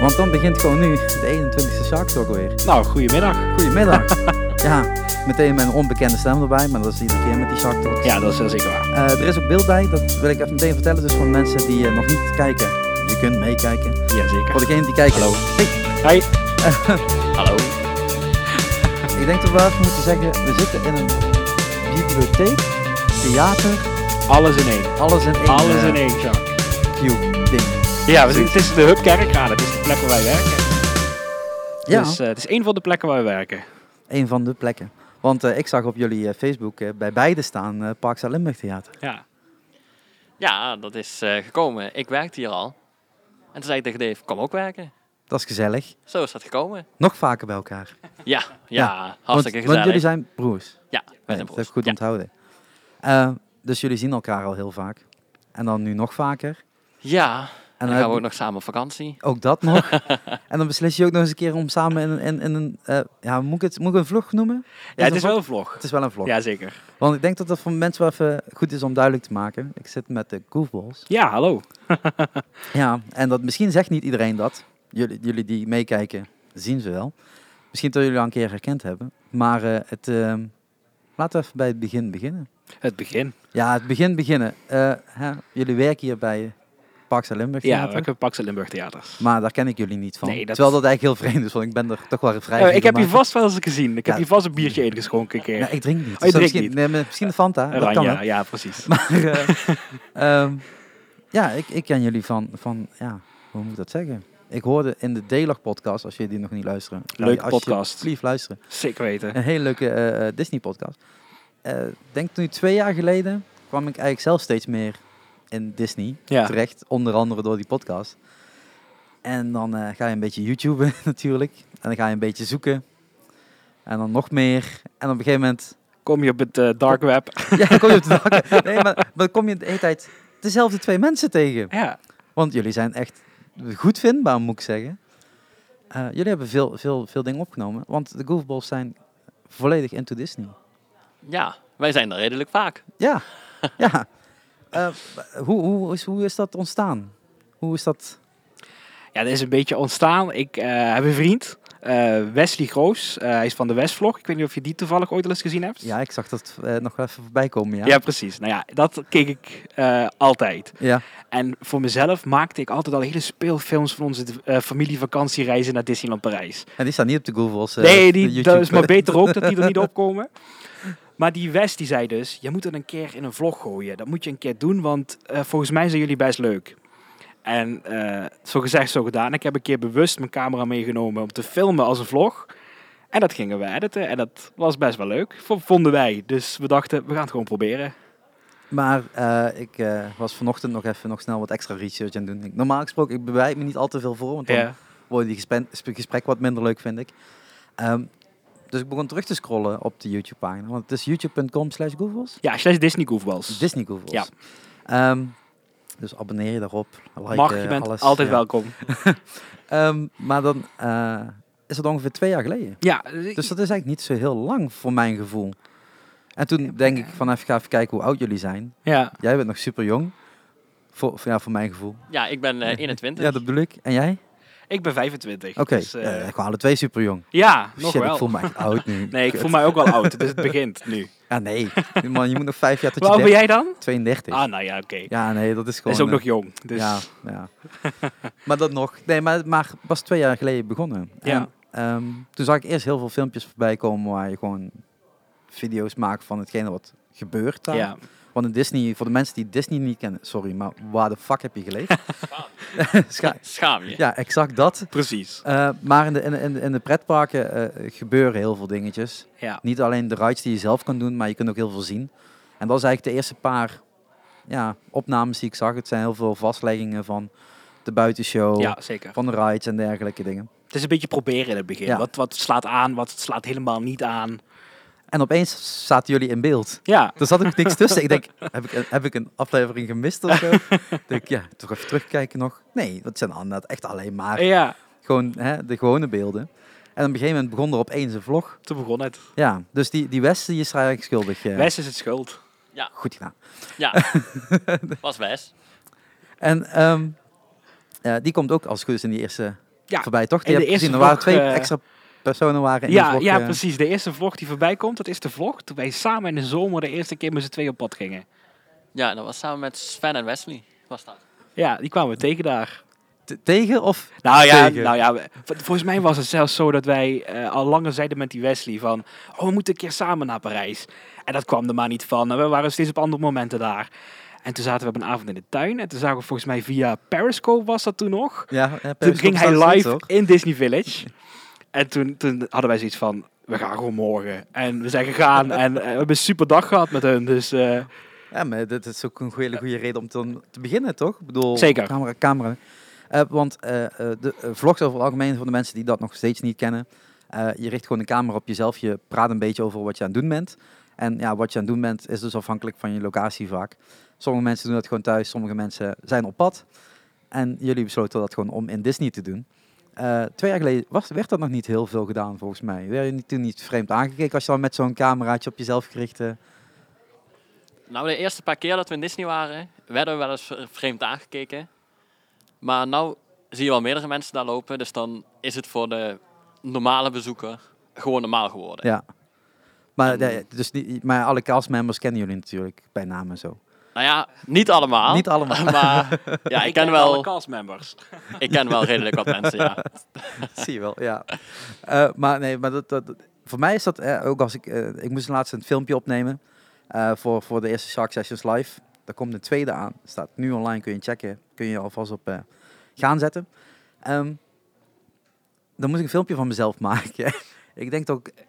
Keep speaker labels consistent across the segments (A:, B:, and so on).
A: Want dan begint gewoon nu de 21ste Shark weer.
B: Nou, goedemiddag.
A: Goedemiddag. ja, meteen met een onbekende stem erbij, maar dat is iedere keer met die Shark Talks.
B: Ja, dat is heel zeker waar.
A: Eh, er is ook beeld bij, dat wil ik even meteen vertellen. Dus voor de mensen die eh, nog niet kijken, je kunt meekijken. Voor
B: Jazeker.
A: degenen die kijken.
B: Hallo.
A: Hey,
B: Hey. Hallo.
A: ik denk dat we wel even moeten zeggen, we zitten in een bibliotheek, theater,
B: Alles in één.
A: alles in één.
B: Alles
A: eh,
B: in één, Jacques.
A: Cube ding.
B: Ja, we zitten, het is de Hub Kerkraden. Het is de plek waar wij werken.
A: Ja,
B: Dus, eh, het is één van de plekken waar we werken.
A: een van de plekken. Want eh, ik zag op jullie eh, Facebook eh, bij beide staan eh Parks en Limburg Theater.
B: Ja.
C: Ja, dat is eh, gekomen. Ik werkte hier al. En toen zei ik tegen Dave, kom ook werken.
A: Dat is gezellig.
C: Zo is dat gekomen.
A: Nog vaker bij elkaar.
C: Ja, ja,
A: Want,
C: hartstikke
A: want
C: gezellig.
A: jullie zijn broers.
C: Ja, wij
A: Nee,
C: zijn
A: Dat
C: broers.
A: heb ik goed
C: ja.
A: onthouden. Eh, dus jullie zien elkaar al heel vaak. En dan nu nog vaker.
C: ja,
A: En
C: en
A: dan
C: dan, gaan
A: heb
C: we ook nog samen op vakantie.
A: ook dat nog. en dan beslis je ook nog eens een keer om samen in, in, in een... eh, ja, moet ik, het, moet ik een vlog noemen?
B: ja, het is
A: een
B: wel
A: vlog?
B: een vlog.
A: Het is wel een vlog.
B: Jazeker.
A: Want ik denk dat dat voor mensen wel even goed is om duidelijk te maken. Ik zit met de goofballs.
B: Ja, hallo.
A: Ja, en dat, misschien zegt niet iedereen dat. Jullie, jullie die meekijken, zien ze wel. Misschien dat jullie al een keer herkend hebben. Maar eh, het, eh, laten we even bij het begin beginnen.
B: Het begin.
A: Ja, het begin beginnen. Eh, hè, jullie werken hier bij Parks en Limburg
B: Ja, we
A: Theater.
B: werken bij Pax en Limburg Theaters.
A: Maar daar ken ik jullie niet van.
B: Nee, dat-
A: Terwijl dat eigenlijk heel vreemd is, want ik ben er toch wel vrij
B: Eh, ik heb je
A: regelmatig-
B: vast wel eens gezien. Ik heb
A: Ja.
B: je vast een biertje ingeschonken een keer.
A: Ja, ik drink niet.
B: Oh, drinkt
A: misschien,
B: niet. Eh,
A: Nee, maar misschien de Fanta, dat kan
B: Oranje,
A: wel.
B: ja, precies.
A: Maar eh, ehm, ja, ik, ik ken jullie van, van, ja, hoe moet ik dat zeggen? Ik hoorde in de Delag podcast, als jullie die nog niet luisteren. ga
B: Leuke
A: je
B: podcast.
A: Alsjeblieft luisteren.
B: Zeker weten.
A: Een hele leuke eh, eh, Disney podcast. Eh denk nu twee jaar geleden kwam ik eigenlijk zelf steeds meer in Disney
B: Ja.
A: terecht. Onder andere door die podcast. En dan eh, ga je een beetje YouTuben natuurlijk. En dan ga je een beetje zoeken. En dan nog meer. En op een gegeven moment
B: Kom je op het eh, dark web.
A: ja, dan kom je op de dak. Nee, maar, maar dan kom je de hele tijd dezelfde twee mensen tegen.
B: Ja.
A: Want jullie zijn echt goed vindbaar, moet ik zeggen. Eh, jullie hebben veel, veel, veel dingen opgenomen. Want de Goofballs zijn volledig into Disney.
C: Ja, wij zijn er redelijk vaak.
A: Ja, ja. Eh, hoe, hoe, is, hoe is dat ontstaan? Hoe is dat...
B: Ja, dat is een beetje ontstaan. Ik eh, heb een vriend, eh, Wesley Groos. Eh, hij is van de Westvlog. Ik weet niet of je die toevallig ooit al eens gezien hebt.
A: Ja, ik zag dat eh, nog wel even voorbij komen, ja.
B: Ja, precies. Nou ja, dat keek ik eh, altijd.
A: Ja,
B: En voor mezelf maakte ik altijd al hele speelfilms van onze eh, familievakantiereizen naar Disneyland Parijs.
A: en die staan niet op de Goofballs. eh,
B: nee,
A: op
B: die,
A: de
B: dat is
A: YouTube.
B: maar beter ook dat die er niet opkomen. Maar die Wes die zei dus, je moet het een keer in een vlog gooien. Dat moet je een keer doen, want eh, volgens mij zijn jullie best leuk. En eh, zo gezegd, zo gedaan. Ik heb een keer bewust mijn camera meegenomen om te filmen als een vlog. En dat gingen we editen en dat was best wel leuk, v- vonden wij. Dus we dachten, we gaan het gewoon proberen.
A: Maar eh, ik eh, was vanochtend nog even nog snel wat extra research aan het doen. Ik- Normaal gesproken, ik bereid me niet al te veel voor, want dan
B: Ja.
A: worden die gespen- sp- gesprekken wat minder leuk, vind ik. Ehm, dus ik begon terug te scrollen op de YouTube-pagina, want het is youtube.com slash goofballs.
B: Ja, slash Disney Goofballs.
A: Disney goofballs. Ja. dus abonneer je daarop. Like,
B: Mag, je
A: eh,
B: bent
A: alles,
B: altijd
A: ja.
B: welkom.
A: Ehm, maar dan eh, is het ongeveer twee jaar geleden.
B: Ja,
A: Dus dat is eigenlijk niet zo heel lang voor mijn gevoel. En toen denk ik van even, ga even kijken hoe oud jullie zijn.
B: ja.
A: Jij bent nog super jong. Voor, voor- ja, voor mijn gevoel.
C: Ja, ik ben eh, 21.
A: Ja, dat bedoel ik. En jij?
B: ik ben 25.
A: Oké.
B: dus, eh,
A: eh, ik wou alle twee super jong.
B: ja, nog
A: Shit, ik
B: wel.
A: voel me echt oud nu.
B: Nee, ik
A: Kut.
B: voel mij ook wel oud, dus het begint nu.
A: Ah, nee. Man, je moet nog vijf jaar tot
B: Hoe
A: je
B: oud ben
A: dertig-
B: jij dan?
A: 32.
B: Ah, nou ja, oké.
A: Ja, nee, dat is gewoon...
B: Hij is ook
A: eh,
B: nog jong, dus
A: Ja, ja. maar dat nog. Nee, maar, maar pas twee jaar geleden begonnen.
B: Ja.
A: En, ehm, toen zag ik eerst heel veel filmpjes voorbij komen waar je gewoon video's maakt van hetgene wat gebeurt daar.
B: ja.
A: Want in Disney, voor de mensen die Disney niet kennen, sorry, maar waar de fuck heb je geleefd? Scha-
C: Schaam je.
A: ja, exact dat.
B: precies.
A: Eh, maar in de, in, de- in de- in de pretparken eh, gebeuren heel veel dingetjes.
B: Ja.
A: Niet alleen de rides die je zelf kan doen, maar je kunt ook heel veel zien. En dat is eigenlijk de eerste paar ja, opnames die ik zag. Het zijn heel veel vastleggingen van de buitenshow,
B: ja, zeker.
A: van de rides en dergelijke dingen.
B: Het is een beetje proberen in het begin.
A: Ja.
B: Wat, wat slaat aan, wat slaat helemaal niet aan.
A: En opeens zaten jullie in beeld.
B: Ja,
A: Er zat ook niks tussen. Ik denk, heb ik, een- heb ik een aflevering gemist of zo? Ik denk, ja, toch even terugkijken nog. Nee, dat zijn inderdaad echt alleen maar
B: ja.
A: gewoon, hè, de gewone beelden. En op een gegeven moment begon er opeens een vlog.
B: toen begon het.
A: Ja, dus die, die West die is er eigenlijk schuldig. eh,
B: Wes is het schuld.
A: Goed gedaan.
C: Ja, was best.
A: En ehm, eh, die komt ook als het goed is in die eerste
B: Ja,
A: voorbij, toch? Die
B: in de
A: heb ik gezien. Er
B: eerste
A: waren
B: vlog,
A: twee
B: eh,
A: extra personen waren in
B: ja,
A: die vlog,
B: ja,
A: eh,
B: precies. De eerste vlog die voorbij komt, dat is de vlog toen wij samen in de zomer de eerste keer met z'n twee op pad gingen.
C: Ja, dat was samen met Sven en Wesley. Was dat.
B: Ja, die kwamen we tegen daar.
A: te- tegen of
B: Nou ja,
A: tegen?
B: nou ja, we- vol- volgens mij was het zelfs zo dat wij eh, al langer zeiden met die Wesley van, oh we moeten een keer samen naar Parijs. En dat kwam er maar niet van. En We waren steeds op andere momenten daar. En toen zaten we op een avond in de tuin en toen zagen we volgens mij via Periscope was dat toen nog.
A: ja, ja,
B: Toen
A: Periscope
B: ging
A: staat
B: hij
A: er
B: live
A: niet, toch?
B: in Disney Village. En toen, toen hadden wij zoiets van, we gaan gewoon morgen. En we zijn gegaan en eh, we hebben een super dag gehad met hun. Dus eh,
A: Ja, maar dat is ook een goede, goede reden om te, te beginnen, toch? Ik bedoel,
B: Zeker.
A: Camera, camera. Eh, want eh, eh, de eh, vlogs over het algemeen, voor de mensen die dat nog steeds niet kennen, eh, je richt gewoon de camera op jezelf, je praat een beetje over wat je aan het doen bent. En ja, wat je aan het doen bent is dus afhankelijk van je locatie vaak. Sommige mensen doen dat gewoon thuis, sommige mensen zijn op pad. En jullie besloten dat gewoon om in Disney te doen. Eh, twee jaar geleden was, werd dat nog niet heel veel gedaan, volgens mij. Werd je niet- toen niet vreemd aangekeken als je dan met zo'n cameraatje op jezelf gericht... eh,
C: Nou, de eerste paar keer dat we in Disney waren, werden we wel eens vreemd aangekeken. Maar nou zie je wel meerdere mensen daar lopen, dus dan is het voor de normale bezoeker gewoon normaal geworden.
A: Ja. Maar,
C: En-
A: de- dus die, maar alle castmembers kennen jullie natuurlijk bij naam en zo.
C: Nou ja, niet allemaal.
A: Niet allemaal.
C: Maar ja, ik ken
B: alle
C: wel,
B: castmembers.
C: ik ken wel redelijk wat mensen, ja.
A: Zie je wel, ja. Eh, maar nee, maar dat, dat, voor mij is dat eh, ook als ik... eh, ik moest laatst een filmpje opnemen eh, voor, voor de eerste Shark Sessions Live. Daar komt een tweede aan. Staat nu online, kun je checken. Kun je alvast op eh, gaan zetten. Ehm, dan moest ik een filmpje van mezelf maken. ik denk dat ik,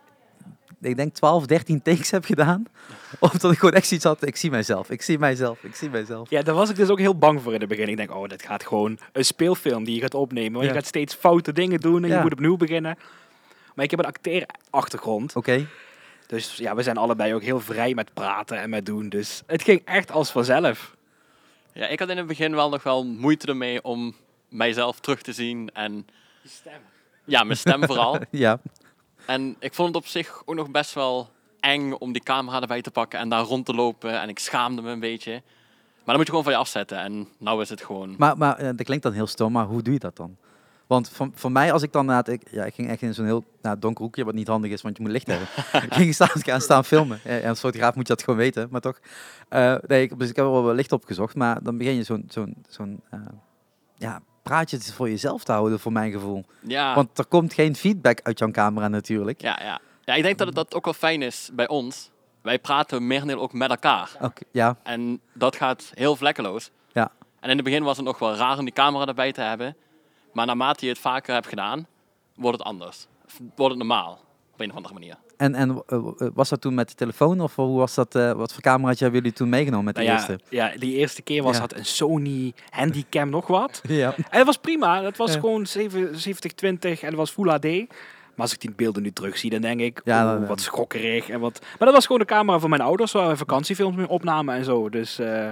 A: ik denk 12, 13 takes heb gedaan. Omdat ik gewoon echt iets had. Ik zie mijzelf, ik zie mijzelf, ik zie mijzelf.
B: Ja, daar was ik dus ook heel bang voor in het begin. Ik denk, oh, dit gaat gewoon een speelfilm die je gaat opnemen. Want
A: Ja.
B: je gaat steeds foute dingen doen en
A: Ja.
B: je moet opnieuw beginnen. Maar ik heb een acteerachtergrond.
A: Oké.
B: Dus ja, we zijn allebei ook heel vrij met praten en met doen. Dus het ging echt als vanzelf.
C: Ja, ik had in het begin wel nog wel moeite ermee om mijzelf terug te zien en ja, mijn stem vooral.
A: Ja,
C: En ik vond het op zich ook nog best wel eng om die camera erbij te pakken en daar rond te lopen. En ik schaamde me een beetje. Maar dan moet je gewoon van je afzetten. En nou is het gewoon.
A: maar, maar eh, dat klinkt dan heel stom, maar hoe doe je dat dan? Want voor, voor mij, als ik dan na het, ik, ja, ik ging echt in zo'n heel nou, donker hoekje, wat niet handig is, want je moet licht hebben. ik ging staan, gaan staan filmen. Ja, en als fotograaf moet je dat gewoon weten, maar toch. Eh, nee, ik, dus ik heb er wel wat licht opgezocht, maar dan begin je zo'n zo'n zo'n eh, ja, praatje voor jezelf te houden, voor mijn gevoel.
C: Ja,
A: Want er komt geen feedback uit jouw camera natuurlijk.
C: ja, ja. ja ik denk dat het dat ook wel fijn is bij ons. Wij praten merendeel ook met elkaar.
A: Oké, ja,
C: En dat gaat heel vlekkeloos.
A: Ja.
C: En in het begin was het nog wel raar om die camera erbij te hebben. Maar naarmate je het vaker hebt gedaan, wordt het anders. Of Wordt het normaal. Op een of andere manier.
A: en, en eh, eh, was dat toen met de telefoon of hoe was dat, eh, wat voor cameraatje hebben jullie toen meegenomen met de
B: Nou ja,
A: eerste?
B: ja, die eerste keer was
A: Ja.
B: dat een Sony Handycam nog wat.
A: Ja.
B: En dat was prima. Dat was
A: Ja.
B: gewoon 7- 70-20 en dat was Full HD. Maar als ik die beelden nu terug zie, dan denk ik,
A: Ja,
B: oeh,
A: dan, eh.
B: wat schokkerig. En wat... Maar dat was gewoon de camera van mijn ouders, waar we vakantiefilms mee opnamen en zo. Dus eh,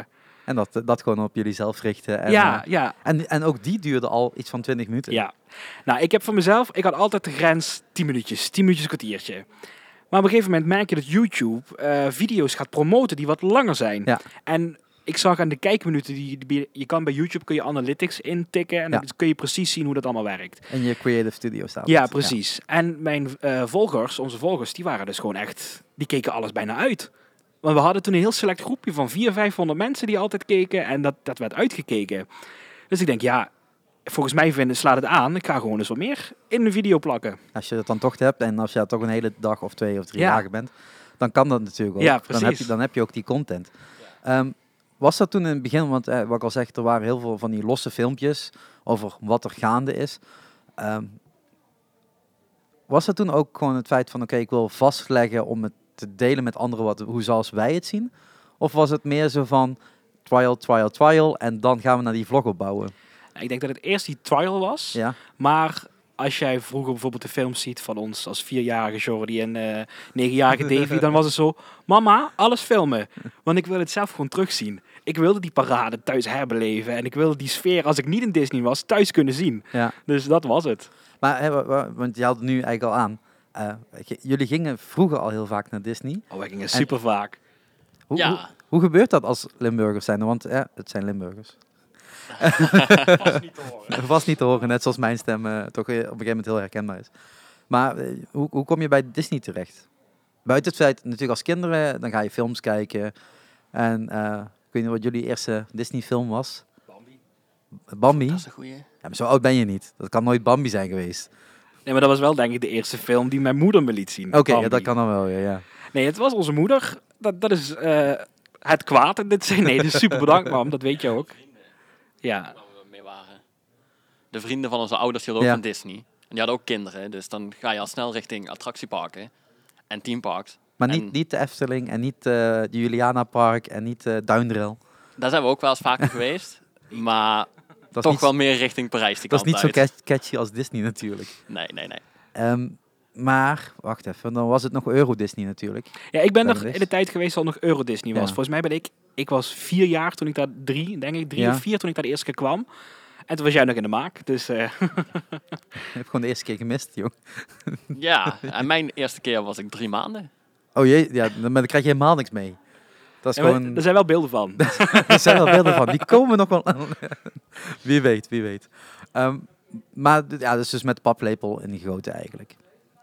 A: En dat, dat gewoon op jullie zelf richten. En,
B: ja,
A: eh,
B: ja,
A: en, en ook die duurde al iets van 20 minuten.
B: Ja. Nou, ik heb voor mezelf, ik had altijd de grens 10 minuutjes, 10 minuutjes een kwartiertje. Maar op een gegeven moment merk je dat YouTube eh, video's gaat promoten die wat langer zijn.
A: Ja.
B: En ik zag aan de kijkminuten, die, die- je kan bij YouTube kun je analytics intikken en
A: Ja.
B: dan kun je precies zien hoe dat allemaal werkt.
A: In je creative studio staat.
B: Ja,
A: het.
B: precies. En mijn eh, volgers, onze volgers, die waren dus gewoon echt, die keken alles bijna uit. Want we hadden toen een heel select groepje van 400, 500 mensen die altijd keken en dat, dat werd uitgekeken. Dus ik denk, ja, volgens mij vinden, slaat het aan. Ik ga gewoon eens wat meer in de video plakken.
A: Als je dat dan toch hebt en als je toch een hele dag of twee of drie
B: Ja.
A: dagen bent, dan kan dat natuurlijk ook.
B: Ja,
A: Dan heb
B: precies.
A: je, dan heb je ook die content. Ehm, was dat toen in het begin, want eh, wat ik al zeg, er waren heel veel van die losse filmpjes over wat er gaande is. Ehm, was dat toen ook gewoon het feit van, oké, ik wil vastleggen om het te delen met anderen, wat, hoe zoals wij het zien? Of was het meer zo van, trial, trial, trial, en dan gaan we naar die vlog opbouwen?
B: Nou, Ik denk dat het eerst die trial was.
A: Ja,
B: Maar als jij vroeger bijvoorbeeld de films ziet van ons als vierjarige Jordi en eh, negenjarige Davy, dan was het zo: Mama, alles filmen. Want ik wil het zelf gewoon terugzien. Ik wilde die parade thuis herbeleven en ik wilde die sfeer, als ik niet in Disney was, thuis kunnen zien.
A: ja.
B: Dus dat was het.
A: Maar, hè, wa- wa- want je had het nu eigenlijk al aan. Eh, j- jullie gingen vroeger al heel vaak naar Disney.
B: Oh, wij gingen super vaak.
A: Hoe,
C: ja.
A: hoe, hoe gebeurt dat als Limburgers zijn? Want eh, het zijn Limburgers.
B: Pas niet te horen.
A: Was niet te horen, net zoals mijn stem eh, toch eh, op een gegeven moment heel herkenbaar is. Maar eh, hoe, hoe kom je bij Disney terecht? Buiten het feit, natuurlijk als kinderen, eh, dan ga je films kijken. En eh, ik weet niet wat jullie eerste Disney-film was. Bambi.
C: Dat
A: Bambi?
C: is een goeie.
A: Ja, maar zo oud ben je niet. Dat kan nooit Bambi zijn geweest.
B: Nee, maar dat was wel denk ik de eerste film die mijn moeder me liet zien.
A: Oké, ja,
B: Bambi.
A: dat kan dan wel, ja. ja.
B: Nee, het was onze moeder. Dat, dat is eh, het kwaad in dit zijn. Nee, dus super bedankt mam, dat weet je ook. Ja,
C: Waar we mee waren. De vrienden van onze ouders hielden ook
A: Ja.
C: van Disney. En die hadden ook kinderen, dus dan ga je al snel richting attractieparken en teamparks.
A: Maar niet,
C: En-
A: niet de Efteling en niet eh, de Juliana Park en niet eh Duinrel.
C: Daar zijn we ook wel eens vaker geweest, maar
A: Dat is
C: toch
A: niet,
C: wel meer richting Parijs die
A: dat is
C: kant
A: niet zo
C: uit.
A: catch- catchy als Disney natuurlijk.
C: Nee, nee, nee.
A: Ehm, maar, wacht even, dan was het nog Euro Disney natuurlijk.
B: ja ik ben
A: Ben
B: nog
A: er is.
B: in de tijd geweest dat nog Euro Disney was.
A: Ja.
B: Volgens mij ben ik, ik was vier jaar toen ik daar drie, denk ik, drie
A: Ja.
B: of vier toen ik daar de eerste keer kwam. En toen was jij nog in de maak, dus eh,
A: Ik heb gewoon de eerste keer gemist, jong.
C: Ja, en mijn eerste keer was ik drie maanden.
A: Oh jee, ja, dan, maar dan krijg je helemaal niks mee. Dat is
B: ja, maar
A: gewoon,
B: er zijn wel beelden van.
A: er zijn wel beelden van, die komen nog wel aan. wie weet, wie weet. Ehm, maar d- ja, dat is dus met de paplepel ingegoten eigenlijk.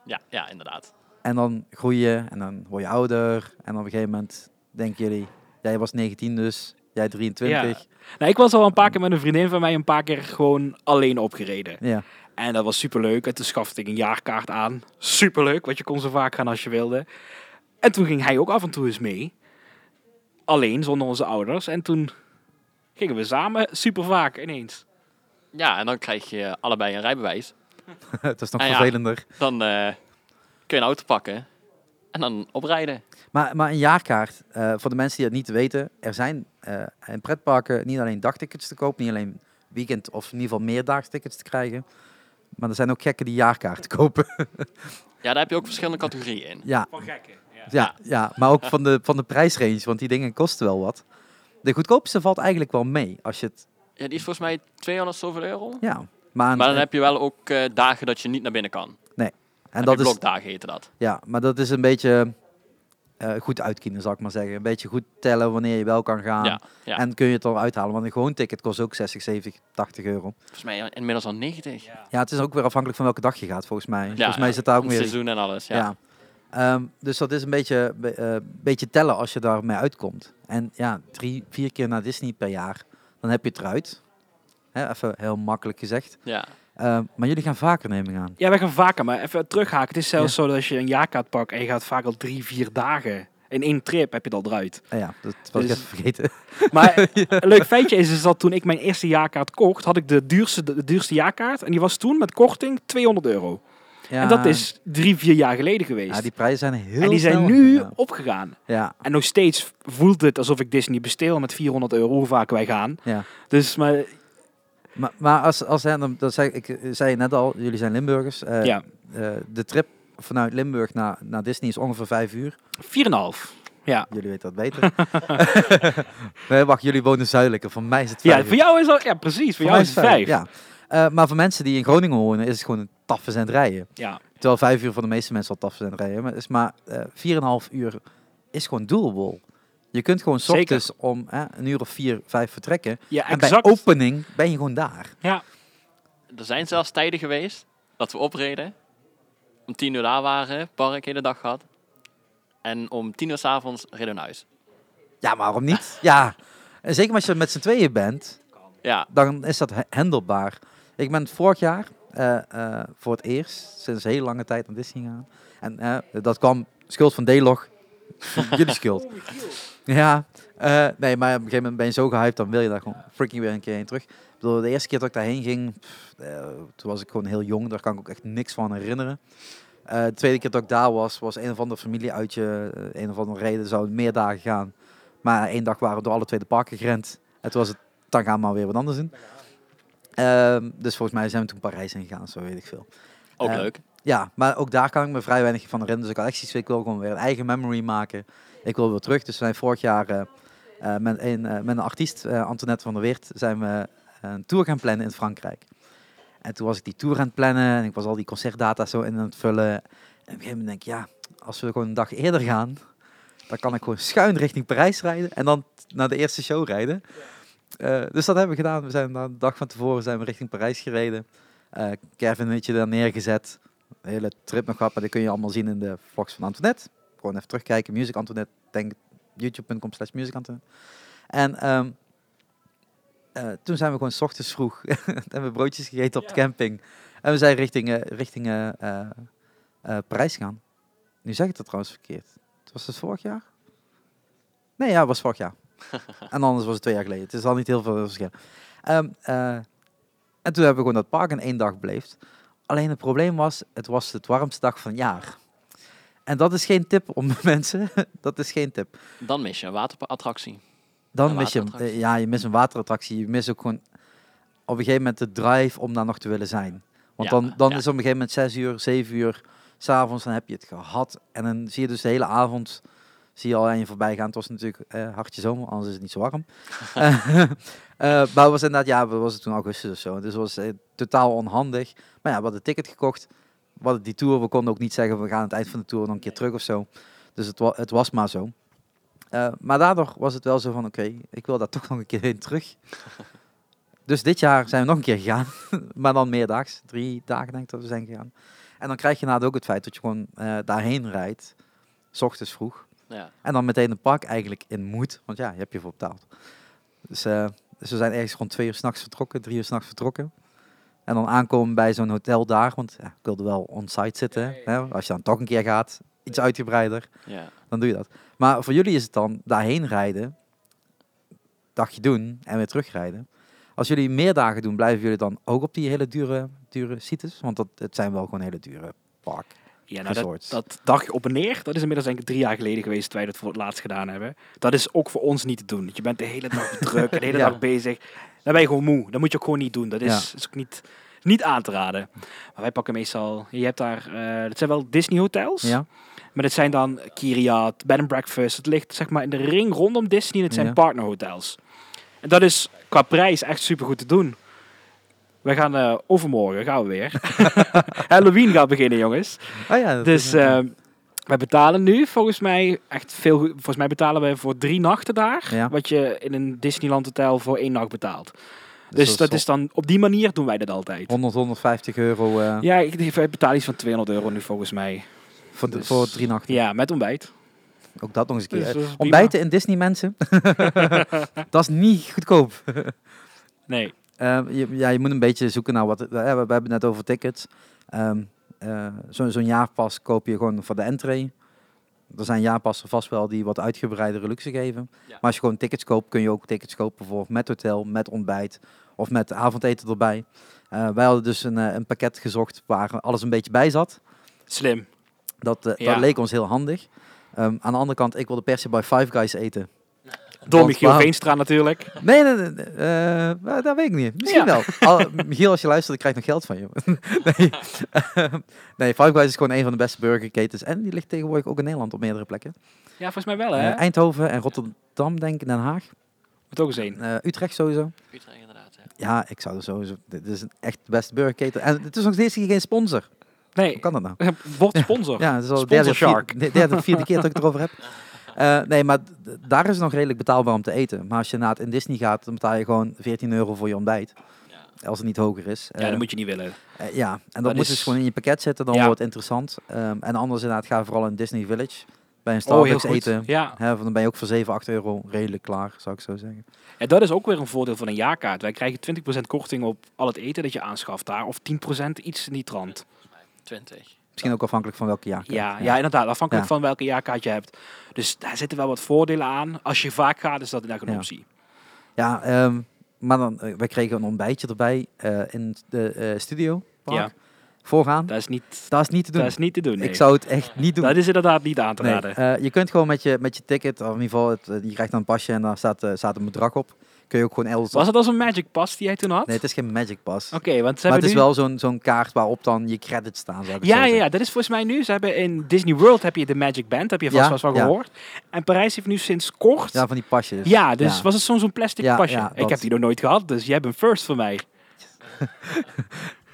C: Ja, ja inderdaad.
A: En dan groei je en dan word je ouder. En dan op een gegeven moment denken jullie, jij was 19 dus, jij 23.
B: Nou, ik was al een paar keer met een vriendin van mij een paar keer gewoon alleen opgereden.
A: Ja.
B: En dat was superleuk. En toen schafte ik een jaarkaart aan. Superleuk, want je kon zo vaak gaan als je wilde. En toen ging hij ook af en toe eens mee. Alleen, zonder onze ouders. En toen gingen we samen super vaak ineens.
C: Ja, en dan krijg je allebei een rijbewijs.
A: het is nog
C: Ah, ja.
A: vervelender.
C: Dan eh, kun je een auto pakken en dan oprijden.
A: Maar, maar een jaarkaart, eh, voor de mensen die dat niet weten, er zijn eh, in pretparken niet alleen dagtickets te koop, niet alleen weekend of in ieder geval meerdaagstickets te krijgen, maar er zijn ook gekken die jaarkaarten kopen.
C: Ja, daar heb je ook verschillende categorieën in.
A: ja,
B: Van gekken. Ja.
A: ja, ja, maar ook van de, van de prijsrange, want die dingen kosten wel wat. De goedkoopste valt eigenlijk wel mee, als je het,
C: Ja, die is volgens mij 200 zoveel euro.
A: ja. Maar,
C: Maar dan heb je wel ook eh, dagen dat je niet naar binnen kan.
A: en
C: dat
A: dat is,
C: blokdagen heten dat.
A: ja, maar dat is een beetje eh, goed uitkiezen, zal ik maar zeggen. Een beetje goed tellen wanneer je wel kan gaan.
C: ja, ja.
A: En kun je het dan uithalen, want een gewoon ticket kost ook 60, 70, 80 euro.
C: Volgens mij inmiddels al 90. Ja,
A: Ja, het is ook weer afhankelijk van welke dag je gaat, volgens mij. volgens mij
C: ja,
A: is het daar ook
C: om
A: weer...
C: seizoen en alles, ja.
A: Ja. Ehm, dus dat is een beetje, be- eh, beetje tellen als je daarmee uitkomt. En ja, drie, vier keer naar Disney per jaar, dan heb je het eruit. Hè, even heel makkelijk gezegd.
C: Ja.
A: Ehm, maar jullie gaan vaker, neem ik aan.
B: Ja, wij gaan vaker, maar even terughaken. Het is zelfs zo dat als je een jaarkaart pakt en je gaat vaak al drie, vier dagen. In één trip heb je het al eruit.
A: Ah ja, dat was ik
B: Dus-
A: even vergeten.
B: Maar een leuk feitje is, is dat toen ik mijn eerste jaarkaart kocht, had ik de duurste, de duurste jaarkaart. En die was toen met korting 200 euro.
A: Ja,
B: En dat is drie, vier jaar geleden geweest.
A: Ja, die prijzen zijn heel
B: en die zijn
A: snel
B: nu
A: gegaan.
B: opgegaan.
A: Ja,
B: En nog steeds voelt het alsof ik Disney besteel met 400 euro hoe vaak wij gaan.
A: ja.
B: Dus maar,
A: Maar, maar als, als hè, dan, dat zei, ik eh, zei net al, jullie zijn Limburgers. Eh,
B: ja, 4,5.
A: eh, de trip vanuit Limburg naar, naar Disney is ongeveer vijf uur.
B: Ja.
A: Jullie weten dat beter. nee, wacht, jullie wonen zuidelijker. Voor mij is het vijf
B: ja,
A: uur.
B: voor jou is dat, ja precies, voor
A: Voor mij
B: jou is het vijf.
A: Ja. Eh, maar voor mensen die in Groningen wonen, is het gewoon een taffe zijn rijden.
B: Ja.
A: Terwijl vijf uur voor de meeste mensen al taffe zijn rijden. Maar, het is maar eh, vier en een half uur is gewoon doable. Je kunt gewoon 's
B: Zeker.
A: ochtends om eh, een uur of vier, vijf vertrekken.
B: ja,
A: En bij
B: exact.
A: opening ben je gewoon daar.
B: ja.
C: Er zijn zelfs tijden geweest dat we opreden. Om tien uur daar waren, park hele dag gehad. En om tien uur s'avonds reden we naar huis.
A: Ja, maar waarom niet? ja. En zeker als je met z'n tweeën bent.
C: Ja,
A: dan is dat he- handelbaar. Ik ben vorig jaar eh, eh, voor het eerst sinds heel lange tijd naar Disney gegaan. En eh, dat kwam schuld van D-Log. Jullie schuld. Ja, eh, nee, maar op een gegeven moment ben je zo gehyped, dan wil je daar gewoon freaking weer een keer heen terug. Ik bedoel, de eerste keer dat ik daarheen ging, pff, eh, toen was ik gewoon heel jong, daar kan ik ook echt niks van herinneren. Eh, de tweede keer dat ik daar was, was een of ander familieuitje, eh, een of andere reden, zou meer dagen gaan. Maar één dag waren we door alle twee de parken gerend. En toen was het, dan gaan we maar weer wat anders doen. Ehm, dus volgens mij zijn we toen Parijs ingegaan, zo weet ik veel.
C: ook
A: Eh,
C: leuk.
A: Ja, maar ook daar kan ik me vrij weinig van herinneren. Dus ik had echt zoiets, ik wil gewoon weer een eigen memory maken. Ik wil weer terug. Dus we zijn vorig jaar eh, eh, met, een, eh, met een artiest, eh, Antoinette van der Weert, zijn we eh, een tour gaan plannen in Frankrijk. En toen was ik die tour aan het plannen en ik was al die concertdata zo in aan het vullen. En op een gegeven moment denk ik, ja, als we gewoon een dag eerder gaan, dan kan ik gewoon schuin richting Parijs rijden en dan naar de eerste show rijden. Eh, dus dat hebben we gedaan. We zijn dan de dag van tevoren zijn we richting Parijs gereden. Eh Kevin heeft je daar neergezet. De hele trip nog gehad, maar dat kun je allemaal zien in de vlogs van Antoinette. Gewoon even terugkijken. Music Antoinette, denk youtube.com slash music Antoinette. En ehm, eh, toen zijn we gewoon 's ochtends vroeg. en we broodjes gegeten op de
B: Ja.
A: camping. En we zijn richting, eh, richting eh, eh, eh, Parijs gaan. Nu zeg ik dat trouwens verkeerd. Was het vorig jaar? Nee, ja, het was vorig jaar. en anders was het twee jaar geleden. Het is al niet heel veel verschil. Ehm, eh, en toen hebben we gewoon dat park in één dag beleefd. Alleen het probleem was, het was het warmste dag van het jaar. En dat is geen tip om mensen. dat is geen tip.
C: Dan mis je een waterattractie.
A: Dan
C: Een
A: mis je hem.
C: waterattractie.
A: Eh, Ja, je mist een waterattractie. Je mist ook gewoon op een gegeven moment de drive om daar nog te willen zijn. Want
C: Ja,
A: dan, dan
C: ja.
A: is op een gegeven moment 6 uur, 7 uur s'avonds, dan heb je het gehad. En dan zie je dus de hele avond zie je al aan je voorbij gaan. Het was natuurlijk eh, hartje zomer, anders is het niet zo warm. Eh, eh, maar het was inderdaad, ja, wat was het toen augustus of zo. Dus het was eh, totaal onhandig. Maar ja, we hadden een ticket gekocht. We hadden die tour, we konden ook niet zeggen, we gaan aan het eind van de tour nog een keer terug of zo. Dus het, wa- het was maar zo. Eh, maar daardoor was het wel zo van, oké, ik wil daar toch nog een keer heen terug. Dus dit jaar zijn we nog een keer gegaan, maar dan meerdaags. Drie dagen denk ik dat we zijn gegaan. En dan krijg je inderdaad ook het feit dat je gewoon eh, daarheen rijdt, s ochtends vroeg.
C: Ja.
A: En dan meteen het park eigenlijk in moet, want ja, je hebt je voor betaald. Dus, eh, dus we zijn ergens rond twee uur s'nachts vertrokken, drie uur s'nachts vertrokken. En dan aankomen bij zo'n hotel daar, want ja, ik wilde wel on-site zitten. Hè? Als je dan toch een keer gaat, iets uitgebreider
C: Ja.
A: dan doe je dat. Maar voor jullie is het dan daarheen rijden, dagje doen en weer terugrijden. Als jullie meer dagen doen, blijven jullie dan ook op die hele dure, dure sites? Want dat, het zijn wel gewoon hele dure park.
B: Ja, nou, dat,
A: Resorts.
B: dat dagje op en neer, dat is inmiddels denk ik drie jaar geleden geweest dat wij dat voor het laatst gedaan hebben. Dat is ook voor ons niet te doen. Je bent de hele dag druk, en de hele
A: Ja.
B: dag bezig. Dan ben je gewoon moe. Dat moet je ook gewoon niet doen. Dat is, is ook niet, niet aan te raden. Maar wij pakken meestal, je hebt daar, eh dat zijn wel Disney hotels.
A: Ja,
B: Maar dat zijn dan Kiriat, Bed and Breakfast. Het ligt zeg maar in de ring rondom Disney. en Het zijn
A: Ja.
B: partnerhotels. En dat is qua prijs echt super goed te doen. We gaan eh, overmorgen, gaan we weer. Halloween gaat beginnen, jongens.
A: oh, ja dat
B: Dus
A: is- ja.
B: eh, wij betalen nu volgens mij echt veel. goed- Volgens mij betalen we voor drie nachten daar.
A: Ja.
B: Wat je in een Disneyland hotel voor één nacht betaalt. Dus, dat
A: zo-
B: is dan op die manier doen wij dat altijd.
A: 100, 150 Dus euro eh,
B: Ja, ik wij betalen iets van 200 euro nu volgens mij.
A: voor, de-
B: dus-
A: voor drie nachten.
B: Ja, met ontbijt.
A: Ook dat nog eens een
B: Dus
A: keer.
B: dat is prima.
A: Ontbijten in Disney, mensen. dat is niet goedkoop.
B: Nee.
A: Eh, je, ja, je moet een beetje zoeken naar wat... eh, we, we hebben het net over tickets. Ehm eh, zo- Zo'n jaarpas koop je gewoon voor de entree. Er zijn jaarpassen vast wel die wat uitgebreidere luxe geven.
C: Ja.
A: Maar als je gewoon tickets koopt, kun je ook tickets kopen voor met hotel, met ontbijt of met avondeten erbij. Eh, wij hadden dus een, eh, een pakket gezocht waar alles een beetje bij zat.
B: Slim.
A: Dat, eh,
B: Ja.
A: dat leek ons heel handig. Ehm, aan de andere kant, ik wilde per se bij Five Guys eten.
B: Door
A: Want
B: Michiel
A: waarom-
B: Veenstra natuurlijk.
A: Nee, nee, nee, nee, eh, nou, dat weet ik niet. Misschien
B: Ja.
A: wel. Al, Michiel, als je luistert, ik krijg nog geld van je. nee. nee, Five Guys is gewoon een van de beste burgerketens. En die ligt tegenwoordig ook in Nederland op meerdere plekken.
B: Ja, volgens mij wel hè.
A: Eh, Eindhoven en Rotterdam, denk ik, Den Haag.
B: Moet ook eens één.
A: Eh, Utrecht sowieso.
C: Utrecht inderdaad. Ja.
A: Ja, ik zou er sowieso... Dit is een echt de beste burgerketen. En het is nog steeds geen sponsor.
B: Nee,
A: Hoe kan dat nou?
B: word sponsor.
A: Ja, het is al de
B: Sponsor
A: derde, of vier-
B: Shark.
A: de derde of vierde keer dat ik het erover heb. Eh, nee, maar d- daar is het nog redelijk betaalbaar om te eten. Maar als je naar het in Disney gaat, dan betaal je gewoon 14 euro voor je ontbijt.
C: Ja.
A: Als het niet hoger is.
B: Ja,
A: Eh,
B: dat moet je niet willen.
A: Eh, ja, en dat,
B: Dat
A: moet
B: is-
A: dus gewoon in je pakket zitten, dan
B: Ja.
A: wordt het interessant. Ehm, en anders inderdaad, ga vooral in Disney Village bij een Starbucks eten.
B: Oh, Ja.
A: Hè, want dan ben je ook voor 7, 8 euro redelijk klaar, zou ik zo zeggen.
B: En dat is ook weer een voordeel van een jaarkaart. Wij krijgen 20% korting op al het eten dat je aanschaft daar. Of 10% iets in die trant.
C: 20.
A: Misschien ook afhankelijk van welke jaar.
B: Ja, ja. inderdaad. Afhankelijk
A: Ja.
B: van welke jaarkaart je hebt. Dus daar zitten wel wat voordelen aan. Als je vaak gaat, is dat inderdaad een
A: Ja.
B: optie.
A: Ja, ehm, maar dan, eh, wij kregen een ontbijtje erbij eh, in de eh, studio.
B: Ja.
A: Ja. Vooraan.
B: Dat is niet,
A: Dat is niet te doen.
B: dat is niet te doen. nee.
A: Ik zou het echt niet doen.
B: Dat is inderdaad niet aan te
A: Nee,
B: raden.
A: eh, je kunt gewoon met je, met je ticket, of in ieder geval, het, eh, je krijgt dan een pasje en daar staat, eh, staat een bedrag op. Kun je ook gewoon elders...
B: Was het als een Magic Pass die jij toen had?
A: Nee, het is geen Magic Pass.
B: Oké, want ze
A: Maar het
B: hebben
A: is
B: nu...
A: wel zo'n zo'n kaart waarop dan je credits staan. Zou ik het zo
B: Ja, ja,
A: zeggen.
B: ja, dat is volgens mij nu. Ze hebben in Disney World heb je de Magic Band, heb je vast
A: Ja,
B: wel eens van
A: ja.
B: gehoord. En Parijs heeft nu sinds kort.
A: Ja,
B: Ja,
A: van die pasjes.
B: dus
A: Ja.
B: was het soms zo'n plastic
A: Ja,
B: pasje.
A: ja,
B: ik
A: dat.
B: heb die nog nooit gehad, dus jij bent first voor mij.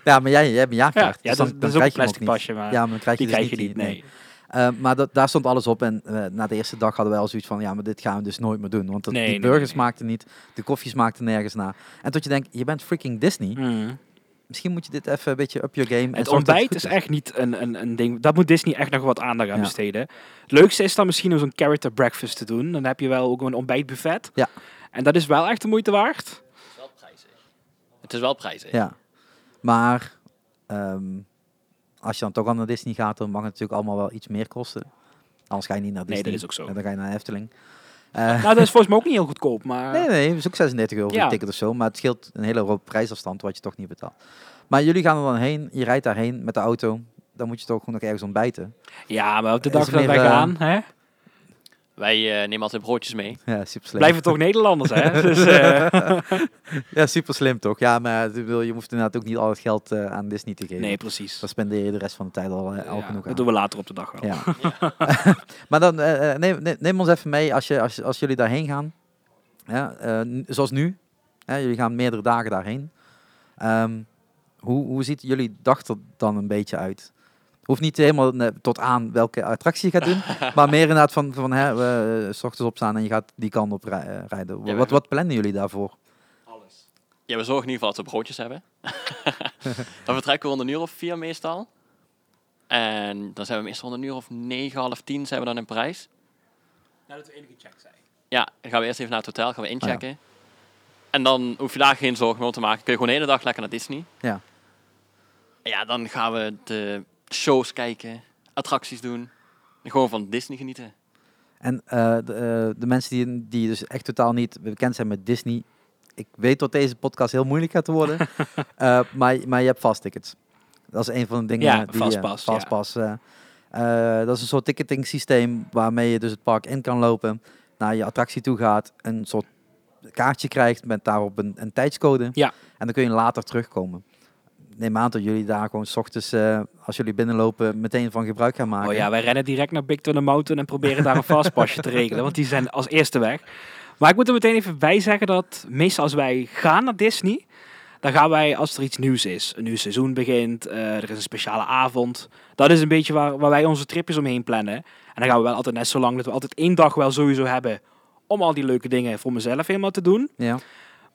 A: Ja, maar jij, jij hebt een
B: Ja,
A: jaarkaart.
B: ja
A: dus
B: dat,
A: dan,
B: dat
A: dan
B: is ook
A: krijg
B: een
A: je hem ook niet.
B: plastic pasje, maar
A: Ja, maar dan krijg je
B: die
A: dus
B: krijg je niet.
A: die-
B: Nee.
A: Eh, maar dat, daar stond alles op. En eh, na de eerste dag hadden wij al zoiets van... Ja, maar dit gaan we dus nooit meer doen. Want dat,
B: Nee,
A: die
B: nee,
A: burgers
B: nee.
A: maakten niet. De koffies maakten nergens naar. En tot je denkt, je bent freaking Disney. Misschien moet je dit even een beetje up your game. en zorg
B: Het
A: dat
B: ontbijt
A: goed
B: is echt niet een, een, een ding. Dat moet Disney echt nog wat aandacht aan
A: Ja.
B: besteden. Het leukste is dan misschien om zo'n character breakfast te doen. Dan heb je wel ook een ontbijtbuffet.
A: Ja.
B: En dat is wel echt de moeite waard.
C: Het is wel prijzig.
A: Ja. Maar ehm, als je dan toch al naar Disney gaat, dan mag het natuurlijk allemaal wel iets meer kosten. Anders ga je niet naar
B: Nee,
A: Disney.
B: dat is ook zo.
A: En dan ga je naar Efteling. Eh,
B: Nou, dat is volgens mij ook niet heel goedkoop, maar...
A: nee, nee, het is ook 36 euro voor
B: Ja.
A: een ticket of zo. Maar het scheelt een hele hoop prijsafstand wat je toch niet betaalt. Maar jullie gaan er dan heen. Je rijdt daarheen met de auto. Dan moet je toch gewoon nog ergens ontbijten.
B: Ja, maar op de
A: Is
B: dag
A: het
B: dat
A: meer,
B: wij
A: eh,
B: gaan, hè,
C: Wij eh, nemen altijd broodjes mee.
A: Ja, super slim.
B: blijven toch Nederlanders, hè? Dus, eh,
A: Ja, super slim toch? Ja, maar ik bedoel, je hoeft inderdaad ook niet al het geld eh, aan Disney te geven.
B: nee, precies.
A: Dan spendeer je de rest van de tijd al, eh, al
B: Ja,
A: genoeg aan.
B: dat doen we later op de dag wel.
A: Ja. maar dan eh, eh, neem, neem- neem ons even mee als, je, als, als jullie daarheen gaan. Ja, eh, n- zoals nu. Hè, jullie gaan meerdere dagen daarheen. Ehm, hoe, hoe ziet jullie dag er dan een beetje uit? Hoeft niet helemaal eh, tot aan welke attractie je gaat doen. maar meer inderdaad van, van hè, we, eh, s ochtends opstaan en je gaat die kant op rij- eh, rijden.
C: Ja, we-
A: Wat, wat plannen jullie daarvoor?
C: Ja, we zorgen in ieder geval dat we broodjes hebben. dan vertrekken we rond een uur of vier meestal. En dan zijn we meestal rond een uur of negen, half tien zijn we dan in Parijs.
B: Nadat Nou, we enige check zijn.
C: Ja, dan gaan we eerst even naar het hotel,
A: Oh
C: gaan we inchecken. En dan hoef je daar geen zorgen meer om te maken. Kun je gewoon de hele dag lekker naar Disney.
A: Ja.
C: En Ja, dan gaan we de shows kijken, attracties doen. En gewoon van Disney genieten.
A: En eh, de, eh, de mensen die, die dus echt totaal niet bekend zijn met Disney. Ik weet dat deze podcast heel moeilijk gaat worden. eh, maar, maar je hebt vasttickets. Dat is een van de dingen
B: Ja,
A: die eh,
B: Fastpass, ja.
A: vastpas. Eh, dat is een soort ticketing systeem waarmee je dus het park in kan lopen. Naar je attractie toe gaat. Een soort kaartje krijgt met daarop een, een tijdscode.
B: Ja.
A: En dan kun je later terugkomen. Neem aan dat jullie daar gewoon 's ochtends, eh, als jullie binnenlopen, meteen van gebruik gaan maken.
B: Oh ja, wij rennen direct naar Big Thunder Mountain en proberen daar een fastpasje te regelen, want die zijn als eerste weg. Maar ik moet er meteen even bij zeggen dat meestal als wij gaan naar Disney, dan gaan wij als er iets nieuws is. Een nieuw seizoen begint, eh, er is een speciale avond. Dat is een beetje waar, waar wij onze tripjes omheen plannen. En dan gaan we wel altijd net zo lang dat we altijd één dag wel sowieso hebben om al die leuke dingen voor mezelf helemaal te doen.
A: ja.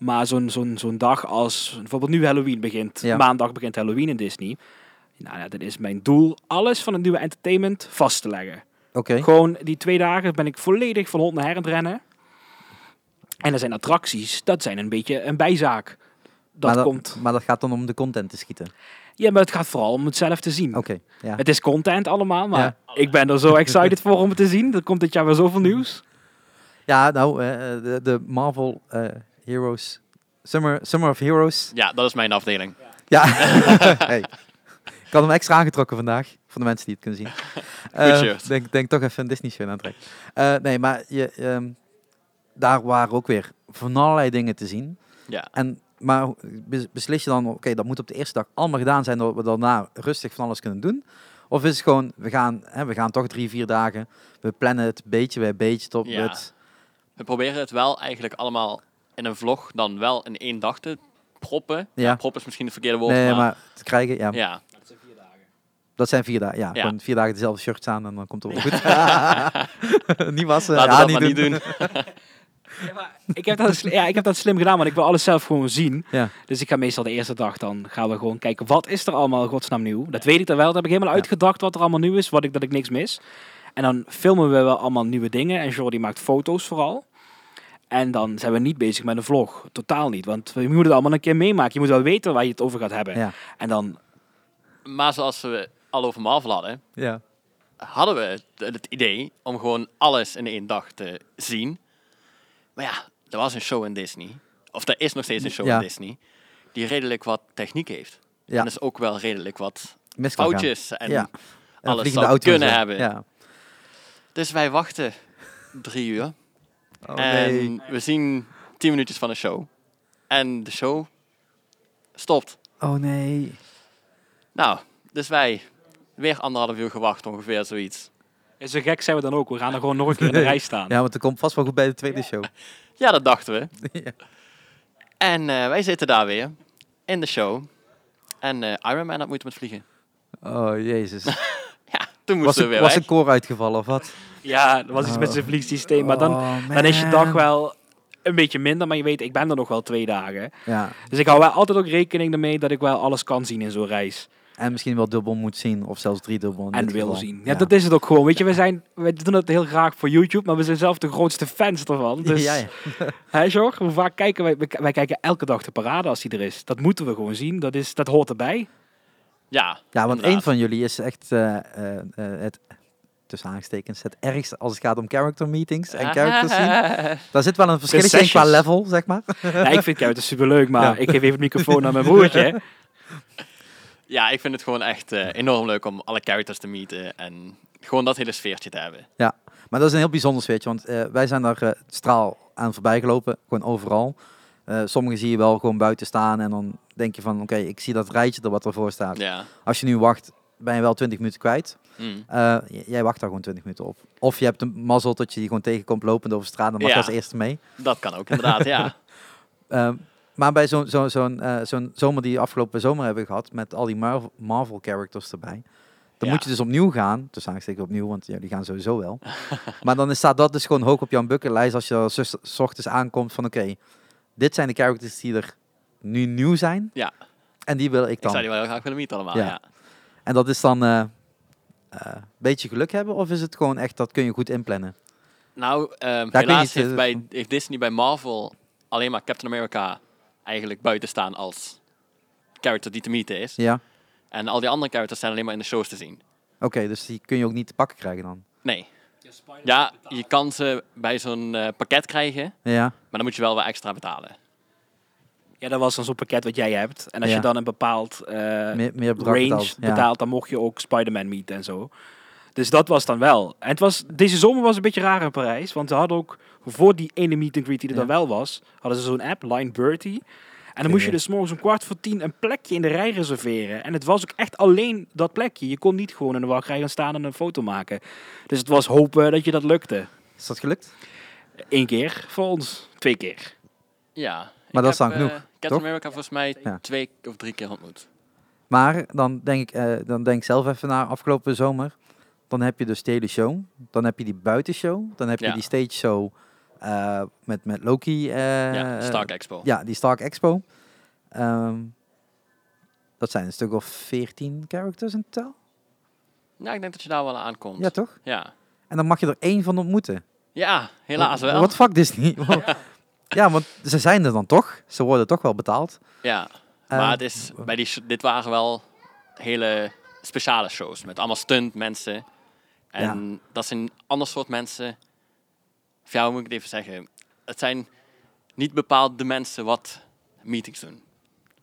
B: Maar zo'n zo'n zo'n dag als bijvoorbeeld nu Halloween begint,
A: Ja.
B: maandag begint Halloween in Disney. Nou ja, dat is mijn doel, alles van het nieuwe entertainment vast te leggen.
A: Oké.
B: Gewoon die twee dagen ben ik volledig van hond naar her aan het rennen. En er zijn attracties, dat zijn een beetje een bijzaak. Dat,
A: maar
B: komt.
A: Maar dat gaat dan om de content te schieten.
B: Ja, maar het gaat vooral om het zelf te zien.
A: Oké, ja.
B: Het is content allemaal, maar ik ben er zo excited voor om het te zien. Er komt dit jaar weer zoveel nieuws.
A: Ja, nou, eh, eh, de, de Marvel eh, Heroes... Summer, Summer of Heroes.
C: Ja, dat is mijn afdeling.
A: Ja. hey. Ik had hem extra aangetrokken vandaag, voor de mensen die het kunnen zien. Eh,
C: shirt.
A: denk, denk toch even een Disney-shirt aantrekken. Eh, nee, maar je, ehm, daar waren ook weer van allerlei dingen te zien.
C: Ja.
A: En, maar hoe- bes- beslis je dan, oké, dat moet op de eerste dag allemaal gedaan zijn, dat we daarna rustig van alles kunnen doen? Of is het gewoon, we gaan, hè, we gaan toch drie, vier dagen, we plannen het beetje bij beetje tot
C: Ja.
A: het...
C: We proberen het wel eigenlijk allemaal in een vlog dan wel in één dag te proppen.
A: Ja.
C: Proppen is misschien het verkeerde woord,
A: Nee,
C: maar,
A: maar te krijgen, ja.
C: ja.
A: Dat zijn vier dagen, ja.
C: Ja.
A: Gewoon vier dagen dezelfde shirts aan en dan komt het wel goed. niet wassen,
C: Laten we
A: ja, niet
C: dat maar niet
A: doen.
C: doen.
B: Ik heb, dat, sli- ja, ik heb dat slim gedaan, want ik wil alles zelf gewoon zien.
A: Ja.
B: Dus ik ga meestal de eerste dag dan gaan we gewoon kijken wat is er allemaal in godsnaam nieuw. Dat weet ik dan wel. Dat heb ik helemaal
A: Ja.
B: uitgedacht wat er allemaal nieuw is, wat ik, dat ik niks mis. En dan filmen we wel allemaal nieuwe dingen. En Jordi maakt foto's vooral. En dan zijn we niet bezig met een vlog. Totaal niet. Want je moet het allemaal een keer meemaken. Je moet wel weten waar je het over gaat hebben.
A: Ja.
B: En dan,
C: Maar zoals we al over Marvel hadden,
A: Ja.
C: hadden we het- het idee om gewoon alles in één dag te zien. Maar ja, er was een show in Disney. Of er is nog steeds een show
A: Ja.
C: in Disney. Die redelijk wat techniek heeft.
A: Ja.
C: En dus ook wel redelijk wat
A: Mis kan gaan.
C: foutjes en
A: Ja. En
C: alles
A: vliegende
C: zou
A: auto's
C: kunnen
A: en-
C: hebben.
A: Ja.
C: Dus wij wachten drie uur.
A: Oh,
C: en
A: nee.
C: we zien tien minuutjes van een show. En de show stopt.
A: Oh nee.
C: Nou, dus wij weer anderhalf uur gewacht ongeveer zoiets.
B: zo gek zijn we dan ook. We gaan er gewoon nog een keer in de rij staan.
A: Ja, want er komt vast wel goed bij de tweede show.
C: Ja, dat dachten we.
A: Ja.
C: En eh, wij zitten daar weer in de show. En eh Iron Man had moeite met vliegen.
A: Oh jezus.
C: Ja, Toen
A: Was,
C: moesten we
A: een-
C: weer
A: was
C: weg.
A: een koor uitgevallen of wat?
B: Ja, er was iets met
A: Oh.
B: zijn vliegsysteem. Maar dan,
A: Oh,
B: dan is je
A: man.
B: dag wel een beetje minder. Maar je weet, ik ben er nog wel twee dagen.
A: Ja.
B: Dus ik hou wel altijd ook rekening ermee dat ik wel alles kan zien in zo'n reis.
A: En misschien wel dubbel moet zien, of zelfs drie dubbel.
B: En wil zien. Ja, dat is het ook gewoon. Weet je, we, zijn, we doen het heel graag voor YouTube, maar we zijn zelf de grootste fans ervan. Dus,
A: ja, ja.
B: Hè, Jorg? Hoe vaak kijken wij, wij k- wij kijken elke dag de parade als die er is. Dat moeten we gewoon zien. Dat, is, dat hoort erbij.
C: Ja,
A: ja, want één
C: inderdaad.
A: van jullie is echt eh, eh, eh, het, tussen aanstekens, het ergste als het gaat om character meetings en characters zien. Daar zit wel een verschilletje in qua
B: sessies.
A: level, zeg maar.
B: nou, ik vind het superleuk, maar
A: Ja.
B: ik geef even het microfoon aan mijn broertje.
C: Ja, ik vind het gewoon echt eh, enorm leuk om alle characters te meeten en gewoon dat hele sfeertje te hebben.
A: Maar dat is een heel bijzonder sfeertje, want eh, wij zijn daar eh, straal aan voorbij gelopen, gewoon overal. Eh sommige zie je wel gewoon buiten staan en dan denk je van, oké, ik zie dat rijtje er wat ervoor staat.
C: Ja.
A: Als je nu wacht, ben je wel 20 minuten kwijt.
C: Mm.
A: Eh, j- jij wacht daar gewoon 20 minuten op. Of je hebt een mazzel dat je die gewoon tegenkomt lopend over straat, dan mag je
C: Ja.
A: als eerste mee.
C: Dat kan ook inderdaad, ja.
A: Ehm, maar bij zo'n zo, zo'n eh, zo'n zomer die we afgelopen zomer hebben gehad, met al die Mar- Marvel-characters erbij, dan
C: Ja.
A: moet je dus opnieuw gaan. Dus aangestekend opnieuw, want ja, die gaan sowieso wel. maar dan is- staat dat dus gewoon hoog op jouw bucketlist als je er zus- s ochtends aankomt van oké, dit zijn de characters die er nu nieuw zijn.
C: Ja.
A: En die wil ik
C: Ik
A: dan.
C: zou die wel heel graag willen meeten allemaal,
A: Ja.
C: ja.
A: En dat is dan eh, eh, een beetje geluk hebben of is het gewoon echt, dat kun je goed inplannen?
C: Nou, ehm,
A: weet
C: helaas
A: niet, eh,
C: heeft, bij, heeft Disney bij Marvel alleen maar Captain America eigenlijk buiten staan als character die te meeten is.
A: Ja.
C: En al die andere characters zijn alleen maar in de shows te zien.
A: Oké, dus die kun je ook niet te pakken krijgen dan.
C: Nee. Ja, je kan ze bij zo'n eh, pakket krijgen,
A: Ja.
C: maar dan moet je wel wat extra betalen.
B: Ja, dat was dan zo'n pakket wat jij hebt. En als
A: Ja.
B: je dan een bepaald eh,
A: Meer, meer bedrag
B: range
A: betaald.
B: betaalt,
A: Ja.
B: dan mocht je ook Spider-Man meeten en zo. Dus dat was dan wel. En het was, deze zomer was een beetje raar in Parijs. Want ze hadden ook voor die ene meet and greet die er
A: Ja.
B: dan wel was, hadden ze zo'n app, Line Bertie. En dan
A: Oké.
B: moest je dus 's morgens om kwart voor tien een plekje in de rij reserveren. En het was ook echt alleen dat plekje. Je kon niet gewoon in de wachtrij gaan staan en een foto maken. Dus het was hopen dat je dat lukte.
A: Is dat gelukt?
B: Eén keer voor ons, twee keer.
C: Ja.
A: dat is dan genoeg,
C: eh, Captain
A: toch?
C: America volgens mij
A: Ja.
C: twee of drie keer ontmoet.
A: Maar dan denk ik, eh, dan denk ik zelf even naar afgelopen zomer. Dan heb je dus de hele show. Dan heb je die buitenshow. Dan heb je
C: Ja.
A: die stage show eh, met, met Loki. eh,
C: ja, Stark Expo.
A: Ja, die Stark Expo. Ehm, dat zijn een stuk of 14 characters in totaal.
C: Ja, ik denk dat je daar wel aan aankomt.
A: Ja,
C: Ja.
A: toch?
C: Ja,
A: En dan mag je er één van ontmoeten.
C: helaas wel.
A: Wat fuck Disney? ja, want ze zijn er dan toch. Ze worden toch wel betaald.
C: Ja,
A: Eh,
C: maar het is, bij die, sh- dit waren wel hele speciale shows met allemaal stunt mensen. En dat zijn een ander soort mensen. Of ja, hoe moet ik het even zeggen? Het zijn niet bepaald de mensen wat meetings doen.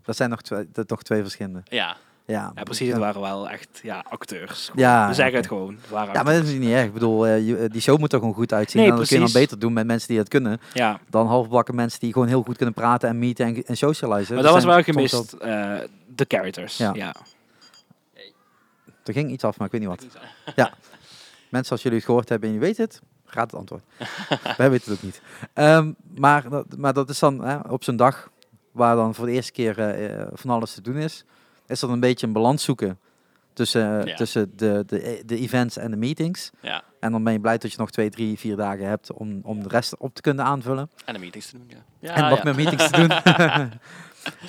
A: Dat zijn nog twee, dat, nog twee verschillende.
C: Ja,
A: Ja,
B: Ja, precies. Het waren wel echt ja, acteurs.
A: Ja,
B: We zeggen het
A: oké.
B: gewoon. Het waren
A: Ja, maar dat is niet erg. Ik bedoel, eh, je- eh, die show moet er gewoon goed uitzien.
B: Nee,
A: en dat kun je dan
B: precies.
A: beter doen met mensen die dat kunnen.
B: acteurs. ja.
A: Dan halfbakken mensen die gewoon heel goed kunnen praten en meeten en, en socializen.
B: Maar dat was
A: zijn
B: wel
A: soms
B: gemist, eh, de characters.
A: Ja.
B: Ja.
A: wel- Er ging iets af, maar ik weet niet wat. Ja. Mensen, als jullie het gehoord hebben en je weet het, gaat het antwoord. Wij weten het ook niet. Ehm, maar, dat, maar dat is dan hè, op zo'n dag waar dan voor de eerste keer eh, eh, van alles te doen is, is dat een beetje een balans zoeken tussen, eh,
C: Ja.
A: tussen de, de, de events en de meetings.
C: ja.
A: En dan ben je blij dat je nog twee, drie, vier dagen hebt om, om de rest op te kunnen aanvullen.
C: En de meetings te doen, ja. ja
A: en wat
C: ja.
A: met meetings te doen.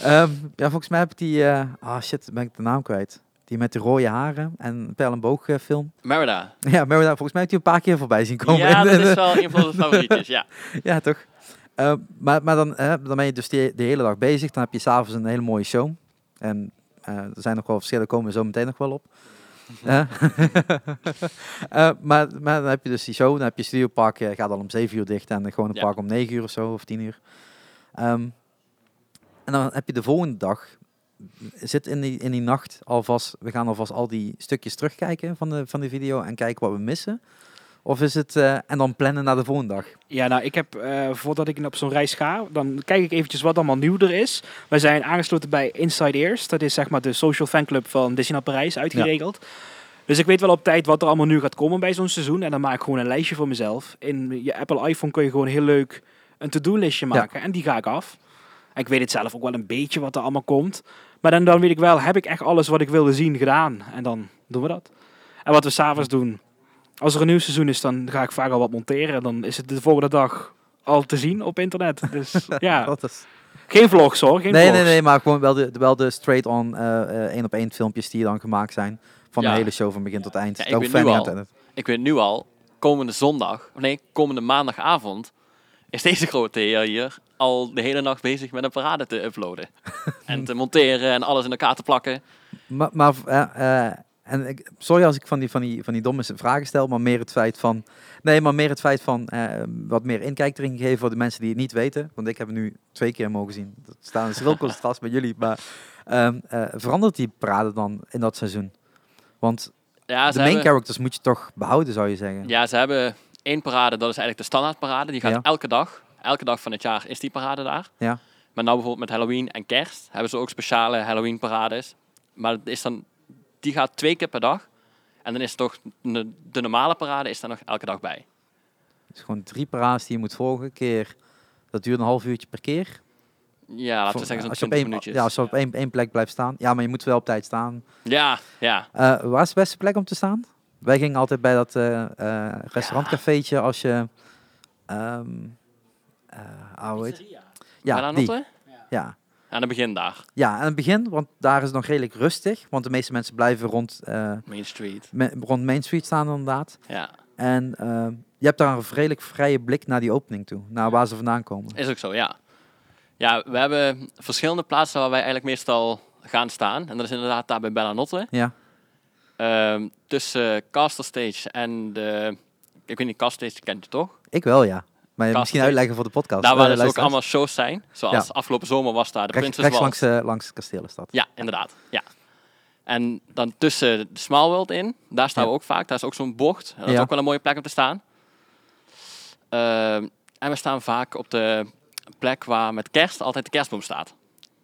A: Ehm, ja, volgens mij heb ik die... eh, Ah shit, ben ik de naam kwijt. Die met de rode haren en Pijl en Boog eh, film.
C: Merida.
A: Ja, Merida, volgens mij heb ik die een paar keer voorbij zien komen.
C: Ja, dat is wel een van de favorietjes, ja.
A: ja, toch? Ehm, maar maar dan, eh, dan ben je dus de, de hele dag bezig. Dan heb je s'avonds een hele mooie show. En eh, er zijn nog wel verschillen, komen we zo meteen nog wel op. Eh, eh, maar, maar dan heb je dus die show, dan heb je studiopark, eh, gaat al om 7 uur dicht en gewoon een
C: Ja.
A: park om 9 uur of zo, of 10 uur. Ehm, en dan heb je de volgende dag, zit in die, in die nacht alvast, we gaan alvast al die stukjes terugkijken van de, van de video en kijken wat we missen. Of is het, eh, en dan plannen naar de volgende dag.
B: Ja, nou, ik heb, eh, voordat ik op zo'n reis ga, dan kijk ik eventjes wat allemaal nieuw er is. We zijn aangesloten bij Inside Ears. Dat is zeg maar de social fanclub van Disneyland Parijs, uitgeregeld. Dus ik weet wel op tijd wat er allemaal nu gaat komen bij zo'n seizoen. En dan maak ik gewoon een lijstje voor mezelf. In je Apple iPhone kun je gewoon heel leuk een to-do-listje
A: Ja.
B: maken. En die ga ik af. En ik weet het zelf ook wel een beetje wat er allemaal komt. Maar dan, dan weet ik wel, heb ik echt alles wat ik wilde zien gedaan? En dan doen we dat. En wat we s'avonds doen. Als er een nieuw seizoen is, dan ga ik vaak al wat monteren. Dan is het de volgende dag al te zien op internet. Dus ja,
A: Dat is...
B: geen vlogs hoor. Geen
A: Nee, nee,
B: vlogs.
A: nee, maar gewoon wel de, wel de straight-on eh, eh, één-op-één filmpjes die dan gemaakt zijn. Van
C: Ja.
A: de hele show van begin tot eind.
C: Ja, ik
A: Daar
C: weet
A: hoeft
C: nu
A: Fanny aan
C: al.
A: te editen.
C: Ik weet nu al, komende zondag, of nee, komende maandagavond, is deze grote heer hier al de hele nacht bezig met een parade te uploaden. en te monteren en alles in elkaar te plakken.
A: Maar, maar eh, eh, en ik, sorry als ik van die, van, die, van die domme vragen stel, maar meer het feit van. Nee, maar meer het feit van eh, wat meer inkijk erin geven voor de mensen die het niet weten. Want ik heb het nu twee keer mogen zien. Dat staat een schril contrast met jullie. Maar ehm, eh, verandert die parade dan in dat seizoen? Want
C: Ja,
A: de
C: ze
A: main
C: hebben,
A: characters moet je toch behouden, zou je zeggen.
C: ja, ze hebben één parade, dat is eigenlijk de standaardparade. Die gaat
A: Ja.
C: elke dag. Elke dag van het jaar is die parade daar.
A: Ja.
C: Maar nou bijvoorbeeld met Halloween en kerst hebben ze ook speciale Halloween parades. Maar het is dan, die gaat twee keer per dag. En dan is toch de de normale parade is daar nog elke dag bij.
A: Het is gewoon drie parades die je moet volgen. Keer, dat duurt een half uurtje per keer.
C: Ja, laten
A: Voor-
C: we zeggen zo'n
A: als je op
C: 20
A: één,
C: minuutjes.
A: ja, als je op één, één plek blijft staan. Ja, maar je moet wel op tijd staan.
C: Ja, ja.
A: Eh, waar is de beste plek om te staan? Wij gingen altijd bij dat eh eh, restaurantcafeetje als je... ehm eh, ah, hoe heet- Ja,
C: Aan,
A: die. Ja.
C: aan het begin daar.
A: ja, aan het begin, want daar is het nog redelijk rustig. Want de meeste mensen blijven rond, eh,
C: Main Street.
A: me- rond Main Street staan inderdaad.
C: Ja,
A: En ehm, je hebt daar een redelijk vrije blik naar die opening toe. Naar waar ze vandaan komen.
C: is ook zo, ja. Ja, we hebben verschillende plaatsen waar wij eigenlijk meestal gaan staan. En dat is inderdaad daar bij Bellanotte.
A: Ja,
C: Ehm tussen Castle Stage en de... Ik weet niet, Castle Stage kent je toch?
A: ik wel ja. Maar
C: Kast
A: misschien
C: is-
A: uitleggen voor de podcast.
C: daar
A: eh,
C: waar dus ook
A: luisteraars.
C: allemaal shows zijn. Zoals afgelopen zomer was daar de
A: Rechts,
C: Princess
A: rechts
C: Walk.
A: langs, eh, langs het kasteel is dat.
C: Ja, inderdaad. Ja. En dan tussen de Small World in, daar staan
A: Ja.
C: we ook vaak. Daar is ook zo'n bocht. En dat is
A: Ja.
C: ook wel een mooie plek om te staan. Ehm, en we staan vaak op de plek waar met kerst altijd de kerstboom staat.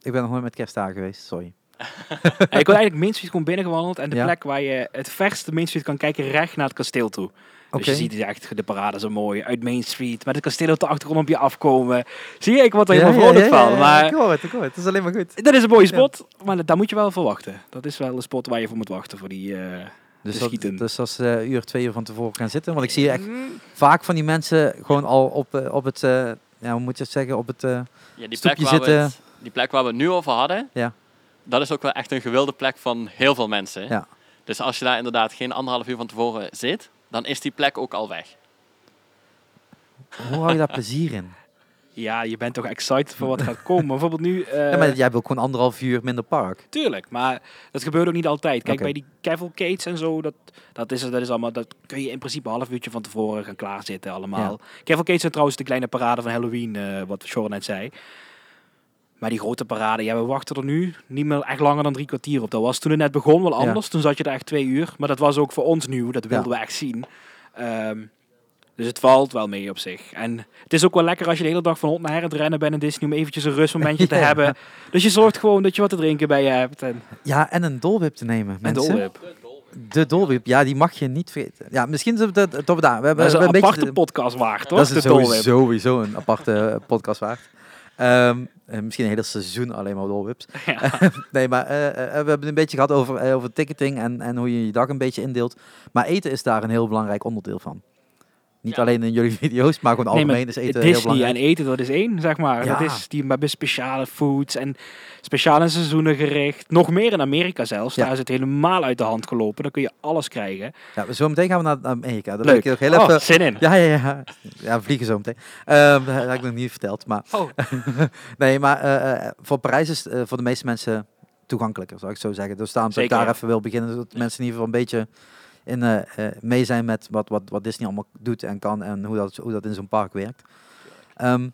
A: Ik ben nog nooit met kerstdagen geweest, sorry.
B: Ja, ik wil eigenlijk Main Street gewoon binnengewandeld. En de
A: Ja.
B: plek waar je het verste Main Street kan kijken, recht naar het kasteel toe. Dus
A: Oké.
B: je ziet dus echt de parade zo mooi uit Main Street. Met het kasteel op de achtergrond op je afkomen. Zie je, ik word er helemaal vrolijk van.
A: Ik
B: Maar
A: hoor het, ik hoor het. Het is alleen maar goed.
B: dat is een mooie spot. Maar daar moet je wel voor wachten. Dat is wel een spot waar je voor moet wachten. Voor die, eh,
A: Dus,
B: Dus
A: dat,
B: schieten.
A: dus als ze een uur, twee uur van tevoren gaan zitten. Want ik zie echt vaak van die mensen gewoon al op, eh, op het, eh, ja, hoe moet je het zeggen, op het... eh,
C: Ja, die, plek
A: Stoepje
C: waar
A: zitten.
C: We het, die plek waar we het nu over hadden,
A: Ja.
C: dat is ook wel echt een gewilde plek van heel veel mensen.
A: Ja.
C: Dus als je daar inderdaad geen anderhalf uur van tevoren zit, dan is die plek ook al weg.
A: hoe hou je daar plezier in?
B: ja, je bent toch excited voor wat gaat komen. Bijvoorbeeld nu... eh,
A: ja, maar jij wil gewoon anderhalf uur minder park.
B: Tuurlijk, maar dat gebeurt ook niet altijd. Kijk,
A: Oké.
B: bij die cavalcades en zo, dat, dat, is, dat is allemaal, dat kun je in principe een half uurtje van tevoren gaan klaarzitten allemaal. Cavalcades zijn trouwens de kleine parade van Halloween, eh, wat Sean net zei. Maar die grote parade, ja, we wachten er nu niet meer echt langer dan drie kwartier op. Dat was toen het net begon wel
A: Ja.
B: anders. Toen zat je er echt twee uur. Maar dat was ook voor ons nieuw, dat wilden
A: Ja.
B: we echt zien. Ehm, dus het valt wel mee op zich. En het is ook wel lekker als je de hele dag van hond naar her aan het rennen bent in Disney... om eventjes een rustmomentje te
A: Ja.
B: hebben. Dus je zorgt gewoon dat je wat te drinken bij je hebt. En
A: Ja, en een dolwip te nemen,
B: en
A: mensen.
B: Dolwip.
A: De dolwip, ja, die mag je niet vergeten. Ja, misschien is dat, dat we daar... We hebben
B: Dat is een,
A: we hebben
B: aparte
A: beetje-
B: podcast waard, toch?
A: Dat is
B: de
A: sowieso,
B: Dolwip.
A: sowieso een aparte eh, podcast waard. Ehm, eh, misschien een hele seizoen alleen maar dolwips. nee, maar eh, eh, we hebben het een beetje gehad over, eh, over ticketing en, en hoe je je dag een beetje indeelt. Maar eten is daar een heel belangrijk onderdeel van. Niet
C: Ja.
A: alleen in jullie video's, maar gewoon
B: Nee, maar
A: algemeen is eten heel
B: Disney
A: belangrijk.
B: en eten, dat is één, zeg maar.
A: Ja.
B: Dat is, die hebben speciale foods en speciale seizoenen gericht. Nog meer in Amerika zelfs.
A: Ja.
B: Daar is het helemaal uit de hand gelopen. Dan kun je alles krijgen.
A: Ja, zo meteen gaan we naar Amerika. Dat wil
B: Leuk.
A: ik nog heel
B: Oh,
A: even...
B: zin in.
A: Ja, ja, ja. Ja, we vliegen zo meteen. Ehm, dat heb ik nog niet verteld. Maar,
B: Oh.
A: nee, maar eh, eh, voor Parijs is eh, voor de meeste mensen toegankelijker, zou ik zo zeggen. Dus daarom dat ik
B: Zeker,
A: daar
B: ja.
A: even wil beginnen. Zodat mensen in ieder geval een beetje in, eh, eh, mee zijn met wat, wat, wat Disney allemaal doet en kan. En hoe dat, hoe dat in zo'n park werkt. Ehm,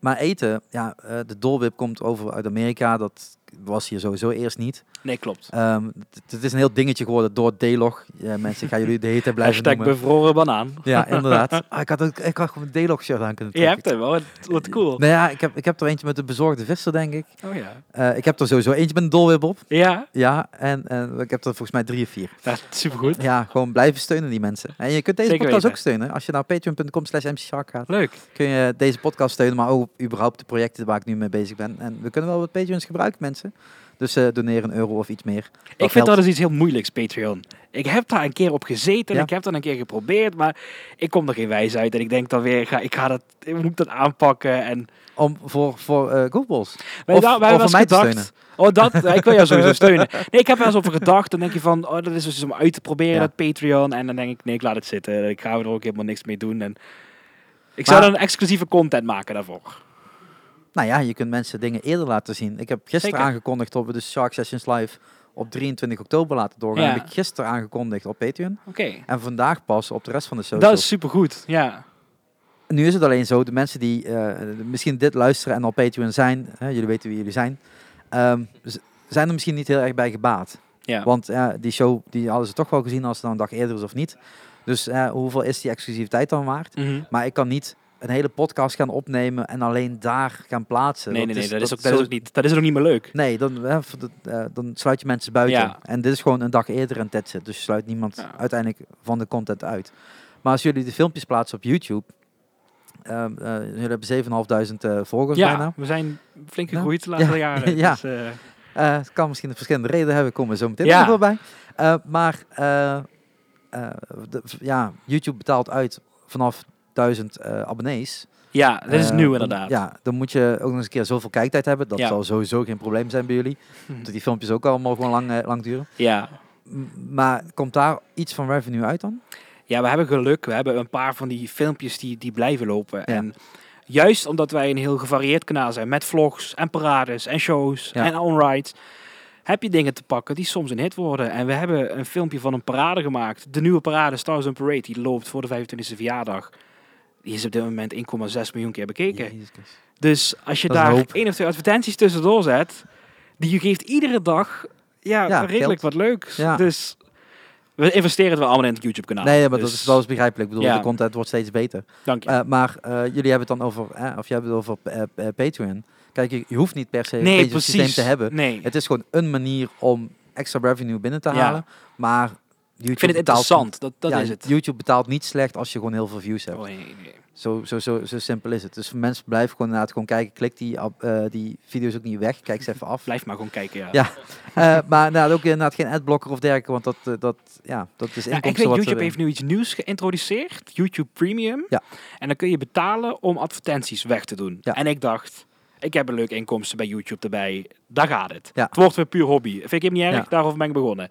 A: maar eten, ja, eh, de dolwip komt over uit Amerika. Dat was hier sowieso eerst niet.
B: Nee, klopt.
A: Ehm, het- het is een heel dingetje geworden door D-log. Ja, mensen, gaan jullie de hete blijven
B: Hashtag
A: noemen.
B: bevroren banaan.
A: Ja, inderdaad. Ah, ik had ook ik had gewoon een D-log shirt aan kunnen
B: Je
A: trekken.
B: hebt hem wel. Wat- Wat cool.
A: Nou ja, ik heb, ik heb er eentje met de bezorgde visser, denk ik.
B: Oh ja.
A: Eh, ik heb er sowieso eentje met een dolwip op.
B: Ja,
A: Ja, en, en ik heb er volgens mij drie of vier.
B: dat is supergoed.
A: Ja, gewoon blijven steunen die mensen. En je kunt deze
B: Zeker
A: podcast ook
B: weten.
A: steunen. Als je naar patreon.com slash mcshark gaat,
B: Leuk.
A: kun je deze podcast steunen, maar ook überhaupt de projecten waar ik nu mee bezig ben. En we kunnen wel wat patrons gebruiken, mensen. Dus eh, doneer een euro of iets meer.
B: Ik vind dat is iets heel moeilijks, Patreon. Ik heb daar een keer op gezeten,
A: Ja.
B: ik heb dat een keer geprobeerd, maar ik kom er geen wijs uit. En ik denk dan weer, ga, ik, ga dat, ik moet dat aanpakken. En
A: Om, voor voor eh Goodballs.
B: Wij,
A: Of-
B: daar- wij
A: of
B: was
A: om mij te
B: gedacht, Oh, dat, ja, ik wil jou sowieso steunen. Nee, ik heb wel eens over gedacht. Dan denk je van, oh, dat is dus iets om uit te proberen,
A: Ja.
B: dat Patreon. En dan denk ik, nee, ik laat het zitten. Ik ga er ook helemaal niks mee doen. En ik zou
A: Maar-
B: dan exclusieve content maken daarvoor.
A: Nou ja, je kunt mensen dingen eerder laten zien. Ik heb gisteren
B: Zeker.
A: aangekondigd dat we de Shark Sessions Live op 23 oktober laten doorgaan.
B: Ja.
A: Heb ik gisteren aangekondigd op Patreon.
B: Oké.
A: En vandaag pas op de rest van de socials.
B: Dat is supergoed, ja.
A: Nu is het alleen zo, de mensen die eh, misschien dit luisteren en al Patreon zijn, hè, jullie weten wie jullie zijn, ehm, z- zijn er misschien niet heel erg bij gebaat.
B: Ja.
A: Want eh, die show die hadden ze toch wel gezien als het dan een dag eerder is of niet. Dus eh, hoeveel is die exclusiviteit dan waard?
B: Mhm.
A: Maar ik kan niet een hele podcast gaan opnemen en alleen daar gaan plaatsen.
B: Nee,
A: Want
B: nee,
A: het
B: nee, dat is, ook, dat
A: zo-
B: is ook niet, dat is ook niet meer leuk.
A: Nee, dan, hè, v- dat, eh, dan sluit je mensen buiten.
B: Ja.
A: En dit is gewoon een dag eerder en that's it. Dus je sluit niemand
B: Ja.
A: uiteindelijk van de content uit. Maar als jullie de filmpjes plaatsen op YouTube... ehm, eh, jullie hebben 7500 eh, volgers
B: Ja,
A: bijna.
B: we zijn flink
A: Ja.
B: gegroeid de laatste jaren.
A: Ja.
B: Dus, eh,
A: Eh, het kan misschien een verschillende redenen hebben. Komen we zo meteen
B: Ja.
A: nog wel bij. Eh, maar eh, eh, de- ja, YouTube betaalt uit vanaf 1000 eh, abonnees.
B: ja, dat is
A: Eh,
B: nieuw
A: dan-
B: inderdaad.
A: ja, dan moet je ook nog eens een keer zoveel kijktijd hebben. Dat
B: Ja.
A: zal sowieso geen probleem zijn bij jullie.
B: Mhm.
A: Dat die filmpjes ook allemaal gewoon lang, eh, lang duren.
B: ja.
A: M- Maar komt daar iets van revenue uit dan?
B: Ja, we hebben geluk. We hebben een paar van die filmpjes die, die blijven lopen.
A: Ja.
B: En juist omdat wij een heel gevarieerd kanaal zijn met vlogs en parades en shows
A: Ja.
B: en onrides, heb je dingen te pakken die soms een hit worden. En we hebben een filmpje van een parade gemaakt. De nieuwe parade Stars on Parade, die loopt voor de 25e verjaardag. Die is op dit moment 1,6 miljoen keer bekeken.
A: Jezus Christus.
B: Dus als je
A: Dat is
B: daar
A: een hoop.
B: één of twee advertenties tussendoor zet, die je geeft iedere dag ja,
A: Ja,
B: redelijk
A: geld.
B: wat leuks.
A: Ja.
B: Dus we investeren het wel allemaal in het YouTube-kanaal.
A: nee, maar dat
B: Dus
A: is wel eens begrijpelijk. Ik bedoel,
B: Ja.
A: de content wordt steeds beter.
B: Dank je.
A: Eh, maar eh, jullie hebben het dan over, eh, of jij hebt het over eh, eh, Patreon. Kijk, je, je hoeft niet per se een
B: nee,
A: Patreon
B: precies.
A: systeem te hebben.
B: Nee.
A: Het is gewoon een manier om extra revenue binnen te
B: Ja.
A: halen. Maar YouTube
B: ik vind het
A: betaalt,
B: interessant. Dat, dat
A: ja,
B: is het.
A: YouTube betaalt niet slecht als je gewoon heel veel views hebt.
B: Oh, nee, nee, nee.
A: Zo, zo, zo, zo simpel is het. Dus mensen blijven gewoon inderdaad gewoon kijken. Klik die, ab- eh, die video's ook niet weg. Kijk ze even af.
B: Blijf maar gewoon kijken. Ja.
A: Ja, Eh, maar inderdaad ook inderdaad geen adblocker of dergelijke, want dat, eh, dat, ja, dat is
B: Ja, ik
A: inkomsten
B: weet,
A: wat eh,
B: YouTube
A: ze
B: heeft nu iets nieuws geïntroduceerd. YouTube Premium.
A: Ja.
B: En dan kun je betalen om advertenties weg te doen.
A: Ja.
B: En ik dacht, ik heb een leuk inkomsten bij YouTube erbij. Daar gaat het.
A: Ja.
B: Het wordt weer puur hobby. Vind ik hem niet erg,
A: Ja.
B: daarover ben ik begonnen.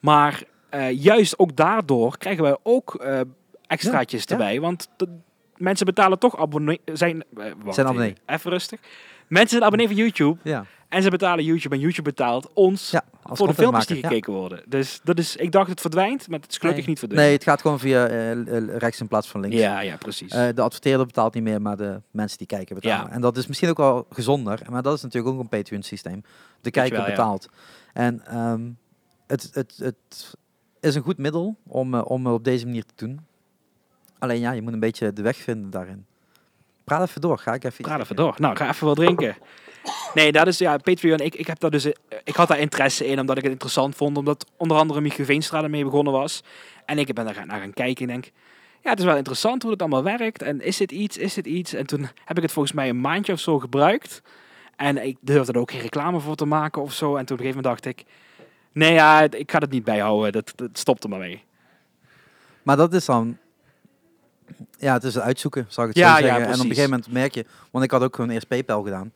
B: Maar eh, juist ook daardoor krijgen wij ook eh, extraatjes
A: Ja, ja.
B: erbij. Want de, mensen betalen toch abonnee... Zijn, eh, wacht
A: Zijn
B: even,
A: abonnee.
B: Even rustig. Mensen zijn abonnee van YouTube.
A: Ja,
B: En ze betalen YouTube en YouTube betaalt ons
A: ja, als
B: voor de filmpjes die
A: contentmaker, ja.
B: gekeken worden. Dus dat is, ik dacht het verdwijnt, maar het is gelukkig
A: Nee.
B: niet verdwenen.
A: Nee, het gaat gewoon via eh, l- l- rechts in plaats van links.
B: Ja, ja, precies.
A: Eh, de adverteerder betaalt niet meer, maar de mensen die kijken betalen.
B: Ja.
A: En dat is misschien ook wel gezonder, maar dat is natuurlijk ook een Patreon systeem. De kijker
B: wel, ja.
A: betaalt. En ehm, het, het, het is een goed middel om, eh, om op deze manier te doen. Alleen ja, je moet een beetje de weg vinden daarin. Praat even door, ga ik even iets
B: Praat even door. Nou, ga even wat drinken. Nee, dat is ja, Patreon. Ik, ik, heb daar dus, eh, ik had daar interesse in, omdat ik het interessant vond. Omdat onder andere Mieke Veenstra ermee begonnen was. En ik ben daar gaan- naar gaan kijken en denk... Ja, het is wel interessant hoe het allemaal werkt. En is dit iets, is dit iets? En toen heb ik het volgens mij een maandje of zo gebruikt. En ik durfde er ook geen reclame voor te maken of zo. En toen op een gegeven moment dacht ik... Nee, ja, het- ik ga het niet bijhouden. Dat, dat stopt er maar mee.
A: Maar dat is dan... Ja, het is het uitzoeken, zal ik het
B: Ja,
A: zo
B: ja,
A: zeggen. en op een
B: precies.
A: gegeven moment merk je... Want ik had ook gewoon eerst PayPal gedaan.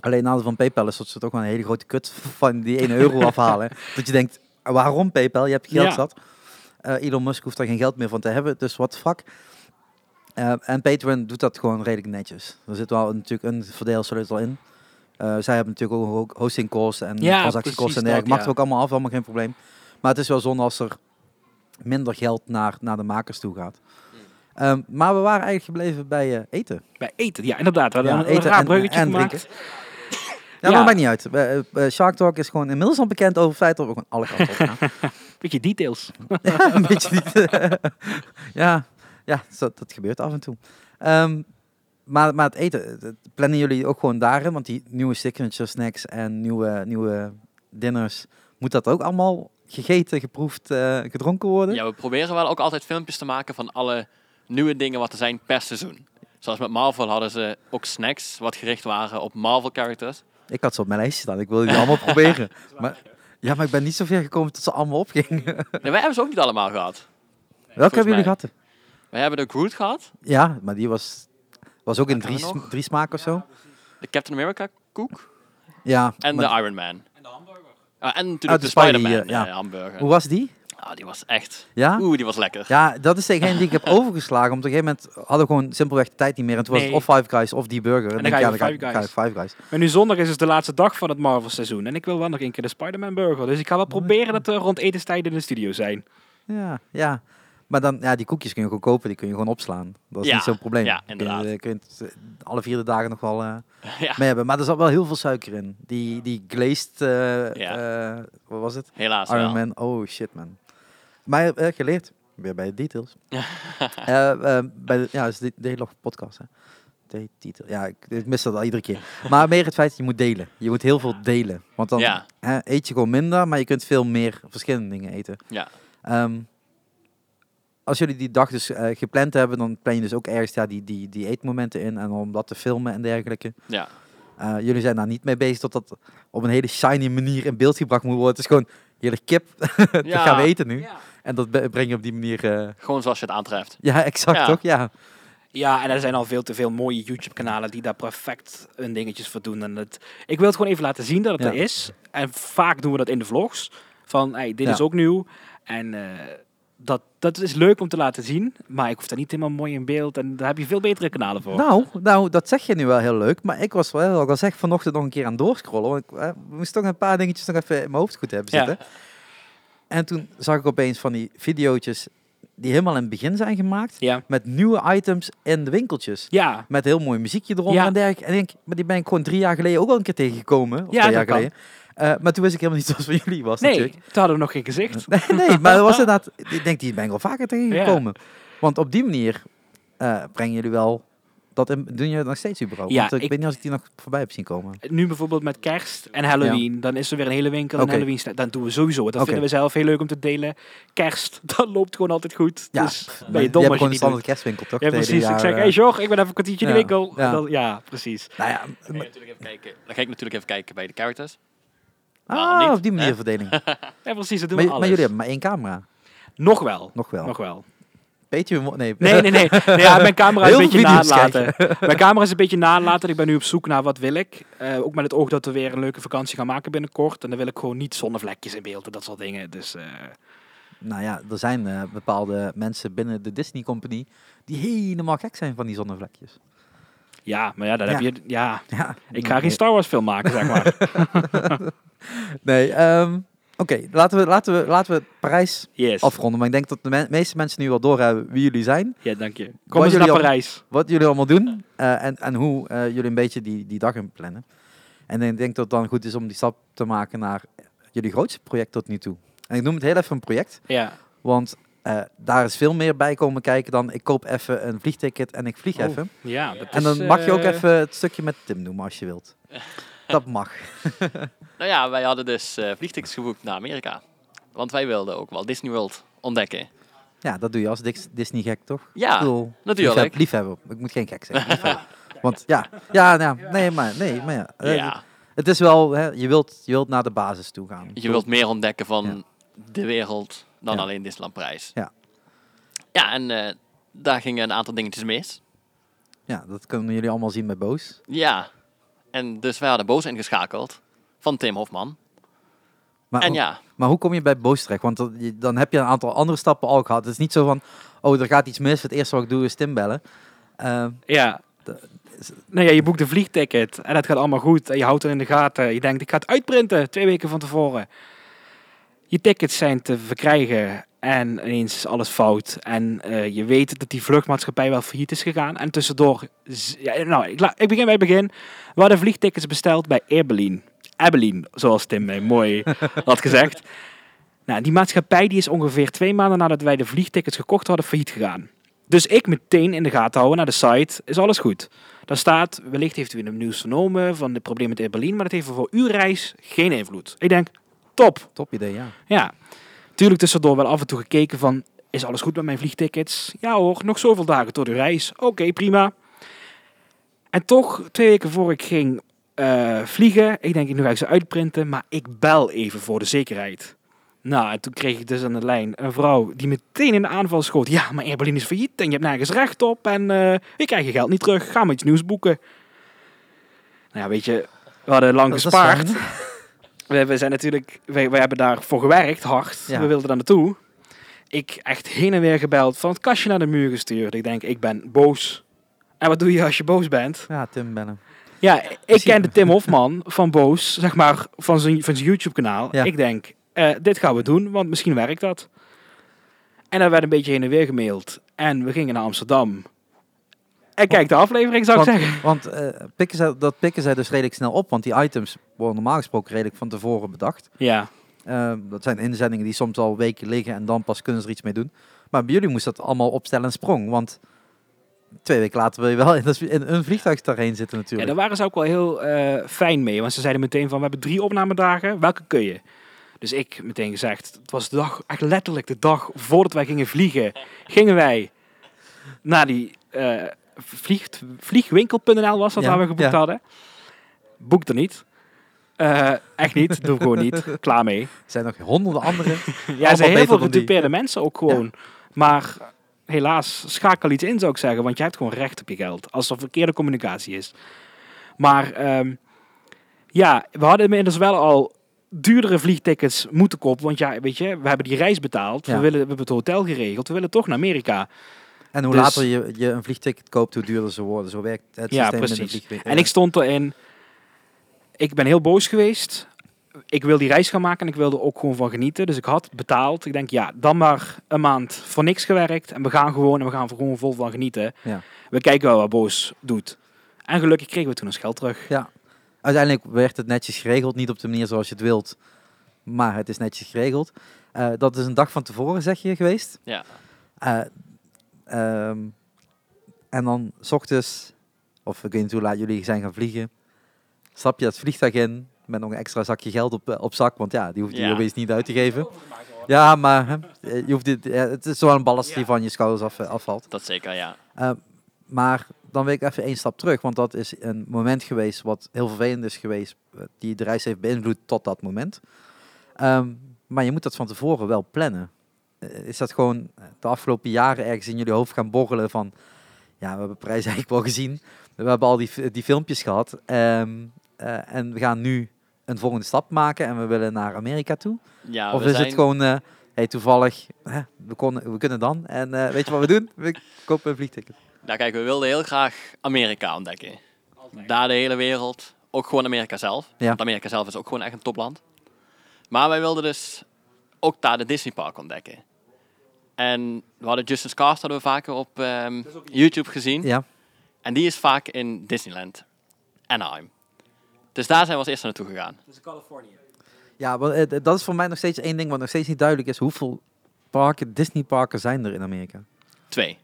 A: Alleen nadeel van PayPal is dat ze toch wel een hele grote kut van die 1 euro afhalen. Dat je denkt, waarom PayPal? Je hebt geld
B: Ja.
A: zat. Eh, Elon Musk hoeft daar geen geld meer van te hebben, dus wat fuck. Eh, en Patreon doet dat gewoon redelijk netjes. Er zit wel een- natuurlijk een verdeelsleutel in. Eh, zij hebben natuurlijk ook ho- hostingkosten en
B: Ja, precies
A: transactiekosten en
B: dat,
A: dergelijke. Mag
B: ja.
A: er ook allemaal af, allemaal geen probleem. Maar het is wel zonde als er minder geld naar, naar de makers toe gaat.
B: Hmm.
A: Ehm, maar we waren eigenlijk gebleven bij eh, eten.
B: Bij eten, ja, inderdaad. We hadden
A: Ja,
B: een, een
A: eten
B: raar
A: en-
B: bruggetje
A: en
B: gemaakt.
A: drinken. Ja, maar
B: Ja.
A: dat maakt niet uit. We- eh, eh, Shark Talk is gewoon inmiddels al bekend over het feit dat we gewoon alle kanten op gaan.
B: Beetje details.
A: Ja, een beetje niet. ja, ja zo- dat gebeurt af en toe. Ehm, maar, maar het eten, eh, dat plannen jullie ook gewoon daarin? Want die nieuwe signature snacks en nieuwe, nieuwe dinners, moet dat ook allemaal gegeten, geproefd, eh, gedronken worden?
C: Ja, we proberen wel ook altijd filmpjes te maken van alle nieuwe dingen wat er zijn per seizoen. Zoals met Marvel hadden ze ook snacks wat gericht waren op Marvel characters.
A: Ik had ze op mijn lijstje staan. Ik wilde die allemaal proberen. Maar, ja, maar ik ben niet zo ver gekomen tot ze allemaal opgingen.
C: Nee, wij hebben ze ook niet allemaal gehad.
A: Welke hebben
C: mij.
A: jullie gehad?
C: Wij hebben de Groot gehad,
A: Ja, maar die was, was ook in
C: Wat
A: drie,
C: hebben we
A: sm- drie smaken of zo.
C: de Captain America koek
A: Ja.
C: en
A: maar-
C: de Iron Man. En de hamburger. en natuurlijk
A: Ah,
C: de,
A: de
C: Spider-Man
A: Spidey, ja, ja.
C: eh, hamburger.
A: hoe was die?
C: Ah, die was echt...
A: Ja?
C: Oeh, die was lekker.
A: Ja, dat is degene die ik heb overgeslagen. Op een gegeven moment hadden we gewoon simpelweg de tijd niet meer. En toen
B: Nee.
A: was het of Five Guys of die burger.
B: En dan
A: ik,
B: ga je
A: ja,
B: voor Five
A: ga ik Five Guys.
B: Maar nu zondag is dus de laatste dag van het Marvel seizoen. En ik wil wel nog een keer de Spider-Man burger. Dus ik ga wel proberen dat we rond etenstijd in de studio zijn.
A: Ja, ja. Maar dan, ja, die koekjes kun je gewoon kopen. Die kun je gewoon opslaan. Dat is
C: Ja,
A: niet zo'n probleem.
C: ja,
A: Kun je-
C: inderdaad.
A: Kun je, het, eh, alle vier de dagen nog wel eh,
C: Ja,
A: mee hebben. Maar er zat wel heel veel suiker in. Die, die glazed, eh,
C: Ja.
A: eh, wat was het?
C: helaas wel.
A: Iron Man. Oh, shit, man. Maar eh, geleerd. Weer bij de details.
C: Ja.
A: Eh, eh, bij de, ja, dat is de, de hele podcast, hè. De titel. Ja, ik, ik mis dat al iedere keer. Maar meer het feit, dat je moet delen. Je moet heel veel delen. Want dan
C: Ja.
A: hè, eet je gewoon minder, maar je kunt veel meer verschillende dingen eten.
C: Ja.
A: Ehm, als jullie die dag dus eh, gepland hebben, dan plan je dus ook ergens ja, die, die, die eetmomenten in. En om dat te filmen en dergelijke.
C: Ja.
A: Eh, jullie zijn daar niet mee bezig tot dat op een hele shiny manier in beeld gebracht moet worden. Het is gewoon, heerlijk kip, dat
C: Ja.
A: gaan we eten nu. En dat be- breng je op die manier... eh,
C: Gewoon zoals je het aantreft.
A: ja, exact
C: Ja.
A: toch? Ja.
B: Ja, en er zijn al veel te veel mooie YouTube-kanalen die daar perfect hun dingetjes voor doen. En het, ik wil het gewoon even laten zien dat het
A: Ja.
B: er is. En vaak doen we dat in de vlogs. Van, hey, dit
A: Ja.
B: is ook nieuw. En eh, dat, dat is leuk om te laten zien. Maar ik hoef daar niet helemaal mooi in beeld. En daar heb je veel betere kanalen voor.
A: Nou, nou, dat zeg je nu wel heel leuk. Maar ik was wel, wat ik al zeg, vanochtend nog een keer aan het doorscrollen. Want ik eh, moest toch een paar dingetjes nog even in mijn hoofd goed hebben
B: Ja.
A: zitten. En toen zag ik opeens van die videootjes die helemaal in het begin zijn gemaakt.
B: Ja.
A: Met nieuwe items in de winkeltjes.
B: Ja.
A: Met heel mooi muziekje eronder
B: Ja.
A: en dergelijke. En ik denk, maar die ben ik gewoon drie jaar geleden ook al een keer tegengekomen. Of
B: Ja,
A: twee
B: dat
A: jaar
B: kan.
A: geleden. Eh, maar toen wist ik helemaal niet zoals van jullie was
B: Nee,
A: natuurlijk.
B: toen hadden we nog geen gezicht.
A: Nee, nee, maar dat was inderdaad. Ik denk, die ben ik wel vaker tegengekomen. Want op die manier eh, brengen jullie wel. Dat in- doen jullie dat nog steeds überhaupt?
B: Ja,
A: Want eh, ik,
B: ik-
A: weet niet als ik die nog voorbij heb zien komen.
B: Nu bijvoorbeeld met kerst en Halloween, dan is er weer een hele winkel en
A: Oké.
B: Halloween. sta- Dan doen we sowieso. Dat
A: Oké.
B: vinden we zelf heel leuk om te delen. Kerst, dat loopt gewoon altijd goed.
A: Ja,
B: dus
A: pff,
B: ben je
A: die hebben
B: dom als je
A: gewoon een
B: niet doet.
A: standaard kerstwinkel toch?
B: Ja,
A: Het hele
B: precies. Ik
A: jaar,
B: zeg,
A: eh,
B: hey Jor, ik ben even een kwartiertje in de
A: ja,
B: winkel.
A: ja.
B: Dan, ja, precies.
A: Nou ja,
C: Dan ga, je natuurlijk even kijken, dan ga ik natuurlijk even kijken bij de characters. Waarom
A: ah,
C: niet,
A: op die manier
C: hè?
A: verdeling. Maar,
B: Ja, precies, dat doen
A: maar
B: we alles.
A: jullie Oh. hebben maar één camera.
B: Nog wel.
A: Nog wel.
B: Nog wel.
A: Patreon, mo- nee.
B: Nee, nee, nee. nee ja, mijn camera is
A: Heel
B: een beetje
A: veel video's
B: nalaten. Mijn camera is een beetje nalaten. Ik ben nu op zoek naar wat wil ik. Eh, ook met het oog dat we weer een leuke vakantie gaan maken binnenkort. En dan wil ik gewoon niet zonnevlekjes in beeld en dat soort dingen. Dus eh,
A: Nou ja, er zijn eh, bepaalde mensen binnen de Disney Company die helemaal gek zijn van die zonnevlekjes.
B: ja, maar ja, dan
A: Ja.
B: heb je... Ja,
A: Ja,
B: ik ga geen Star Wars film maken, zeg maar.
A: Nee, ehm, oké, laten, we, laten, we, laten we Parijs
B: Yes.
A: afronden. Maar ik denk dat de me- meeste mensen nu wel doorhebben wie jullie zijn,
B: Ja, dank je. Kom
A: Wat
B: eens naar
A: jullie al-
B: Parijs.
A: wat jullie allemaal doen eh, en, en hoe eh, jullie een beetje die, die dag in plannen. En ik denk dat het dan goed is om die stap te maken naar jullie grootste project tot nu toe. En ik noem het heel even een project,
B: Ja.
A: want eh, daar is veel meer bij komen kijken dan ik koop even een vliegticket en ik vlieg
B: Oh,
A: even.
B: Ja, dat
A: En
C: Dus,
B: is,
A: dan mag je ook
B: eh,
A: even het stukje met Tim noemen als je wilt. Dat mag.
C: Nou ja, wij hadden dus eh vliegtickets geboekt naar Amerika. Want wij wilden ook wel Disney World ontdekken.
A: Ja, dat doe je als Dis- Disney-gek, toch?
C: Ja,
A: Ik bedoel,
C: natuurlijk.
A: liefheb- Liefhebben. Ik moet geen gek zeggen. liefhebben. Want ja, ja, nou ja, nee, maar, nee, maar ja. Eh,
C: ja,
A: Het is wel, hè, je, wilt, je wilt naar de basis toe gaan.
C: je wilt meer ontdekken van de wereld dan
A: Ja.
C: alleen Disneyland Parijs.
A: Ja.
C: Ja, en eh, daar gingen een aantal dingetjes mis.
A: Ja, dat kunnen jullie allemaal zien bij Boos.
C: Ja. En dus wij hadden Boos ingeschakeld van Tim Hofman.
A: Maar,
C: en ja,
A: maar hoe kom je bij Boos terecht? Want dat- je- dan heb je een aantal andere stappen al gehad. Het is niet zo van, oh, er gaat iets mis. Het eerste wat ik doe is Tim bellen. Eh,
B: Ja. Nou ja, je boekt een vliegticket en dat gaat allemaal goed. En je houdt het in de gaten. Je denkt, ik ga het uitprinten twee weken van tevoren. Je tickets zijn te verkrijgen en ineens is alles fout. En eh, je weet dat die vluchtmaatschappij wel failliet is gegaan. En tussendoor... z- Ja, nou, ik, la- ik begin bij het begin. We hadden vliegtickets besteld bij Airbeline. Airbeline, zoals Tim mij mooi had gezegd. Nou, die maatschappij die is ongeveer twee maanden nadat wij de vliegtickets gekocht hadden failliet gegaan. Dus ik meteen in de gaten houden naar de site, is alles goed. Daar staat, wellicht heeft u in het nieuws vernomen van de problemen met Air Berlin, maar dat heeft voor uw reis geen invloed. Ik denk, top,
A: top idee, ja.
B: ja. Tuurlijk tussendoor wel af en toe gekeken van, is alles goed met mijn vliegtickets? Ja hoor, nog zoveel dagen tot uw reis. Oké, prima. En toch, twee weken voor ik ging, eh, vliegen. Ik denk, ik nu ga ik ze uitprinten, maar ik bel even voor de zekerheid. Nou, en toen kreeg ik dus aan de lijn een vrouw die meteen in de aanval schoot. Ja, maar Airberlin is failliet en je hebt nergens recht op en eh je krijgt je geld niet terug. Ga maar iets nieuws boeken. Nou ja, weet je, we hadden lang
A: Dat- dat is
B: gespaard.
A: fijn.
B: We, we zijn natuurlijk, we, we hebben daarvoor gewerkt, hard.
A: Ja.
B: We wilden daar naartoe. Ik echt heen en weer gebeld, van het kastje naar de muur gestuurd. Ik denk, ik ben boos. En wat doe je als je boos bent?
A: Ja, Tim bellen.
B: Ja, ik
A: Zie-
B: kende Tim Hofman van Boos, zeg maar, van zijn, van zijn YouTube-kanaal.
A: Ja.
B: Ik denk, eh, dit gaan we doen, want misschien werkt dat. En dan werd een beetje heen en weer gemaild. En we gingen naar Amsterdam. En kijk de aflevering, zou ik
A: Want-
B: zeggen.
A: Want eh, pikken zij, dat pikken zij dus redelijk snel op, want die items worden normaal gesproken redelijk van tevoren bedacht.
B: Ja,
A: Eh, dat zijn inzendingen die soms al weken liggen en dan pas kunnen ze er iets mee doen. Maar bij jullie moest dat allemaal opstellen en sprong, want twee weken later wil je wel in, dat- in een vliegtuig daarheen zitten
B: ja
A: natuurlijk.
B: daar waren ze ook wel heel eh, fijn mee. Want ze zeiden meteen van, we hebben drie opnamedagen, welke kun je? Dus ik meteen gezegd, het was de dag, echt letterlijk de dag voordat wij gingen vliegen, gingen wij naar die eh, vliegt, vliegwinkel.nl was dat
A: Ja,
B: waar we geboekt
A: ja.
B: hadden. Boek er niet. Eh, echt niet, doe gewoon niet. Klaar mee.
A: Er zijn nog honderden andere.
B: Ja,
A: beter
B: er zijn heel veel
A: dan die.
B: gedupeerde mensen ook gewoon. Maar helaas, schakel iets in zou ik zeggen. Want je hebt gewoon recht op je geld. Als er verkeerde communicatie is. Maar ehm, ja, we hadden inmiddels wel al duurdere vliegtickets moeten kopen. Want ja, weet je, we hebben die reis betaald.
A: Ja.
B: We, willen, we hebben het hotel geregeld. We willen toch naar Amerika.
A: En hoe
B: Dus-
A: later je, je een vliegticket koopt, hoe duurder ze worden. Zo werkt het
B: Ja,
A: systeem in de
B: precies.
A: vliegwinkel.
B: En ik stond erin. Ik ben heel boos geweest. Ik wil die reis gaan maken en ik wilde er ook gewoon van genieten. Dus ik had betaald. Ik denk, ja, dan maar een maand voor niks gewerkt. En we gaan gewoon en we gaan er gewoon vol van genieten.
A: Ja.
B: We kijken wel wat boos doet. En gelukkig kregen we toen ons geld terug.
A: Uiteindelijk werd het netjes geregeld, niet op de manier zoals je het wilt, maar het is netjes geregeld. Eh, dat is een dag van tevoren, zeg je, geweest.
C: Ja.
A: Eh, ehm, en dan, s ochtends, of ik weet niet hoe laat jullie zijn gaan vliegen, stap je dat vliegtuig in met nog een extra zakje geld op, eh, op zak, want ja, die hoeft je
C: Ja.
A: opeens niet uit te geven. Ja, maar hè, eh, je hoeft dit, eh, het is wel een ballast die van je schouders af, eh, afvalt.
C: Dat zeker, ja.
A: Eh, maar dan wil ik even één stap terug, want dat is een moment geweest wat heel vervelend is geweest, eh, die de reis heeft beïnvloed tot dat moment. Ehm, maar je moet dat van tevoren wel plannen. Eh, Is dat gewoon de afgelopen jaren ergens in jullie hoofd gaan borrelen van, ja, we hebben Parijs eigenlijk wel gezien, we hebben al die, fi- die filmpjes gehad ehm, eh, en we gaan nu een volgende stap maken en we willen naar Amerika toe?
C: ja
A: of
C: we
A: is
C: zijn-
A: het gewoon, eh, hey, toevallig, hè, we, konden, we kunnen dan en eh, weet je wat we doen? We kopen een vliegticket.
C: Nou, kijk, we wilden heel graag Amerika ontdekken. Daar de hele wereld. Ook gewoon Amerika zelf.
A: Ja.
C: Want Amerika zelf is ook gewoon echt een topland. Maar wij wilden dus ook daar de Disneypark ontdekken. En we hadden Justin Cast hadden we vaker op ehm, YouTube gezien.
A: Ja.
C: En die is vaak in Disneyland. Anaheim. Dus daar zijn we als eerste naartoe gegaan.
A: Ja, want, eh, d- dat is voor mij nog steeds één ding wat nog steeds niet duidelijk is. Hoeveel parken, Disney-parken zijn er in Amerika?
C: Twee.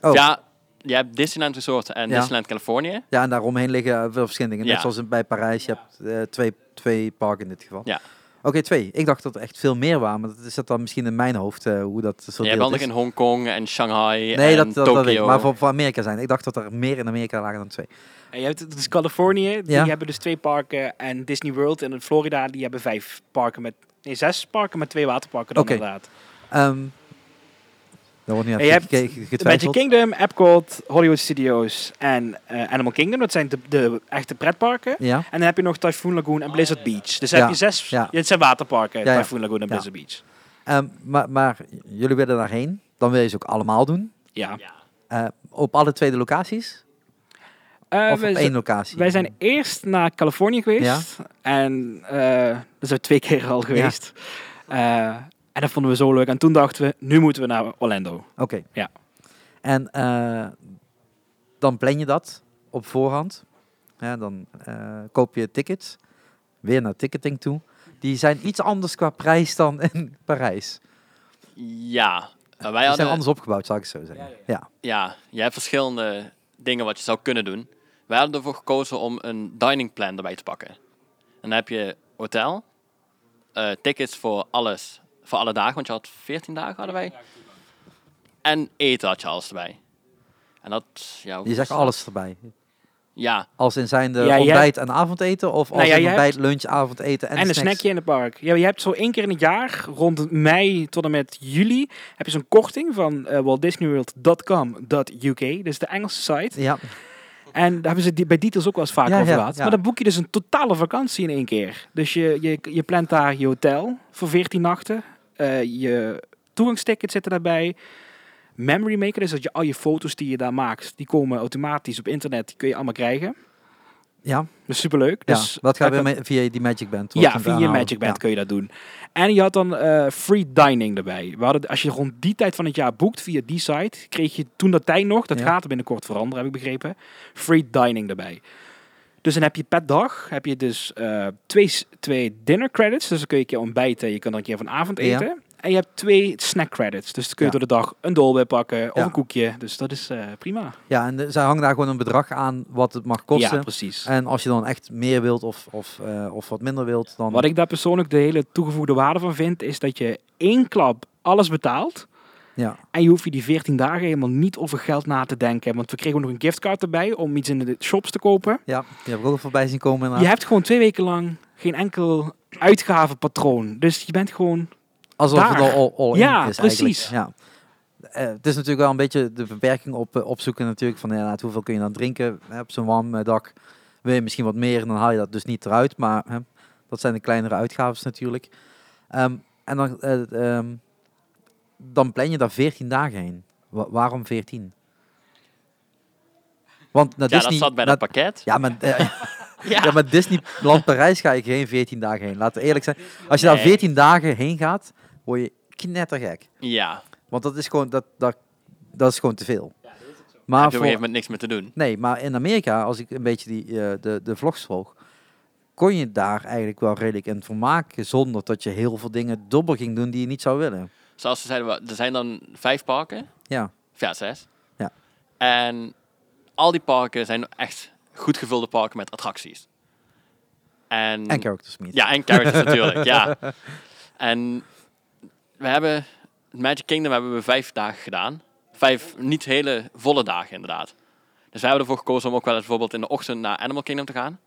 A: Oh, ja.
C: Ja, je hebt Disneyland Resort en
A: Ja.
C: Disneyland Californië.
A: en daaromheen liggen eh, veel verschillende dingen.
C: Ja.
A: Net zoals bij Parijs, je hebt eh, twee, twee parken in dit geval.
C: Ja.
A: Oké, twee. Ik dacht dat er echt veel meer waren, maar dat is dat dan misschien in mijn hoofd, eh, hoe dat
C: Je
A: verdeeld
C: hebt ook nog
A: is.
C: in Hongkong en Shanghai
A: nee,
C: en
A: dat, dat, dat
C: Tokio.
A: weet ik. Maar voor, voor Amerika zijn. Ik dacht dat er meer in Amerika lagen dan twee.
B: En je hebt dus Californië, die
A: Ja.
B: hebben dus twee parken. En Disney World en Florida, die hebben vijf parken met... Nee, zes parken met twee waterparken dan
A: Oké.
B: inderdaad.
A: Ehm daar wordt nu
B: En je
A: even
B: hebt
A: gekeken-
B: Magic
A: getwijfeld.
B: Kingdom, Epcot, Hollywood Studios en eh, Animal Kingdom. Dat zijn de, de echte pretparken.
A: Ja.
B: En dan heb je nog Typhoon Lagoon en Blizzard Beach. Dus
A: Ja,
B: heb je zes...
A: ja.
B: Het zijn waterparken,
A: Ja, ja.
B: Typhoon Lagoon en
A: Ja.
B: Blizzard Beach.
A: Ehm, maar, maar jullie willen daarheen. Dan wil je ze ook allemaal doen.
B: Ja.
A: Eh, op alle tweede locaties?
B: Eh,
A: Of
B: we
A: op
B: zijn-
A: één locatie?
B: Wij zijn eerst naar Californië geweest. En eh, dat zijn we twee keer al geweest. Eh, en dat vonden we zo leuk. En toen dachten we, nu moeten we naar Orlando.
A: Oké.
B: Ja.
A: En eh, dan plan je dat op voorhand. Ja, dan eh, koop je tickets. Weer naar ticketing toe. Die zijn iets anders qua prijs dan in Parijs.
C: Ja. En wij
A: Die
C: hadden...
A: zijn anders opgebouwd, zou ik het zo zeggen. Ja,
C: Ja, je hebt verschillende dingen wat je zou kunnen doen. Wij hadden ervoor gekozen om een dining plan erbij te pakken. En dan heb je hotel, eh, tickets voor alles, voor alle dagen, want je had 14 dagen hadden wij. En eten had je alles erbij. En dat, ja, hoe-
A: Je zegt alles erbij.
C: Ja,
A: Als in zijn de
B: Ja, jij-
A: ontbijt en avondeten? Of als
B: Nou ja,
A: in
B: jij
A: ontbijt, lunch, avondeten en,
B: En, een
A: snacks?
B: snackje in het park. Ja, je hebt zo één keer in het jaar, rond mei tot en met juli, heb je zo'n korting van eh waltdisneyworld.com.uk. Dus de Engelse site.
A: Ja,
B: En daar hebben ze die, bij details ook wel eens vaak
A: Ja,
B: over
A: ja,
B: gehad.
A: ja.
B: Maar dan boek je dus een totale vakantie in één keer. Dus je, je, je plant daar je hotel voor 14 nachten. Eh, je toegangstickets zitten daarbij. Memory Maker, dus dat je al je foto's die je daar maakt, die komen automatisch op internet. Die kun je allemaal krijgen.
A: ja,
B: Dus superleuk.
A: ja.
B: Dus
A: dat gaat
B: heb
A: weer
B: ik-
A: mee- via die Magic Band.
B: ja, via je Magic Band kun je dat doen. En je had dan eh, free dining erbij. We hadden, als je rond die tijd van het jaar boekt via die site, kreeg je toen dat tijd nog, dat
A: Ja.
B: gaat er binnenkort veranderen, heb ik begrepen, free dining erbij. Dus dan heb je per dag heb je dus eh, twee, s- twee dinner credits. Dus dan kun je een keer ontbijten, je kan er een keer van avond
A: Ja.
B: eten. En je hebt twee snack credits. Dus dan kun je
A: Ja.
B: door de dag een dolbe pakken of
A: Ja.
B: een koekje. Dus dat is eh, prima.
A: Ja, en de- zij hangen daar gewoon een bedrag aan wat het mag kosten.
B: Ja, precies.
A: En als je dan echt meer wilt of, of, eh, of wat minder wilt, dan...
B: Wat ik daar persoonlijk de hele toegevoegde waarde van vind, is dat je één klap alles betaalt.
A: Ja,
B: En je hoeft je die 14 dagen helemaal niet over geld na te denken. Want we kregen ook nog een giftcard erbij om iets in de shops te kopen.
A: ja, die heb ik ook al voorbij zien komen.
B: Je
A: inderdaad.
B: hebt gewoon twee weken lang geen enkel uitgavenpatroon. Dus je bent gewoon...
A: Alsof het
B: daar.
A: al all, all
B: Ja,
A: in is
B: precies.
A: eigenlijk. Ja, Eh, het is natuurlijk wel een beetje de beperking op, eh, opzoeken natuurlijk. Van inderdaad, hoeveel kun je dan drinken hè, op zo'n warm eh, dak? Wil je misschien wat meer en dan haal je dat dus niet eruit. Maar hè, dat zijn de kleinere uitgaves natuurlijk. Ehm, en dan, eh, ehm, dan plan je daar 14 dagen heen. Wa- waarom 14? Want naar
C: ja dat
A: Disney,
C: zat bij
A: naar-
C: dat pakket.
A: ja, maar, eh,
C: Ja.
A: ja. maar Disneyland Parijs ga ik geen 14 dagen heen. Laten we eerlijk zijn. Als je daar
C: Nee.
A: 14 dagen heen gaat, word je knettergek.
C: Ja,
A: Want dat is gewoon, dat, dat, dat is gewoon te veel.
C: daar heb je op een
A: Maar
C: gegeven
A: voor,
C: moment niks meer te doen.
A: nee, maar in Amerika, als ik een beetje die, eh, de, de vlogs volg, kon je daar eigenlijk wel redelijk in vermaken zonder dat je heel veel dingen dobbel ging doen die je niet zou willen.
C: Zoals ze zeiden, we- er zijn dan vijf parken.
A: Ja,
C: Of Ja, zes.
A: Ja.
C: En al die parken zijn echt goed gevulde parken met attracties. En,
A: en characters meet.
C: Ja, en characters natuurlijk, ja. En we hebben, Magic Kingdom hebben we vijf dagen gedaan. Vijf niet hele volle dagen inderdaad. Dus we hebben ervoor gekozen om ook wel eens bijvoorbeeld in de ochtend naar Animal Kingdom te gaan.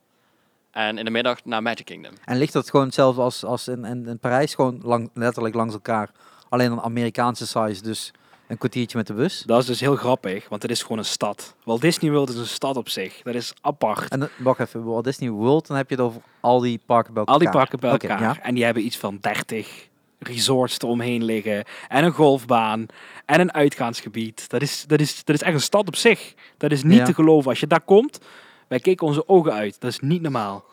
C: En in de middag naar Magic Kingdom.
A: En ligt dat gewoon hetzelfde als, als in, in, in Parijs, gewoon lang, letterlijk langs elkaar. Alleen een Amerikaanse size, dus een kwartiertje met de bus.
B: Dat is dus heel grappig, want het is gewoon een stad. Walt Disney World is een stad op zich. Dat is apart.
A: En dan- wacht even, Walt Disney World, dan heb je het over al die parken bij elkaar.
B: Al die parken bij
A: Oké,
B: elkaar.
A: ja.
B: En die hebben iets van 30 resorts eromheen liggen. En een golfbaan. En een uitgaansgebied. Dat is, dat is, dat is echt een stad op zich. Dat is niet
A: Ja.
B: te geloven. Als je daar komt, wij keken onze ogen uit. Dat is niet normaal.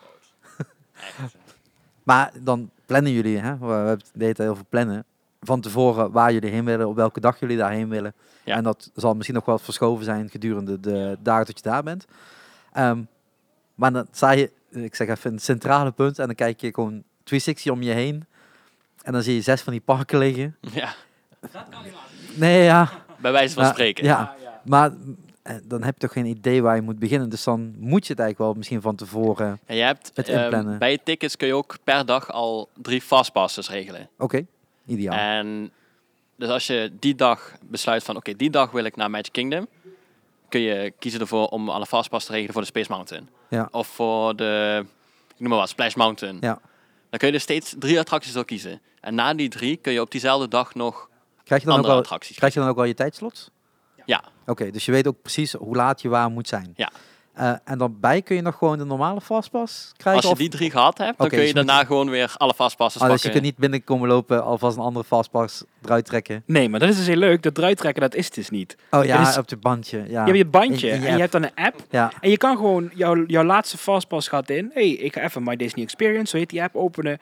A: Maar dan plannen jullie, hè? we we hebben het de hele tijd over plannen, van tevoren waar jullie heen willen, op welke dag jullie daarheen willen.
C: Ja.
A: En dat zal misschien nog wel verschoven zijn gedurende de dagen dat je daar bent. Ehm, maar dan sta je, ik zeg even, een centrale punt en dan kijk je gewoon 360 om je heen. En dan zie je zes van die parken liggen.
C: Ja,
A: Nee, ja.
C: bij wijze van
A: Maar-
C: spreken.
A: Ja, maar eh, dan heb je toch geen idee waar je moet beginnen. Dus dan moet je het eigenlijk wel misschien van tevoren...
C: En je hebt,
A: Het
C: ehm,
A: inplannen.
C: bij je tickets kun je ook per dag al drie fastpasses regelen.
A: Oké, ideaal.
C: Eh, En dus als je die dag besluit van oké, die dag wil ik naar Magic Kingdom, kun je kiezen ervoor om alle fastpass te regelen voor de Space Mountain.
A: Ja.
C: Of voor de, ik noem maar wat, Splash Mountain.
A: Ja.
C: Dan kun je dus steeds drie attracties al kiezen. En na die drie kun je op diezelfde dag nog
A: krijg, je dan ook
C: andere
A: wel,
C: attracties.
A: krijg je dan ook wel je tijdslots?
C: Ja,
A: Oké, dus je weet ook precies hoe laat je waar moet zijn.
C: Ja.
A: Eh, en dan bij kun je nog gewoon de normale fastpass
C: als
A: krijgen?
C: je
A: of-
C: die drie gehad hebt, dan
A: Oké,
C: kun je
A: dus met-
C: daarna gewoon weer alle fastpasses
A: Ah, dus
C: pakken.
A: je kunt niet binnenkomen lopen, alvast een andere fastpass eruit trekken.
B: Nee, maar dat is dus heel leuk. Dat eruit trekken, dat is het dus niet.
A: Oh ja,
B: Dat is-
A: op je bandje. Ja.
B: Je hebt je bandje
A: In- in Ah. je
B: en je
A: app.
B: hebt dan een app.
A: ja.
B: En je kan gewoon, jouw, jouw laatste fastpass gaat in. hey, ik ga even My Disney Experience, zo heet die app, openen.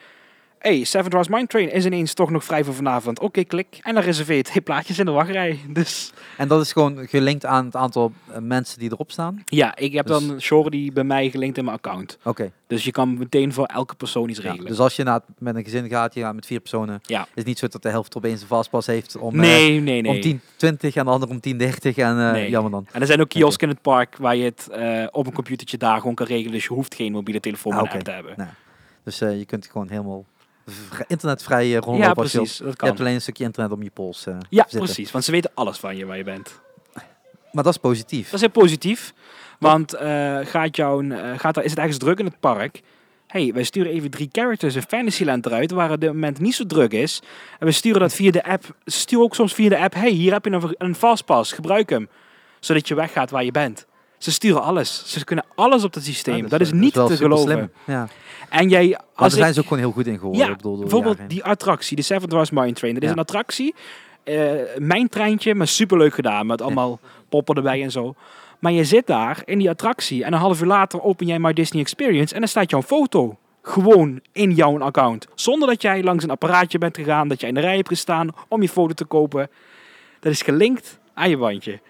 B: hey, Seven Dwarfs Mine Train is ineens toch nog vrij voor vanavond. Oké, klik. En dan reserveer je twee plaatjes in de wachtrij. Dus...
A: En dat is gewoon gelinkt aan het aantal eh, mensen die erop staan?
B: Ja, ik heb
A: Dus-
B: dan Shorty bij mij gelinkt in mijn account.
A: Oké.
B: Dus je kan meteen voor elke persoon iets
A: Ja,
B: regelen.
A: dus als je na, met een gezin gaat, je gaat met vier personen,
B: Ja.
A: is het niet zo dat de helft opeens een fastpass heeft om, eh,
B: nee, nee, nee.
A: om 10, 20 en de ander om 10, 30 en eh,
B: Nee.
A: jammer dan.
B: En er zijn ook kiosken in het park waar je het eh, op een computertje daar gewoon kan regelen. Dus je hoeft geen mobiele telefoon
A: Ah,
B: en
A: oké.
B: app te hebben.
A: Dus eh, je kunt gewoon helemaal v- internetvrij eh, rondlopen.
B: ja,
A: als je wilt.
B: precies. Dat
A: Je hebt
B: kan.
A: alleen een stukje internet om je pols eh,
B: Ja,
A: te zitten.
B: precies. Want ze weten alles van je waar je bent.
A: Maar dat is positief.
B: Dat is heel positief. Want eh, gaat jouw, eh, gaat er, is het ergens druk in het park? hey, wij sturen even drie characters in Fantasyland eruit, waar het op dit moment niet zo druk is. En we sturen dat via de app. Stuur ook soms via de app. hey, hier heb je een, een fastpass. Gebruik hem. Zodat je weggaat waar je bent. Ze sturen alles. Ze kunnen alles op dat systeem.
A: Ja,
B: dat,
A: eh,
B: is niet
A: wel
B: te
A: super
B: geloven.
A: slim. Ja.
B: En jij,
A: Maar
B: als
A: daar zijn
B: ik,
A: ze ook gewoon heel goed in geworden.
B: Ja,
A: ik bedoel, door de
B: bijvoorbeeld
A: jaren heen.
B: die attractie, de Seven Dwarfs Mine Train. Dat is
A: Ja.
B: een attractie. eh, mijn treintje, maar superleuk gedaan. Met allemaal poppen erbij en zo. Maar je zit daar in die attractie. En een half uur later open jij My Disney Experience. En dan staat jouw foto. Gewoon in jouw account. Zonder dat jij langs een apparaatje bent gegaan. Dat jij in de rij hebt gestaan om je foto te kopen. Dat is gelinkt aan je bandje.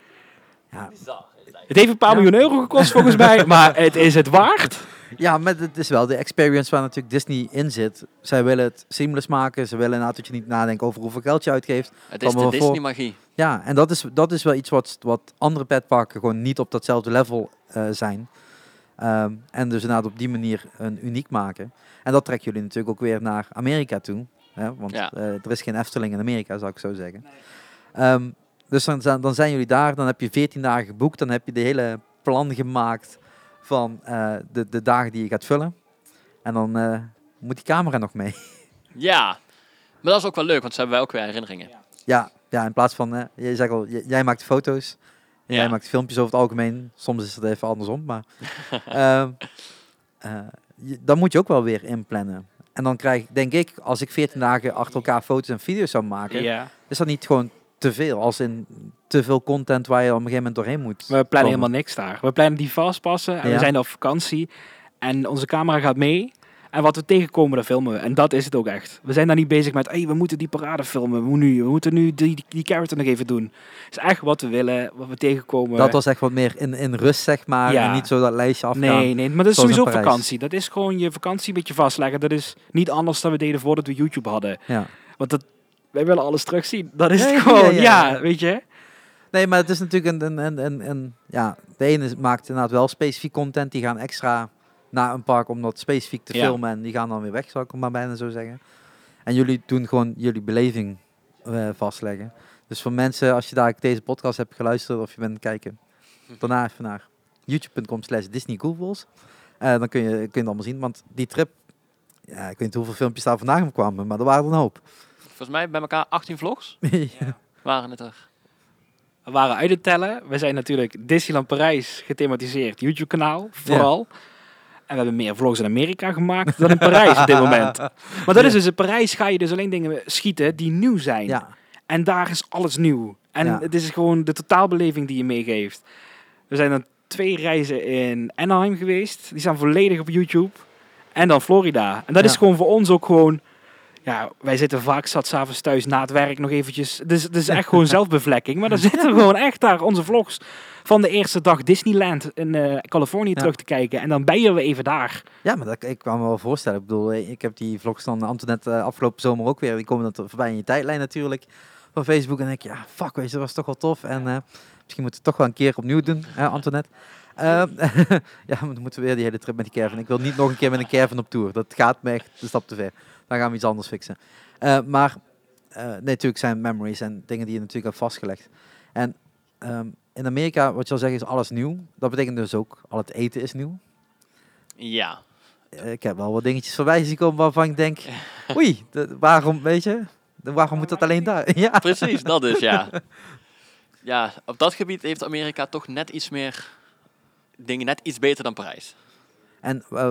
B: Het heeft een paar
A: Ja.
B: miljoen euro gekost volgens mij. Maar het is het waard.
A: Ja, maar het is wel de experience waar natuurlijk Disney in zit. Zij willen het seamless maken. Ze willen inderdaad dat je niet nadenkt over hoeveel geld je uitgeeft.
C: Het
A: Kan
C: is
A: me wel
C: de
A: voor-
C: Disney-magie.
A: Ja, en dat is, dat is wel iets wat, wat andere petparken gewoon niet op datzelfde level eh, zijn. Ehm, en dus inderdaad op die manier een uniek maken. En dat trekken jullie natuurlijk ook weer naar Amerika toe. Hè? Want
C: Ja.
A: eh, er is geen Efteling in Amerika, zou ik zo zeggen. Ehm, dus dan, zijn- dan zijn jullie daar, dan heb je 14 dagen geboekt, dan heb je de hele plan gemaakt van eh, de, de dagen die je gaat vullen. En dan eh, moet die camera nog mee.
C: Ja, maar dat is ook wel leuk, want ze hebben wij ook weer herinneringen.
A: Ja, ja in plaats van, eh, jij zegt al, j- jij maakt foto's, en jij
C: Ja.
A: maakt filmpjes over het algemeen. Soms is het even andersom, maar ehm, eh, je- dan moet je ook wel weer inplannen. En dan krijg ik, denk ik, als ik 14 dagen achter elkaar foto's en video's zou maken,
B: Ja.
A: is dat niet gewoon te veel? Als in te veel content waar je op een gegeven moment doorheen moet.
B: We
A: komen.
B: plannen helemaal niks daar. We plannen die vastpassen en
A: Ja.
B: we zijn op vakantie. En onze camera gaat mee. En wat we tegenkomen, daar filmen we. En dat is het ook echt. We zijn daar niet bezig met, hey, we moeten die parade filmen. Hoe nu? We moeten nu die, die, die character nog even doen. Het is echt wat we willen, wat we tegenkomen.
A: Dat was echt wat meer in, in rust, zeg maar.
B: Ja.
A: En niet zo dat lijstje afgaan.
B: Nee, nee, maar dat is
A: Zoals in
B: sowieso
A: Parijs.
B: vakantie. Dat is gewoon je vakantie een beetje vastleggen. Dat is niet anders dan we deden voordat we YouTube hadden.
A: Ja.
B: Want dat, wij willen alles terugzien. Dat is
A: Ja,
B: het
A: ja,
B: gewoon.
A: ja,
B: Ja,
A: ja.
B: weet je.
A: Nee, maar het is natuurlijk een, een, een, een, een- ja, de ene maakt inderdaad wel specifiek content, die gaan extra naar een park om dat specifiek te
B: Ja.
A: filmen en die gaan dan weer weg, zou ik het maar bijna zo zeggen. En jullie doen gewoon jullie beleving eh, vastleggen. Dus voor mensen, als je daar deze podcast hebt geluisterd of je bent aan het kijken, daarna even naar youtube.com slash disneycoolballs. Eh, dan kun je, kun je het allemaal zien, want die trip, ja, ik weet niet hoeveel filmpjes daar vandaag om kwamen, maar er waren er een hoop.
C: Volgens mij bij elkaar 18 vlogs waren het er.
B: We waren uit het tellen. We zijn natuurlijk Disneyland Parijs gethematiseerd. YouTube-kanaal, vooral. En we hebben meer vlogs in Amerika gemaakt dan in Parijs op dit moment. Maar dat is dus, in Parijs ga je dus alleen dingen schieten die nieuw zijn.
A: ja,
B: En daar is alles nieuw. En
A: Ja.
B: het is gewoon de totaalbeleving die je meegeeft. We zijn dan twee reizen in Anaheim geweest. Die staan volledig op YouTube. En dan Florida. En dat
A: Ja.
B: is gewoon voor ons ook gewoon... Ja, wij zitten vaak zat s'avonds thuis na het werk nog eventjes... Dus het is echt gewoon zelfbevlekking. Maar dan zitten we gewoon echt daar onze vlogs van de eerste dag Disneyland in eh, Californië
A: Ja.
B: terug te kijken. En dan ben je weer even daar.
A: Ja, maar dat, ik kan me wel voorstellen. Ik bedoel, eh, ik heb die vlogs dan Antoinette eh, afgelopen zomer ook weer. Die komen dan voorbij in je tijdlijn natuurlijk van Facebook. En dan denk ik, ja, fuck, weet je, dat was toch wel tof. En eh, misschien moeten we het toch wel een keer opnieuw doen, hè, Antoinette. Ehm, ja, maar dan moeten we weer die hele trip met die caravan. Ik wil niet nog een keer met een caravan op tour. Dat gaat me echt een stap te ver. Dan gaan we iets anders fixen. Eh, maar eh, nee, natuurlijk zijn het memories en dingen die je natuurlijk hebt vastgelegd. En ehm, in Amerika, wat je al zegt, is alles nieuw. Dat betekent dus ook, al het eten is nieuw.
C: Ja,
A: Eh, ik heb wel wat dingetjes voorbij zien komen waarvan ik denk, oei, de- waarom, weet je, de- waarom moet dat alleen daar? Ja,
C: precies, dat is ja. Ja, op dat gebied heeft Amerika toch net iets meer dingen, net iets beter dan Parijs.
A: en, eh,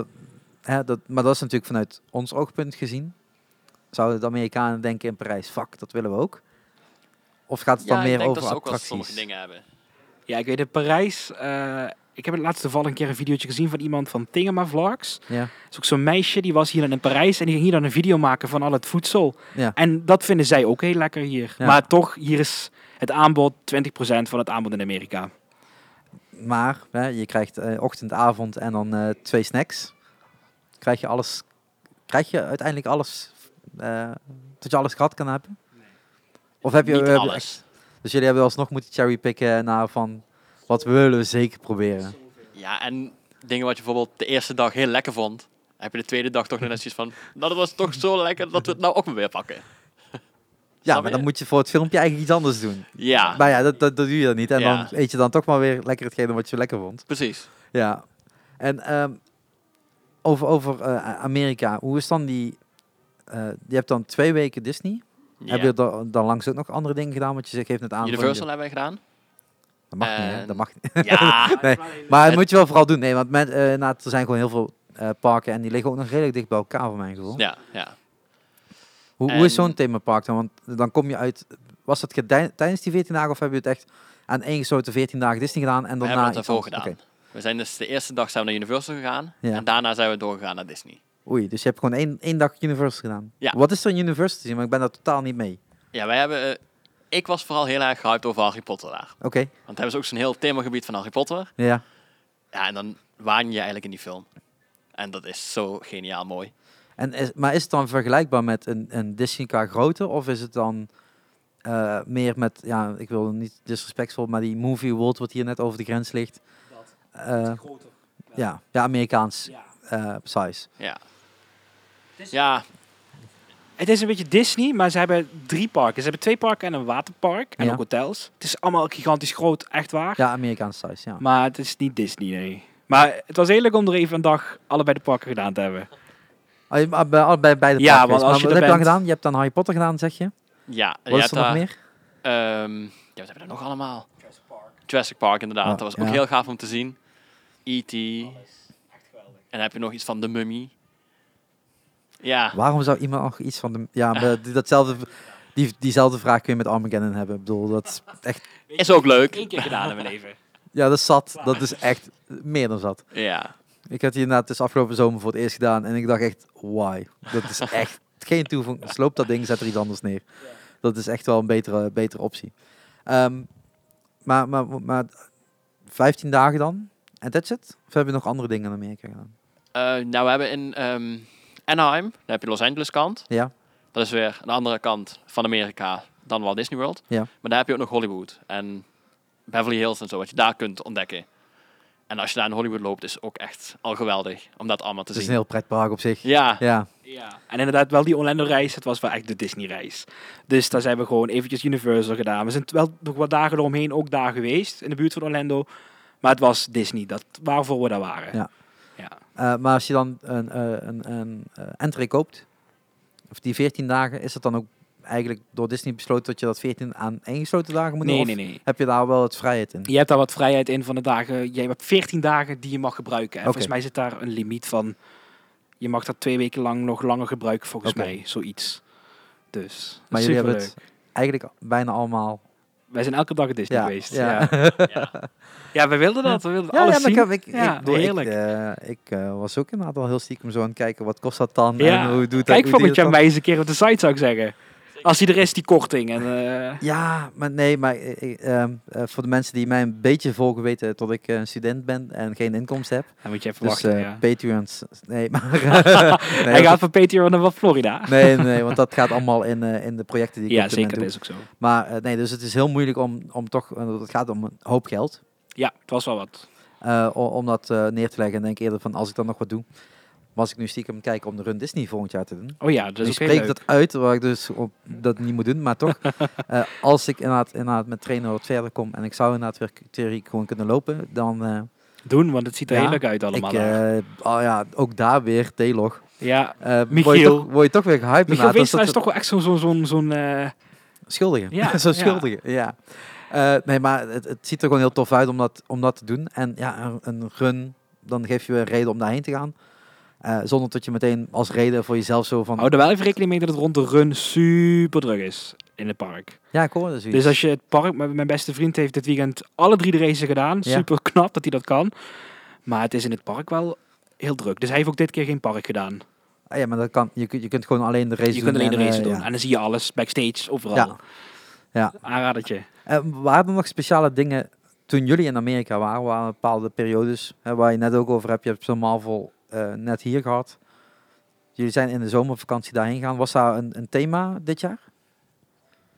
A: hè, dat, maar dat is natuurlijk vanuit ons oogpunt gezien. Zouden de Amerikanen denken in Parijs, fuck, dat willen we ook? Of gaat het
C: Ja,
A: dan
C: ik
A: meer
C: denk
A: over
C: dat ze ook wel
A: attracties?
C: sommige dingen hebben.
B: Ja, ik weet in Parijs... eh, ik heb het laatste toevallig een keer een videootje gezien van iemand van Tingema Vlogs.
A: Ja,
B: is ook zo'n meisje, die was hier dan in Parijs en die ging hier dan een video maken van al het voedsel.
A: Ja.
B: En dat vinden zij ook heel lekker hier.
A: Ja.
B: Maar toch, hier is het aanbod 20% van het aanbod in Amerika.
A: maar hè, je krijgt eh, ochtend, avond en dan eh, twee snacks. Krijg je alles, krijg je uiteindelijk alles, eh, dat je alles gehad kan hebben? Of heb je,
C: Niet
A: heb je echt-
C: alles.
A: Dus jullie hebben alsnog moeten cherrypicken naar van wat willen we zeker proberen.
C: Ja, en dingen wat je bijvoorbeeld de eerste dag heel lekker vond, heb je de tweede dag toch nog net zoiets van, nou dat was toch zo lekker dat we het nou ook maar weer pakken.
A: Ja,
C: Snap
A: maar
C: je?
A: dan moet je voor het filmpje eigenlijk iets anders doen.
C: Ja,
A: Maar ja, dat, dat, dat doe je dan niet. En
C: Ja.
A: dan eet je dan toch maar weer lekker hetgene wat je lekker vond.
C: precies.
A: Ja. En ehm, over, over eh, Amerika, hoe is dan die... eh, je hebt dan twee weken Disney.
C: Ja.
A: Heb je dan, dan langs ook nog andere dingen gedaan? Want je zegt, geeft het aan. van-
C: Universal hebben wij gedaan.
A: Dat mag niet, hè?
C: En-
A: Dat mag niet.
C: Ja,
A: Nee, Maar dat moet je wel vooral doen. Nee, want men, eh, nou, er zijn gewoon heel veel eh, parken. En die liggen ook nog redelijk dicht bij elkaar, voor mijn gevoel.
C: ja, ja.
A: Hoe, hoe is
C: En-
A: zo'n themapark dan? Want dan kom je uit... Was dat gedij- tijdens die 14 dagen of heb je het echt aan één gesloten 14 dagen Disney gedaan en
C: We
A: daarna...
C: hebben het
A: iets
C: daarvoor
A: anders?
C: gedaan.
A: Oké.
C: We zijn dus de eerste dag zijn we naar Universal gegaan.
A: Ja.
C: En daarna zijn we doorgegaan naar Disney.
A: Oei, dus je hebt gewoon één, één dag Universal gedaan.
C: Ja.
A: Wat is er in Universal te zien? Want ik ben daar totaal niet mee.
C: Ja, wij hebben... eh, ik was vooral heel erg gehyped over Harry Potter daar.
A: Oké,
C: Want hebben ze ook zo'n heel themagebied van Harry Potter.
A: ja.
C: Ja, en dan waan je eigenlijk in die film. En dat is zo geniaal mooi.
A: En is, maar is het dan vergelijkbaar met een, een Disney qua grootte? Of is het dan eh, meer met, ja, ik wil niet disrespectvol, maar die movie world wat hier net over de grens ligt. Eh, ja, ja, Amerikaans eh, size.
C: Ja. Ja,
B: Het is een beetje Disney, maar ze hebben drie parken. Ze hebben twee parken en een waterpark en
A: Ja.
B: ook hotels. Het is allemaal gigantisch groot, echt waar.
A: Ja, Amerikaans size, ja.
B: Maar het is niet Disney, nee. Maar het was heerlijk om er even een dag allebei de parken gedaan te hebben.
A: Oh, je- maar bij, alle- bij, bij de
B: Ja,
A: parken
B: want
A: is.
B: als
A: Maar wat
B: je er
A: heb je dan
B: bent-
A: gedaan? Je hebt dan Harry Potter gedaan, zeg je?
C: ja. je
A: Wat is
C: hebt
A: er nog
C: daar,
A: meer?
C: ehm, ja, wat hebben we er nog allemaal? Jurassic Park. inderdaad.
A: Ja,
C: dat was ook
A: ja.
C: heel gaaf om te zien. E.T. En dan heb je nog iets van de mummy. Ja.
A: Waarom zou iemand nog iets van de... Ja, maar die, datzelfde, die, diezelfde vraag kun je met Armageddon hebben. Ik bedoel, dat is echt...
C: Is ook leuk.
B: Eén keer gedaan in mijn leven.
A: Ja, dat is zat. Dat is echt meer dan zat.
C: Ja.
A: Ik had die inderdaad dus afgelopen zomer voor het eerst gedaan. En ik dacht echt, why? Dat is echt geen toevoeging. Sloop dat ding, zet er iets anders neer. Dat is echt wel een betere, betere optie. Ehm, maar, maar, maar 15 dagen dan? En that's it? Of heb je nog andere dingen in Amerika gedaan?
C: Eh, nou, we hebben in ehm, Anaheim, daar heb je Los Angeles kant.
A: Ja,
C: Dat is weer een andere kant van Amerika dan Walt Disney World.
A: Ja.
C: Maar daar heb je ook nog Hollywood en Beverly Hills en zo, wat je daar kunt ontdekken. En als je daar in Hollywood loopt, is ook echt al geweldig om dat allemaal te
A: het is een
C: zien.
A: heel pretpark op zich.
C: Ja,
A: Ja,
B: En inderdaad, wel die Orlando-reis, het was wel echt de Disney-reis. Dus daar zijn we gewoon eventjes Universal gedaan. We zijn wel nog wat dagen eromheen ook daar geweest, in de buurt van Orlando. Maar het was Disney, dat, waarvoor we daar waren.
A: Ja.
B: ja.
A: Eh, maar als je dan een, eh, een, een eh, entree koopt, of die 14 dagen, is het dan ook eigenlijk door Disney besloten dat je dat 14 aan één gesloten dagen moet doen?
B: Nee,
A: Of
B: nee, nee.
A: Heb je daar wel het vrijheid in?
B: Je hebt daar wat vrijheid in van de dagen. Je hebt 14 dagen die je mag gebruiken. En
A: Oké.
B: volgens mij zit daar een limiet van. Je mag dat twee weken lang nog langer gebruiken, volgens
A: Oké.
B: mij. Zoiets. Dus.
A: Maar jullie hebben
B: superleuk.
A: het eigenlijk bijna allemaal.
B: Wij zijn elke dag in Disney
A: Ja,
B: geweest.
A: ja.
B: Ja. Ja. we wilden dat. We wilden
A: Ja,
B: alles
A: ja, maar
B: zien.
A: ik, heb- ik,
B: Ja,
A: ik, bedoel, ik,
B: heerlijk.
A: eh, ik eh, was ook inderdaad al heel stiekem zo aan het kijken wat kost dat dan
B: Ja.
A: en hoe doet dat? hoe doe
B: Kijk
A: je
B: volgend jaar
A: dat dan?
B: mij eens een keer op de site, zou ik zeggen. Als die er is, die korting. En, eh,
A: Ja, maar nee, maar eh, eh, ehm, eh, voor de mensen die mij een beetje volgen weten dat ik eh, een student ben en geen inkomsten heb.
B: dan moet je even
A: Dus
B: wachten.
A: eh,
B: ja.
A: Patreons, nee, maar... nee,
B: Hij
A: dat-
B: gaat van Patreon naar wat Florida.
A: Nee, nee, want dat gaat allemaal in, eh, in de projecten die ik
B: ja,
A: op dit
B: zeker. Dat
A: moment
B: is ook zo.
A: doe. Maar eh, nee, dus het is heel moeilijk om, om toch, eh, want het gaat om een hoop geld,
B: Ja, het was wel wat.
A: eh, o- om dat eh, neer te leggen. En denk eerder van, als ik dan nog wat doe, was ik nu stiekem aan het kijken om de Run Disney volgend jaar te doen.
B: Oh ja, dat
A: Dus
B: is
A: ik
B: ook heel
A: spreek
B: leuk.
A: dat uit, waar ik dus op, dat niet moet doen, maar toch. eh, als ik inderdaad, inderdaad met trainen wat verder kom en ik zou inderdaad weer k- theorie gewoon kunnen lopen, dan... eh,
B: Doen, want het ziet er
A: Ja,
B: heel leuk uit allemaal.
A: ik,
B: daar.
A: eh, oh ja, ook daar weer, T-log.
B: ja,
A: Eh, word je
B: Michiel.
A: toch- Word je toch weer gehyped?
B: Michiel
A: inderdaad, dus
B: Weestra
A: dat-
B: is toch wel echt zo'n... Zo, zo, zo'n eh,
A: Schuldigen.
B: Ja,
A: Ja, zo
B: ja.
A: schuldigen. Ja. Eh, nee, maar het, het ziet er gewoon heel tof uit om dat, om dat te doen. En ja, een, een run, dan geef je weer reden om daarheen te gaan. Eh, zonder dat je meteen als reden voor jezelf zo van...
B: hou er wel even rekening mee Oh, dat het rond de run super druk is in het park.
A: ja, ik hoorde zoiets.
B: Dus als je het park... Mijn mijn beste vriend heeft dit weekend alle drie de races gedaan.
A: Ja.
B: Super knap dat hij dat kan. Maar het is in het park wel heel druk. Dus hij heeft ook dit keer geen park gedaan.
A: Ah, ja, maar dat kan, je, kunt- je kunt gewoon alleen de race
B: je
A: doen.
B: kunt alleen de
A: en,
B: race
A: eh,
B: doen.
A: ja.
B: En dan zie je alles, backstage, overal.
A: Ja. Ja.
B: Aanradertje.
A: En waren er Eh, nog speciale dingen toen jullie in Amerika waren? Waren er bepaalde periodes hè, waar je net ook over hebt. Je hebt zo'n Marvel eh, net hier gehad. Jullie zijn in de zomervakantie daarheen gegaan. Was daar een, een thema dit jaar?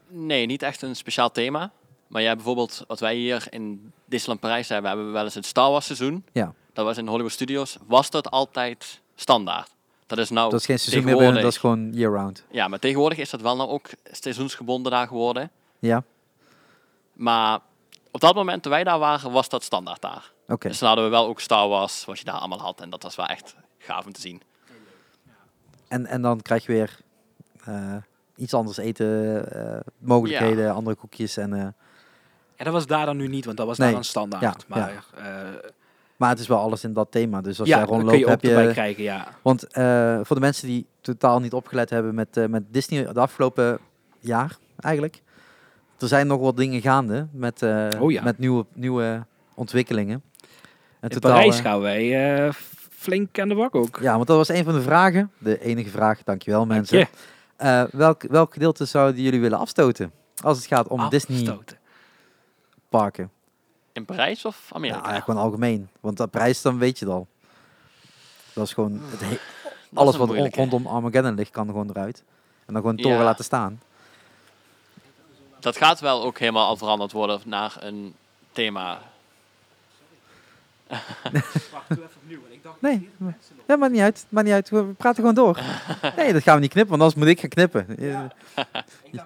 C: nee, niet echt een speciaal thema. Maar jij bijvoorbeeld, wat wij hier in Disneyland Parijs hebben, hebben we wel eens het Star Wars seizoen.
A: Ja.
C: Dat was in Hollywood Studios. Was dat altijd standaard? Dat is nou
B: Oh,
A: dat is geen seizoen meer binnen,
C: tegenwoordig.
A: dat is gewoon year-round.
C: Ja, maar tegenwoordig is dat wel nou ook seizoensgebonden daar geworden.
A: Ja,
C: Maar op dat moment toen wij daar waren, was dat standaard daar.
A: oké.
C: Dus dan hadden we wel ook Star Wars, wat je daar allemaal had. En dat was wel echt gaaf om te zien.
A: En, en dan krijg je weer eh, iets anders eten, eh, mogelijkheden, andere koekjes. En, eh,
B: En dat was daar dan nu niet, want dat was
A: Nee,
B: daar dan standaard.
A: ja,
B: maar
A: ja.
B: eh,
A: maar het is wel alles in dat thema. Dus als
B: ja,
A: jij
B: dan kun
A: rondloopt,
B: je
A: heb
B: ook erbij
A: je...
B: krijgen, ja.
A: Want eh, voor de mensen die totaal niet opgelet hebben met, eh, met Disney de afgelopen jaar eigenlijk. Er zijn nog wat dingen gaande met, eh,
B: Oh ja.
A: met nieuwe, nieuwe ontwikkelingen. En
B: In Parijs
A: eh,
B: gaan wij eh, f- flink aan de bak ook.
A: Ja, want dat was een van de vragen. De enige vraag, dankjewel mensen.
B: Ja,
A: Eh, welk, welk gedeelte zouden jullie willen afstoten? Als het gaat om Disney
B: afstoten.
A: parken.
C: In Parijs of
A: Ja,
C: Amerika?
A: eigenlijk gewoon algemeen. Want dat prijs, dan weet je het al. Dat is gewoon... Het he-
C: Dat is
A: alles
C: een
A: wat
C: moeilijke.
A: rondom Armageddon ligt, kan gewoon eruit. En dan gewoon toren
C: Ja.
A: laten staan.
C: Dat gaat wel ook helemaal al veranderd worden naar een thema.
A: Nee, ja, maakt niet uit. Maakt niet uit. We praten gewoon door. Nee, dat gaan we niet knippen, want anders moet ik gaan knippen.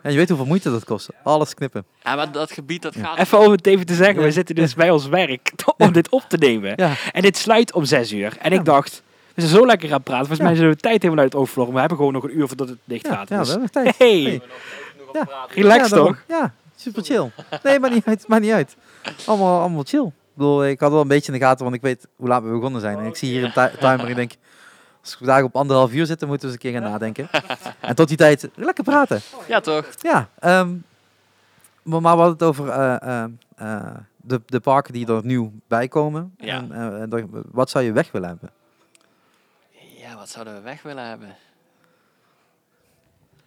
A: En je weet hoeveel moeite dat kost. Alles knippen.
C: Ja, maar dat gebied dat gaat.
B: Even om het even te zeggen,
A: Ja.
B: we zitten dus bij ons werk om dit op te nemen.
A: Ja.
B: En dit sluit om zes uur. En
A: Ja.
B: ik dacht, we zijn zo lekker aan het praten. Volgens
A: Ja.
B: mij zijn we de tijd helemaal uit het oog verloren. We hebben gewoon nog een uur voordat het dicht
A: Ja, ja
B: gaat.
A: we
B: Dus
A: hebben nog tijd.
B: Hey.
A: Ja.
B: relax
A: ja, daarom.
B: toch?
A: Ja, super chill. Nee, maar niet uit. Maar niet uit. Allemaal, allemaal chill. Ik bedoel, ik had wel een beetje in de gaten, want ik weet hoe laat we begonnen zijn. En ik zie hier een ti- timer en ik denk, als we daar op anderhalf uur zitten, moeten we eens een keer gaan nadenken. En tot die tijd, lekker praten.
C: Ja, toch?
A: Ja, ehm, maar, maar we hadden het over eh, eh, eh, de, de parken die er opnieuw bij komen.
C: Ja.
A: En, eh, en dat- wat zou je weg willen hebben?
C: Ja, wat zouden we weg willen hebben?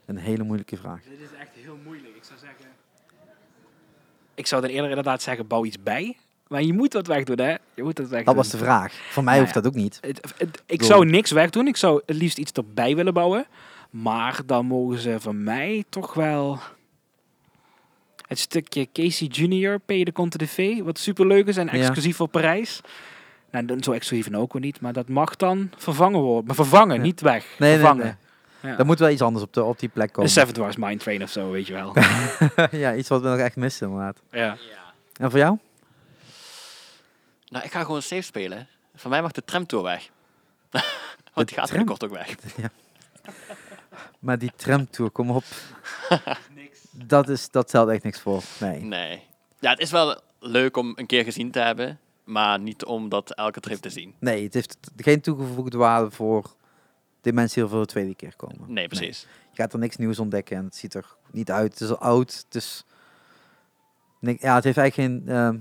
A: Een hele moeilijke vraag.
B: Dit is echt heel moeilijk. Ik zou zeggen... Ik zou dan eerder inderdaad zeggen, bouw iets bij. Maar je moet wat wegdoen, hè? Je moet wat wegdoen.
A: Dat was de vraag. Voor mij
B: Nou
A: hoeft
B: ja.
A: dat ook niet.
B: Het- het- ik
A: Door.
B: zou niks wegdoen. Ik zou het liefst iets erbij willen bouwen. Maar dan mogen ze van mij toch wel... Het stukje Casey Junior, P. E de Conte de V, wat superleuk is en
A: Ja.
B: exclusief voor Parijs. Nou, dan- zo exclusief en ook weer niet, maar dat mag dan vervangen worden. Maar vervangen,
A: Ja.
B: niet weg.
A: Nee, nee,
B: vervangen.
A: nee.
B: Ja. Dus
A: Er moet wel iets anders op, de, op die plek
B: Een
A: komen.
B: Seven Dwarfs Mine Train of zo, weet je wel.
A: ja, iets wat we nog echt missen inderdaad.
B: ja.
A: En voor jou?
C: Nou, ik ga gewoon safe spelen. Voor mij mag de tramtour weg.
A: De
C: Want die
A: tram?
C: gaat binnenkort ook weg.
A: Maar die tramtour, kom op. Dat, is, dat stelt echt niks voor. Nee.
C: Nee. Ja, het is wel leuk om een keer gezien te hebben. Maar niet om dat elke trip te zien.
A: nee, het heeft t- geen toegevoegde waarde voor de mensen die er voor de tweede keer komen.
C: Nee, precies.
A: Je gaat er niks nieuws ontdekken en het ziet er niet uit. Het is al oud. Het, is... Nik- Ja, het heeft eigenlijk geen, ehm,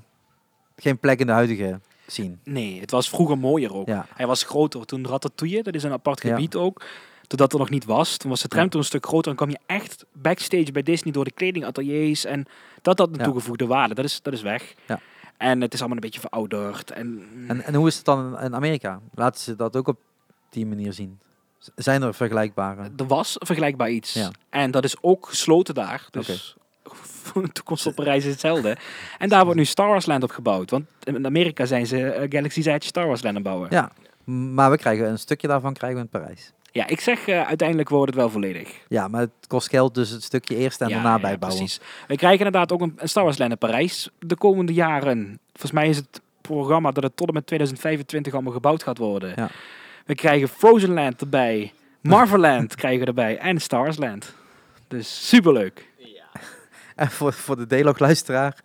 A: geen plek in de huidige scene.
B: Nee, het was vroeger mooier ook.
A: Ja.
B: Hij was groter. Toen Ratatouille, dat is een apart
A: Ja.
B: gebied ook. Totdat er nog niet was. Toen was de tram toen een stuk groter. En kwam je echt backstage bij Disney door de kledingateliers. En dat had een
A: Ja.
B: toegevoegde waarde. Dat is, dat is weg.
A: Ja.
B: En het is allemaal een beetje verouderd. En,
A: En, en hoe is het dan in- in Amerika? Laten ze dat ook op die manier zien? Z- Zijn er vergelijkbare?
B: er was vergelijkbaar iets.
A: Ja.
B: En dat is ook gesloten daar. Dus voor de toekomst op Parijs is hetzelfde. En daar wordt nu Star Wars Land op gebouwd. Want in Amerika zijn ze eh, Galaxy's Edge Star Wars Land aan het bouwen. Ja,
A: Ja, maar we krijgen een stukje daarvan krijgen we in Parijs.
B: ik zeg eh, uiteindelijk wordt het wel volledig.
A: Ja, maar het kost geld, dus het stukje eerst en
B: Ja,
A: daarna
B: ja,
A: bijbouwen.
B: Precies. We krijgen inderdaad ook een, een Star Wars lijn in Parijs de komende jaren. Volgens mij is het programma dat het tot en met 2025 allemaal gebouwd gaat worden.
A: Ja.
B: We krijgen Frozen Land erbij, Marvel Land krijgen we erbij en Star Wars Land. Dus superleuk.
A: En voor, voor de Delog-luisteraar,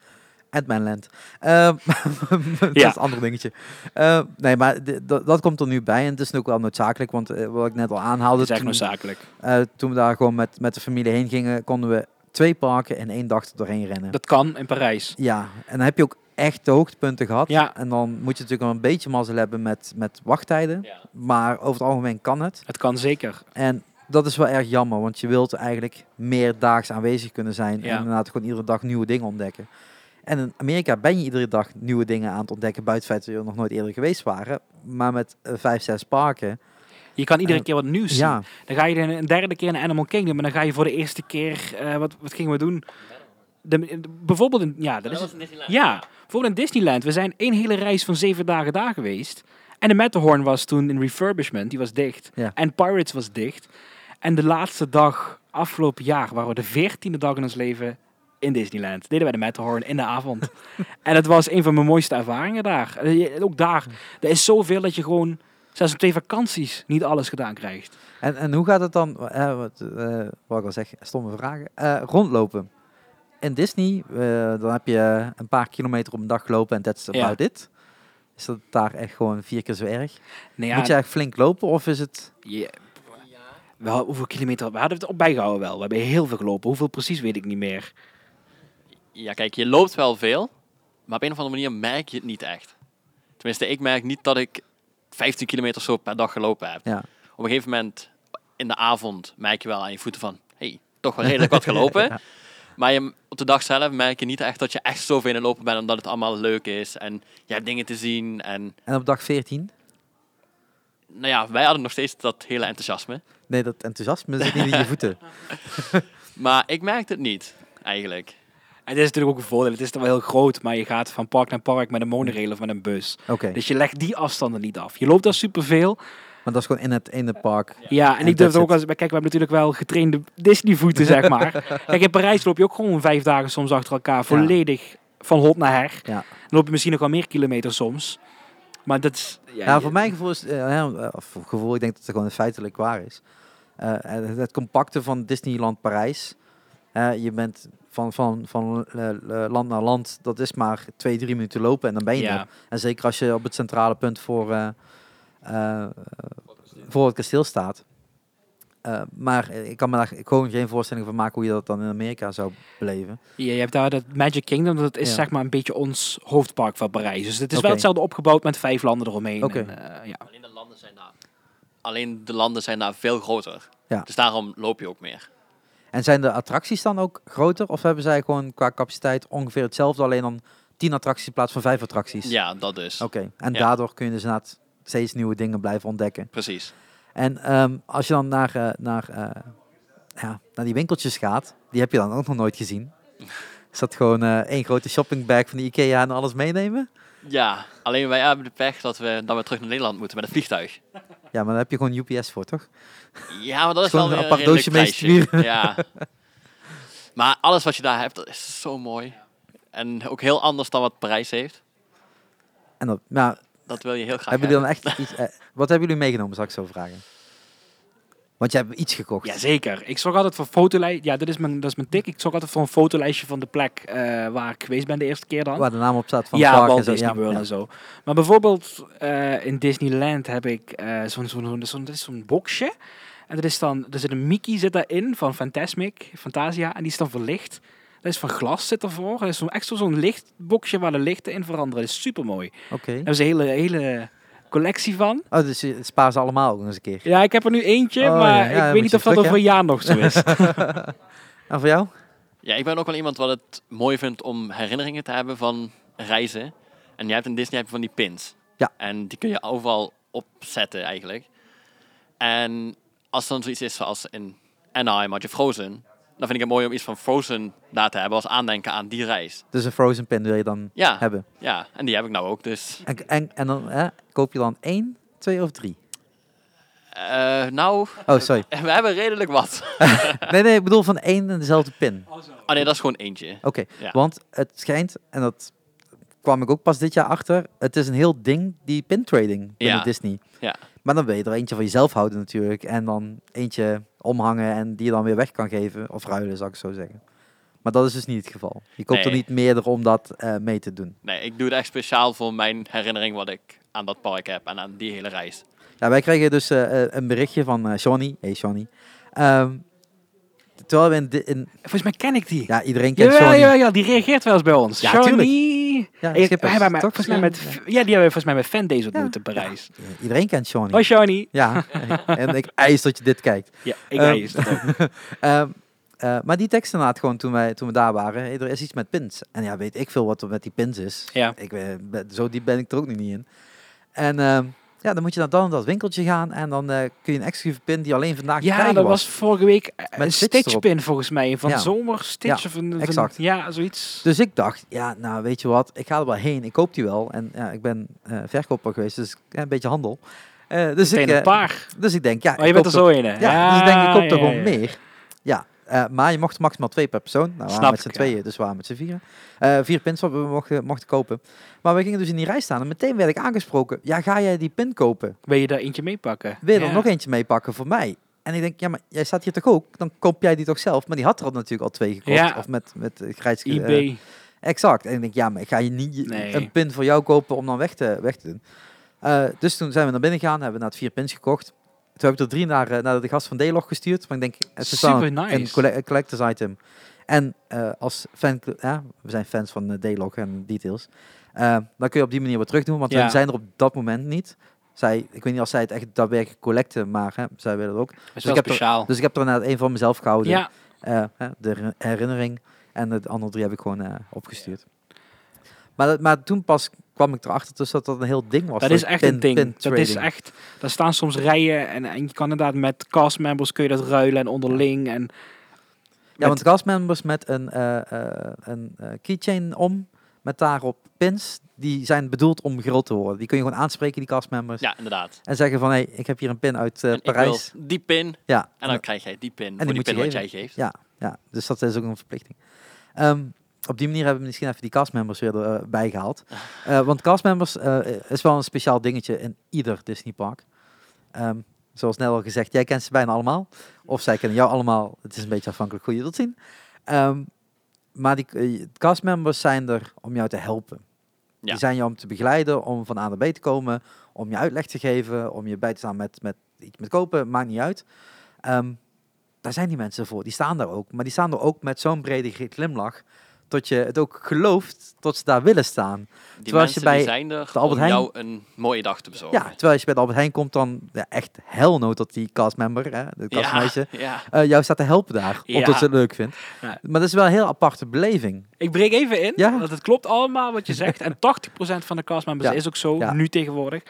A: Ant-Man Land. Ehm, dat is
B: Ja.
A: een ander dingetje. Ehm, nee, maar d- dat- dat komt er nu bij. En het is ook wel noodzakelijk, want eh, wat ik net al
B: Dat
A: aanhaalde...
B: is echt
A: toen-
B: noodzakelijk.
A: eh, toen we daar gewoon met, met de familie heen gingen, konden we twee parken in één dag er doorheen rennen.
B: Dat kan in Parijs.
A: Ja, en dan heb je ook echt de hoogtepunten gehad.
B: Ja.
A: En dan moet je natuurlijk wel een beetje mazzel hebben met, met wachttijden.
C: Ja.
A: Maar over het algemeen kan het.
B: Het kan zeker.
A: En dat is wel erg jammer, want je wilt eigenlijk meer daags aanwezig kunnen zijn.
B: Ja.
A: En inderdaad gewoon iedere dag nieuwe dingen ontdekken. En in Amerika ben je iedere dag nieuwe dingen aan het ontdekken, buiten het feit dat we er nog nooit eerder geweest waren. Maar met eh, vijf, zes parken.
B: Je kan iedere
A: Eh,
B: keer wat nieuws zien.
A: Ja,
B: Dan ga je een een derde keer naar Animal Kingdom en dan ga je voor de eerste keer, eh, wat, wat gingen we doen? De, de- bijvoorbeeld, een, ja, dat is
C: Disneyland.
B: Ja, bijvoorbeeld in Disneyland. We zijn één hele reis van zeven dagen daar geweest. En de Matterhorn was toen in refurbishment, die was dicht.
A: Ja.
B: En Pirates was dicht. En de laatste dag, afgelopen jaar, waren we de veertiende dag in ons leven in Disneyland. Deden wij de Matterhorn in de avond. en dat was een van mijn mooiste ervaringen daar. En eh, je- Ook daar, er is zoveel dat je gewoon, zelfs op twee vakanties, niet alles gedaan krijgt.
A: En, en hoe gaat het dan, eh, wat, eh, wat ik al zeg, stomme vragen, eh, rondlopen? In Disney, eh, dan heb je een paar kilometer op een dag gelopen en that's
B: Ja.
A: about it. Is dat daar echt gewoon vier keer zo erg?
B: Nou ja,
A: Moet je echt flink lopen of is het...
B: je- we hadden- hoeveel kilometer, we hadden het op bijgehouden wel. We hebben heel veel gelopen, hoeveel precies weet ik niet meer.
C: Ja, kijk, je loopt wel veel, maar op een of andere manier merk je het niet echt. Tenminste, ik merk niet dat ik 15 kilometer zo per dag gelopen heb.
A: Ja.
C: Op een gegeven moment in de avond merk je wel aan je voeten van, hey, toch wel redelijk wat gelopen. Maar je, op de dag zelf merk je niet echt dat je echt zoveel in het lopen bent, omdat het allemaal leuk is en je hebt dingen te zien. En
A: En op dag 14?
C: nou ja, wij hadden nog steeds dat hele enthousiasme.
A: Nee, dat enthousiasme zit niet in je voeten.
C: Maar ik merkte het niet, eigenlijk.
B: Het is natuurlijk ook een voordeel. Het is dan wel heel groot, maar je gaat van park naar park met een monorail of met een bus.
A: Oké,
B: Dus je legt die afstanden niet af. Je loopt daar superveel.
A: maar dat is gewoon in het ene park.
B: Ja, en
A: En
B: ik durf
A: that's
B: ook als... Kijk, we hebben natuurlijk wel getrainde Disney-voeten, zeg maar. Kijk, in Parijs loop je ook gewoon vijf dagen soms achter elkaar. Volledig van hot naar her.
A: Ja.
B: Dan loop je misschien nog wel meer kilometers soms. Maar dat is...
A: Ja, voor mijn gevoel is, eh, hè, of voor gevoel, ik denk dat het gewoon feitelijk waar is. Eh, het, het compacte van Disneyland Parijs. eh, je bent van, van, van eh, eh, land naar land, dat is maar twee, drie minuten lopen en dan ben je
B: Ja.
A: er. En zeker als je op het centrale punt voor, eh, eh, voor het kasteel staat. Eh, maar ik kan me daar gewoon geen voorstelling van maken hoe je dat dan in Amerika zou beleven.
B: Ja, je hebt daar dat Magic Kingdom, dat is
A: Ja.
B: zeg maar een beetje ons hoofdpark van Parijs. Dus het is
A: Oké.
B: wel hetzelfde opgebouwd met vijf landen eromheen.
A: Oké.
B: En, eh, ja.
C: Alleen de landen zijn daar, Alleen de landen zijn daar veel groter.
A: Ja.
C: Dus daarom loop je ook meer.
A: En zijn de attracties dan ook groter? Of hebben zij gewoon qua capaciteit ongeveer hetzelfde, alleen dan tien attracties in plaats van vijf attracties?
C: Ja, dat dus.
A: Oké, en
C: Ja.
A: daardoor kun je dus inderdaad steeds nieuwe dingen blijven ontdekken.
C: Precies.
A: En ehm, als je dan naar, eh, naar, eh, ja, naar die winkeltjes gaat, die heb je dan ook nog nooit gezien. Is dat gewoon eh, één grote shoppingbag van de IKEA en alles meenemen?
C: Ja, alleen wij hebben de pech dat we, dat we terug naar Nederland moeten met het vliegtuig.
A: Ja, maar daar heb je gewoon UPS voor, toch?
C: Ja, maar dat is
A: Gewoon
C: wel
A: een
C: weer
A: apart
C: een redelijk
A: doosje
C: prijsje.
A: meesturen.
C: Ja. Maar alles wat je daar hebt, dat is zo mooi. En ook heel anders dan wat Parijs heeft.
A: En dat, nou,
C: Dat wil je heel graag
A: hebben jullie dan
C: hebben.
A: echt iets... eh, wat hebben jullie meegenomen, zal ik zo vragen? Want jij hebt iets gekocht.
B: Jazeker. Ik zorg altijd voor fotolijst. Ja, dit is mijn, dat is mijn tik. Ik zorg altijd voor een fotolijstje van de plek eh, waar ik geweest ben de eerste keer dan.
A: Waar de naam op staat van het
B: ja,
A: park
B: Walt
A: en zo.
B: Disney
A: ja,
B: World
A: ja.
B: en zo. Maar bijvoorbeeld eh, in Disneyland heb ik eh, zo'n zo'n zo'n zo'n- dat is zo'n boxje. En dat is dan, er zit een Mickey zit daarin van Fantasmic, Fantasia. En die is dan verlicht. Dat is van glas zit ervoor. Dat is zo'n extra zo'n lichtboxje waar de lichten in veranderen. Dat is super mooi. Daar
A: Oké.
B: hebben ze een hele, hele collectie van.
A: Oh, dus je spaar ze allemaal ook nog eens een keer.
B: Ja, ik heb er nu eentje,
A: Oh, ja, ja,
B: maar ik
A: moet
B: weet
A: je
B: niet of dat
A: terug,
B: over
A: hè?
B: een jaar nog zo is.
A: En voor jou?
C: Ja, ik ben ook wel iemand wat het mooi vindt om herinneringen te hebben van reizen. En je hebt in Disney heb je van die pins.
A: Ja.
C: En die kun je overal opzetten eigenlijk. En als dan zoiets is zoals in Anaheim had je Frozen. Dan vind ik het mooi om iets van Frozen daar te hebben als aandenken aan die reis.
A: Dus een frozen pin wil je dan
C: Ja,
A: hebben.
C: ja en die heb ik nou ook. Dus
A: En, en, en dan hè, koop je dan één, twee of drie?
C: eh, nou,
A: Oh, sorry.
C: we hebben redelijk wat.
A: Nee, nee, ik bedoel van één en dezelfde pin. Oké,
C: Oh nee, dat is gewoon eentje. Ja.
A: want het schijnt, en dat kwam ik ook pas dit jaar achter, het is een heel ding, die pintrading binnen
C: Ja.
A: Disney.
C: Ja.
A: Maar dan wil je er eentje van jezelf houden natuurlijk. En dan eentje omhangen en die je dan weer weg kan geven. Of ruilen, zou ik zo zeggen. Maar dat is dus niet het geval. Je koopt er
C: Nee.
A: niet meerdere om dat eh, mee te doen.
C: Nee, ik doe het echt speciaal voor mijn herinnering wat ik aan dat park heb en aan die hele reis.
A: Ja, wij kregen dus eh, eh, een berichtje van eh Johnny. Hey Johnny. Ehm, terwijl we in, di- in...
B: Volgens mij ken ik die.
A: Ja, iedereen kent
B: Jawel,
A: Johnny.
B: jawel, jawel, die reageert wel eens bij ons.
A: Ja,
B: Johnny.
A: Ja,
B: Ik-
A: Schippers,
B: hij hebben mij-
A: toch?
B: volgens mij met, ja. die hebben we volgens mij met fandays ontmoet
A: Ja.
B: in Parijs.
A: Ja, Iedereen kent Johnny.
B: Hoi Johnny.
A: Ja, en ik eis dat je dit kijkt.
B: Ja, ik
A: Ehm,
B: reis dat ook.
A: Ehm, eh, maar die tekst inderdaad gewoon toen, wij, toen we daar waren. hey, er is iets met pins. En ja, weet ik eh, veel wat er met die pins is.
B: Ja.
A: Ik weet, ben- zo diep ben ik er ook nog niet in. En ehm, Ja, dan moet je naar dan dat winkeltje gaan en dan eh, kun je een exclusieve pin die alleen vandaag te
B: Ja,
A: krijgen
B: dat
A: was.
B: was vorige week eh,
A: Met
B: een
A: Stitch erop.
B: stitchpin volgens mij. Van
A: Ja.
B: zomer stitch. of een, of een-
A: exact.
B: Ja, zoiets.
A: Dus ik dacht, ja, nou weet je wat, ik ga er wel heen, ik koop die wel. En ja, ik ben eh, verkoper geweest, dus eh, een beetje handel. Eh, dus, ik,
B: Meteen een
A: eh,
B: paar.
A: dus ik denk, ja,
B: Oh, je
A: ik
B: bent er
A: koop
B: zo in, hè?
A: Ja, dus ik denk, ik koop er
B: ja,
A: gewoon
B: ja.
A: meer. Ja, eh, maar je mocht maximaal twee per persoon. Nou, we waren
B: Snap
A: met z'n
B: ik, ja.
A: tweeën, dus we waren met z'n vieren. Eh, vier pins wat we mochten, mochten kopen. Maar we gingen dus in die rij staan en meteen werd ik aangesproken. Ja, ga jij die pin kopen?
B: Wil je daar eentje mee pakken?
A: Wil je
B: Ja.
A: er nog eentje mee pakken voor mij? En ik denk, ja, maar jij staat hier toch ook? Dan koop jij die toch zelf? Maar die had er al natuurlijk al twee gekost.
B: Ja.
A: Of met, met eh, grijs... eh,
B: eBay.
A: Exact. En ik denk, ja, maar ik ga je niet je-
B: Nee.
A: een pin voor jou kopen om dan weg te, weg te doen. Eh, dus toen zijn we naar binnen gegaan, hebben we na het vier pins gekocht. Toen heb ik er drie naar, eh, naar de gast van D-Log gestuurd. Maar ik denk, het is wel
B: Super
A: een,
B: nice.
A: een colle- een collectors item. En eh, als fan, ja, we zijn fans van eh, D-Log en Details. Eh, dan kun je op die manier wat terugdoen, want
B: Ja.
A: we zijn er op dat moment niet. Zij, ik weet niet of zij het echt daadwerkelijk collecten, maar hè, zij willen het ook.
B: Is
A: Dus
B: wel
A: ik heb er-
B: speciaal.
A: Dus ik heb er inderdaad één van mezelf gehouden,
B: Oh. Ja,
A: eh, hè, de her- herinnering. En de andere drie heb ik gewoon eh, opgestuurd. Maar, dat- maar toen pas kwam ik erachter dus dat dat een heel ding was.
B: dat is echt
A: pin-
B: een ding.
A: pin
B: Dat is
A: trading.
B: echt... Daar staan soms rijen en, en je kan inderdaad met castmembers kun je dat ruilen en onderling. En
A: Ja,
B: met-
A: want castmembers met een, eh, eh, een eh, keychain om, met daarop pins, die zijn bedoeld om groot te worden. Die kun je gewoon aanspreken, die castmembers.
C: Ja, inderdaad.
A: En zeggen van, hé, hey, ik heb hier een pin uit eh,
C: En ik wil
A: Parijs.
C: die pin.
A: Ja,
C: En dan krijg jij die pin. voor
A: die
C: die,
A: moet je
C: pin wat
A: geven.
C: jij geeft.
A: Ja, ja, dus dat is ook een verplichting. Ehm, op die manier hebben we misschien even die castmembers weer erbij gehaald. Eh, want castmembers eh is wel een speciaal dingetje in ieder Disneypark. Ehm zoals net al gezegd, jij kent ze bijna allemaal. Of zij kennen jou allemaal. Het is een beetje afhankelijk hoe je wilt zien. Ehm, maar die eh, castmembers zijn er om jou te helpen.
C: Ja.
A: Die zijn jou om te begeleiden, om van A naar B te komen, om je uitleg te geven, om je bij te staan met, met iets met kopen, maakt niet uit. Ehm, daar zijn die mensen voor, die staan daar ook. Maar die staan er ook met zo'n brede gri- glimlach, dat je het ook gelooft dat ze daar willen staan.
C: Die
A: Terwijl als je
C: mensen die
A: bij
C: zijn er
A: de Albert
C: om
A: Heijn-
C: jou een mooie dag te
B: Oh.
C: bezorgen.
A: Ja, terwijl als je bij de Albert Heijn komt, dan ja, echt hellnood dat die castmember, hè, de castmeisje,
C: Ja, ja.
A: eh, jou staat te helpen daar,
B: Ja.
A: omdat ze het leuk vindt.
B: Ja.
A: Maar dat is wel een heel aparte beleving.
B: ik breek even in,
A: Ja.
B: want het klopt allemaal wat je zegt. En 80% van de castmembers
A: Ja,
B: is ook zo,
A: ja.
B: nu tegenwoordig.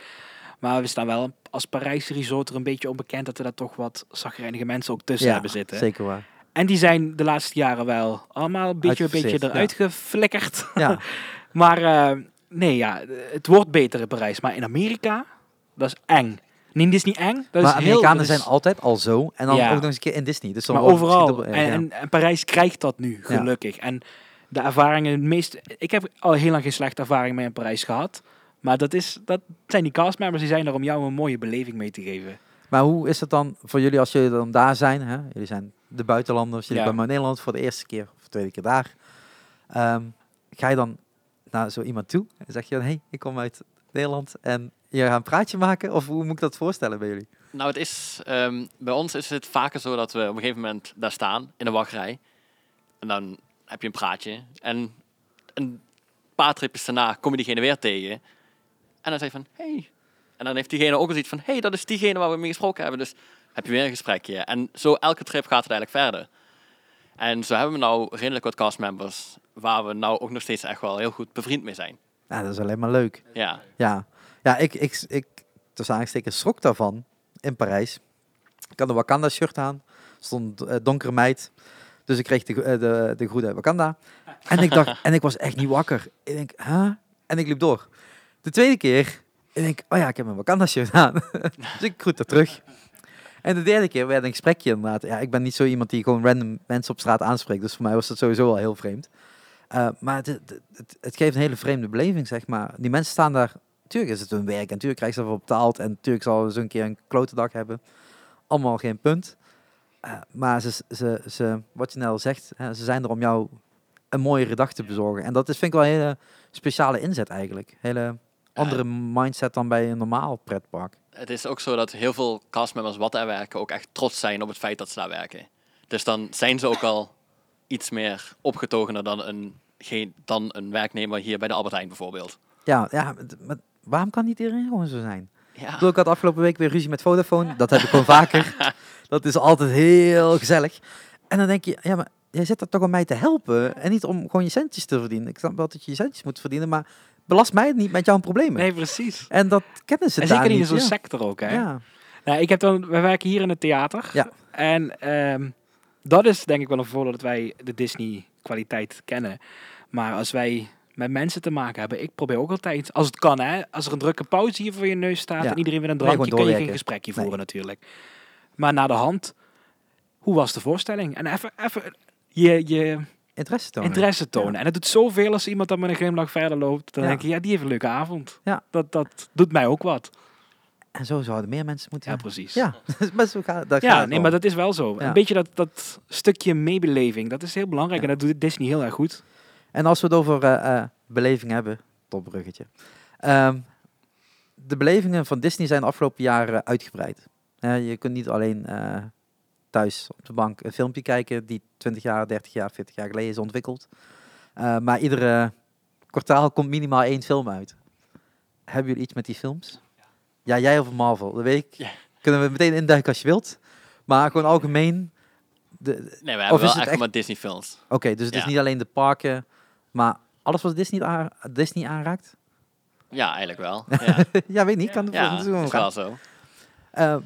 B: Maar we staan wel als Parijse resort er een beetje onbekend dat er daar toch wat zagrijnige mensen ook tussen Dus hebben zitten.
A: zeker waar.
B: En die zijn de laatste jaren wel allemaal een beetje, een beetje
A: Uitgeflikkerd,
B: eruit geflikkerd.
A: Ja,
B: Maar eh, nee, ja, het wordt beter in Parijs. Maar in Amerika, dat is eng. Nee, dit is niet eng.
A: maar
B: Dat is heel-
A: Amerikanen
B: dat is-
A: zijn altijd al zo. En dan
B: Ja.
A: ook nog eens een keer in Disney. Dus dan
B: Maar
A: wordt het misschien
B: overal.
A: dubbel-
B: en,
A: ja.
B: en, en Parijs krijgt dat nu, gelukkig. En de ervaringen, het meest... Ik heb al heel lang geen slechte ervaring mee in Parijs gehad. Maar dat, is, dat zijn die castmembers die zijn er om jou een mooie beleving mee te geven.
A: Maar hoe is het dan voor jullie als jullie dan daar zijn? Hè? Jullie zijn de buitenlanders, jullie
B: Ja.
A: komen uit Nederland voor de eerste keer of tweede keer daar. Ehm, ga je dan naar zo iemand toe en zeg je dan, hé, hey, ik kom uit Nederland en je gaat een praatje maken? Of hoe moet ik dat voorstellen bij jullie?
C: Nou, het is, ehm, bij ons is het vaker zo dat we op een gegeven moment daar staan in de wachtrij. En dan heb je een praatje. En een paar tripjes daarna kom je diegene weer tegen. En dan zeg je van, Hey. En dan heeft diegene ook al iets van, hey, dat is diegene waar we mee gesproken hebben. Dus heb je weer een gesprekje. En zo elke trip gaat het eigenlijk verder. En zo hebben we nou redelijk wat castmembers waar we nou ook nog steeds echt wel heel goed bevriend mee zijn.
A: Nou, dat is alleen maar leuk.
C: Ja,
A: Ja, ja ik, ik, ik tussen aangestekens schrok daarvan in Parijs. Ik had een Wakanda-shirt aan, stond eh, donkere meid. Dus ik kreeg de, gro- eh, de, de groene Wakanda. En ik dacht, en ik was echt niet wakker. Ik denk, huh? En ik liep door. De tweede keer, ik denk, oh ja, ik heb een Wakanda-shirt aan. dus ik groet er terug. En de derde keer werd een gesprekje inderdaad. Ja, ik ben niet zo iemand die gewoon random mensen op straat aanspreekt. Dus voor mij was dat sowieso al heel vreemd. Eh, maar het, het, het, het geeft een hele vreemde beleving, zeg maar. Die mensen staan daar Tuurlijk is het hun werk en tuurlijk krijgen ze ervoor betaald. En tuurlijk zal ze een keer een klote dag hebben. Allemaal geen punt. Eh, maar ze, ze, ze, wat je net al zegt, hè, ze zijn er om jou een mooiere dag te bezorgen. En dat is, vind ik wel een hele speciale inzet eigenlijk. Hele andere mindset dan bij een normaal pretpark.
C: het is ook zo dat heel veel castmembers wat daar werken ook echt trots zijn op het feit dat ze daar werken. Dus dan zijn ze ook al iets meer opgetogener dan een, geen, dan een werknemer hier bij de Albert Heijn bijvoorbeeld.
A: Ja, ja maar- maar waarom kan niet iedereen gewoon zo zijn? Ik
C: Ja,
A: bedoel, ik had afgelopen week weer ruzie met Vodafone. Dat heb ik gewoon vaker. Dat is altijd heel gezellig. En dan denk je, ja, maar jij zit er toch om mij te helpen en niet om gewoon je centjes te verdienen. Ik snap wel dat je je centjes moet verdienen, maar belast mij niet met jouw problemen.
B: Nee, precies.
A: En dat kennen ze
B: En
A: daar
B: zeker niet in
A: niet.
B: zo'n
A: ja.
B: sector ook, hè?
A: Ja.
B: Nou, ik heb dan, wij werken hier in het theater.
A: Ja.
B: En ehm, dat is denk ik wel een voordeel dat wij de Disney-kwaliteit kennen. Maar als wij met mensen te maken hebben, ik probeer ook altijd, als het kan, hè, als er een drukke pauze hier voor je neus staat
A: Ja.
B: en iedereen wil een
A: Nee, gewoon
B: drankje, kun je geen
A: doorwerken.
B: gesprekje
A: Nee.
B: voeren natuurlijk. Maar naar de hand, hoe was de voorstelling? En even, even je, je
A: Interesse tonen.
B: interesse tonen.
A: Ja.
B: En het doet zoveel als iemand dan met een glimlach verder loopt. Dan
A: Ja.
B: denk je, ja, die heeft een leuke avond.
A: Ja.
B: Dat, dat doet mij ook wat.
A: En zo zouden meer mensen moeten...
B: Ja, precies.
A: Ja, maar zo gaat daar gaat
B: Ja,
A: het
B: nee,
A: om.
B: maar dat is wel zo.
A: Ja.
B: Een beetje dat, dat stukje meebeleving, dat is heel belangrijk.
A: Ja.
B: En dat doet Disney heel erg goed.
A: En als we het over eh, eh, beleving hebben, top bruggetje. Ehm, de belevingen van Disney zijn de afgelopen jaren uitgebreid. Eh, je kunt niet alleen eh, thuis op de bank een filmpje kijken die 20 jaar, 30 jaar, 40 jaar geleden is ontwikkeld. Eh, maar iedere kwartaal komt minimaal één film uit. Hebben jullie iets met die films? Ja, jij over Marvel. Dat weet ik.
C: Ja.
A: Kunnen we meteen induiken als je wilt. Maar gewoon algemeen. de-
C: Nee, we
A: Of is
C: hebben wel
A: het
C: echt
A: echt-
C: maar Disney films.
A: Oké, dus het is
C: Ja.
A: niet alleen de parken, maar alles wat Disney, aan- Disney aanraakt?
C: Ja, eigenlijk wel. Ja,
A: ja, weet niet. Kan de
C: ja
A: volgende seizoen
C: is
A: gaan.
C: wel zo.
A: Eh,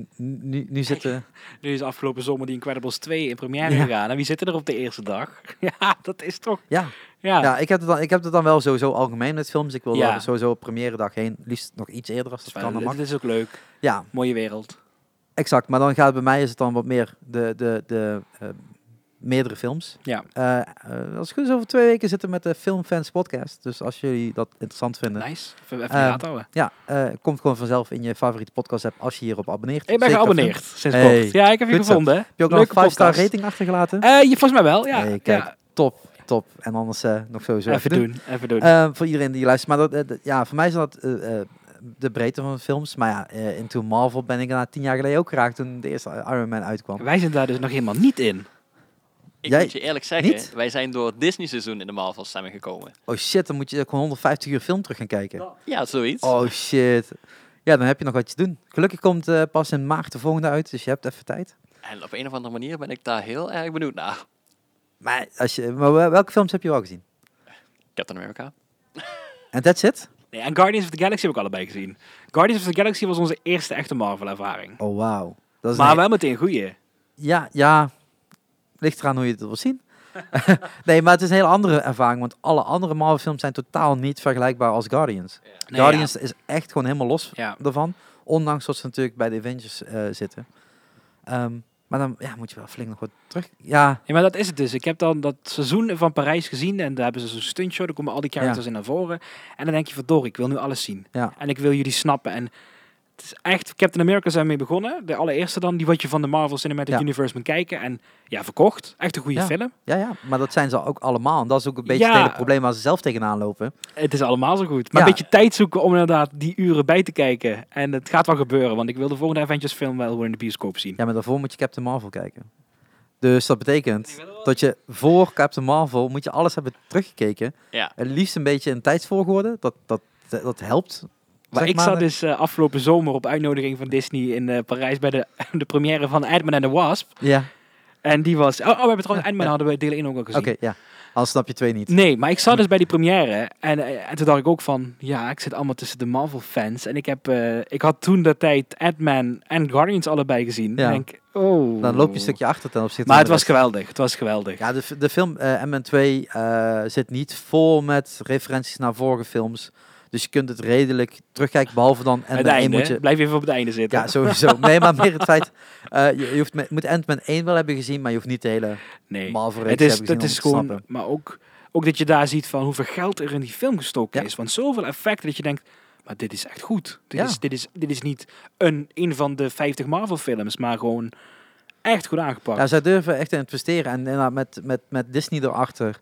A: n- nu, nu zitten...
B: Nu is afgelopen zomer die Incredibles 2 in première
A: Ja.
B: gegaan. En wie zitten er op de eerste dag? Ja, dat is toch...
A: Ja,
B: Ja,
A: ja ik, heb het dan, ik heb het dan wel sowieso algemeen met films. Ik wil
B: Ja.
A: daar sowieso op première dag heen. Liefst nog iets eerder als dat kan. dan
B: dat
A: mag.
B: is ook leuk.
A: Ja,
B: Mooie wereld.
A: exact. Maar dan gaat het bij mij is het dan wat meer de, de, de eh, meerdere films.
B: Ja.
A: Eh, eh, als het goed is over twee weken zitten we met de Filmfans podcast. Dus als jullie dat interessant vinden...
B: Nice. Even, even in de
A: Ehm,
B: gaten houden.
A: Ja, eh, komt gewoon vanzelf in je favoriete podcast app als je hierop abonneert.
B: Ik ben
A: Zeker
B: geabonneerd sinds
A: Hey,
B: kort. Ja, ik heb je
A: goed zo.
B: gevonden.
A: Heb je ook nog een 5-star rating achtergelaten?
B: je, volgens mij wel, Eh, ja.
A: Nee, kijk,
B: Ja.
A: top, top. En anders eh, nog sowieso
B: Even doen, even doen.
A: Eh, voor iedereen die luistert. Maar dat, eh, dat- ja, voor mij is dat eh, eh, de breedte van films. Maar ja, eh, Into Marvel ben ik na tien jaar geleden ook geraakt toen de eerste Iron Man uitkwam.
B: Wij zijn daar dus nog helemaal niet in.
C: Ik
A: Jij-
C: moet je eerlijk zeggen,
A: niet?
C: wij zijn door het Disney seizoen in de Marvel stemming gekomen.
A: Oh shit, dan moet je gewoon 150 uur film terug gaan kijken.
C: Ja, zoiets.
A: Oh shit. Ja, dan heb je nog wat te doen. Gelukkig komt eh, pas in maart de volgende uit, dus je hebt even tijd.
C: En op een of andere manier ben ik daar heel erg benieuwd naar.
A: Maar, als je, maar wel- welke films heb je wel gezien?
C: Captain America.
A: En that's it?
B: Nee, en Guardians of the Galaxy heb ik allebei gezien. Guardians of the Galaxy was onze eerste echte Marvel-ervaring.
A: Oh wow. Dat is een
B: Maar wel meteen goeie.
A: Ja, ja. Ligt eraan hoe je het wil zien. nee, maar het is een hele andere ervaring. Want alle andere Marvel-films zijn totaal niet vergelijkbaar als Guardians.
B: Nee,
A: Guardians is echt gewoon helemaal los
B: Ja.
A: daarvan. Ondanks dat ze natuurlijk bij de Avengers eh, zitten. Ehm, maar dan ja, moet je wel flink nog wat terug. Ja,
B: Ja, maar dat is het dus. Ik heb dan dat seizoen van Parijs gezien en daar hebben ze zo'n stuntshow. Daar komen al die characters in naar voren. En dan denk je, verdorie, ik wil nu alles zien.
A: Ja.
B: En ik wil jullie snappen. En het is echt, Captain America zijn we mee begonnen. De allereerste dan, die wat je van de Marvel Cinematic
A: Ja.
B: Universe moet kijken. En ja, verkocht. Echt een goede
A: Ja.
B: film.
A: ja, ja, maar dat zijn ze ook allemaal. En dat is ook een beetje het
B: Ja.
A: hele probleem waar ze zelf tegenaan lopen.
B: Het is allemaal zo goed. Maar een
A: Ja.
B: beetje tijd zoeken om inderdaad die uren bij te kijken. En het gaat wel gebeuren, want ik wil de volgende Avengers film wel weer in de bioscoop zien.
A: Ja, maar daarvoor moet je Captain Marvel kijken. Dus dat betekent dat je voor Captain Marvel moet je alles hebben teruggekeken.
C: Ja.
A: Het liefst een beetje in tijdsvolgorde. Dat, dat, dat helpt.
B: Maar
A: zeg
B: ik zat dus eh, afgelopen zomer op uitnodiging van Disney in eh, Parijs bij de, de première van Ant-Man and the Wasp.
A: Ja,
B: En die was... Oh, oh we hebben trouwens Ant-Man
A: Ja.
B: hadden we deel 1 ook al
A: oké,
B: gezien.
A: ja. Anders snap je twee niet.
B: Nee, maar ik zat dus bij die première en, eh, en toen dacht ik ook van... Ja, ik zit allemaal tussen de Marvel-fans. En ik, heb, eh, ik had toen dat tijd Ant-Man en Guardians allebei gezien.
A: Ja.
B: En ik, oh.
A: Dan loop je een stukje achter ten opzichte
B: Maar het
A: van
B: was
A: de rest.
B: geweldig, het was geweldig.
A: Ja, de, f- de film eh, MN2 eh, zit niet vol met referenties naar vorige films. Dus je kunt het redelijk terugkijken, behalve dan... En
B: het einde,
A: moet je,
B: blijf even op het einde zitten.
A: Ja, sowieso. Nee, maar meer het feit... eh, je, je hoeft, me- moet Ant-Man 1 wel hebben gezien, maar je hoeft niet de hele
B: nee.
A: marvel
B: Het
A: reeks
B: is,
A: hebben gezien
B: dat
A: om
B: is
A: te
B: gewoon,
A: snappen.
B: maar ook, ook dat je daar ziet van hoeveel geld er in die film gestoken
A: Ja.
B: is. Want zoveel effecten dat je denkt, maar dit is echt goed. Dit,
A: Ja.
B: is, dit, is, dit is niet een, een van de 50 Marvel films, maar gewoon echt goed aangepakt.
A: Ja, zij durven echt te investeren. En inderdaad, met, met, met Disney erachter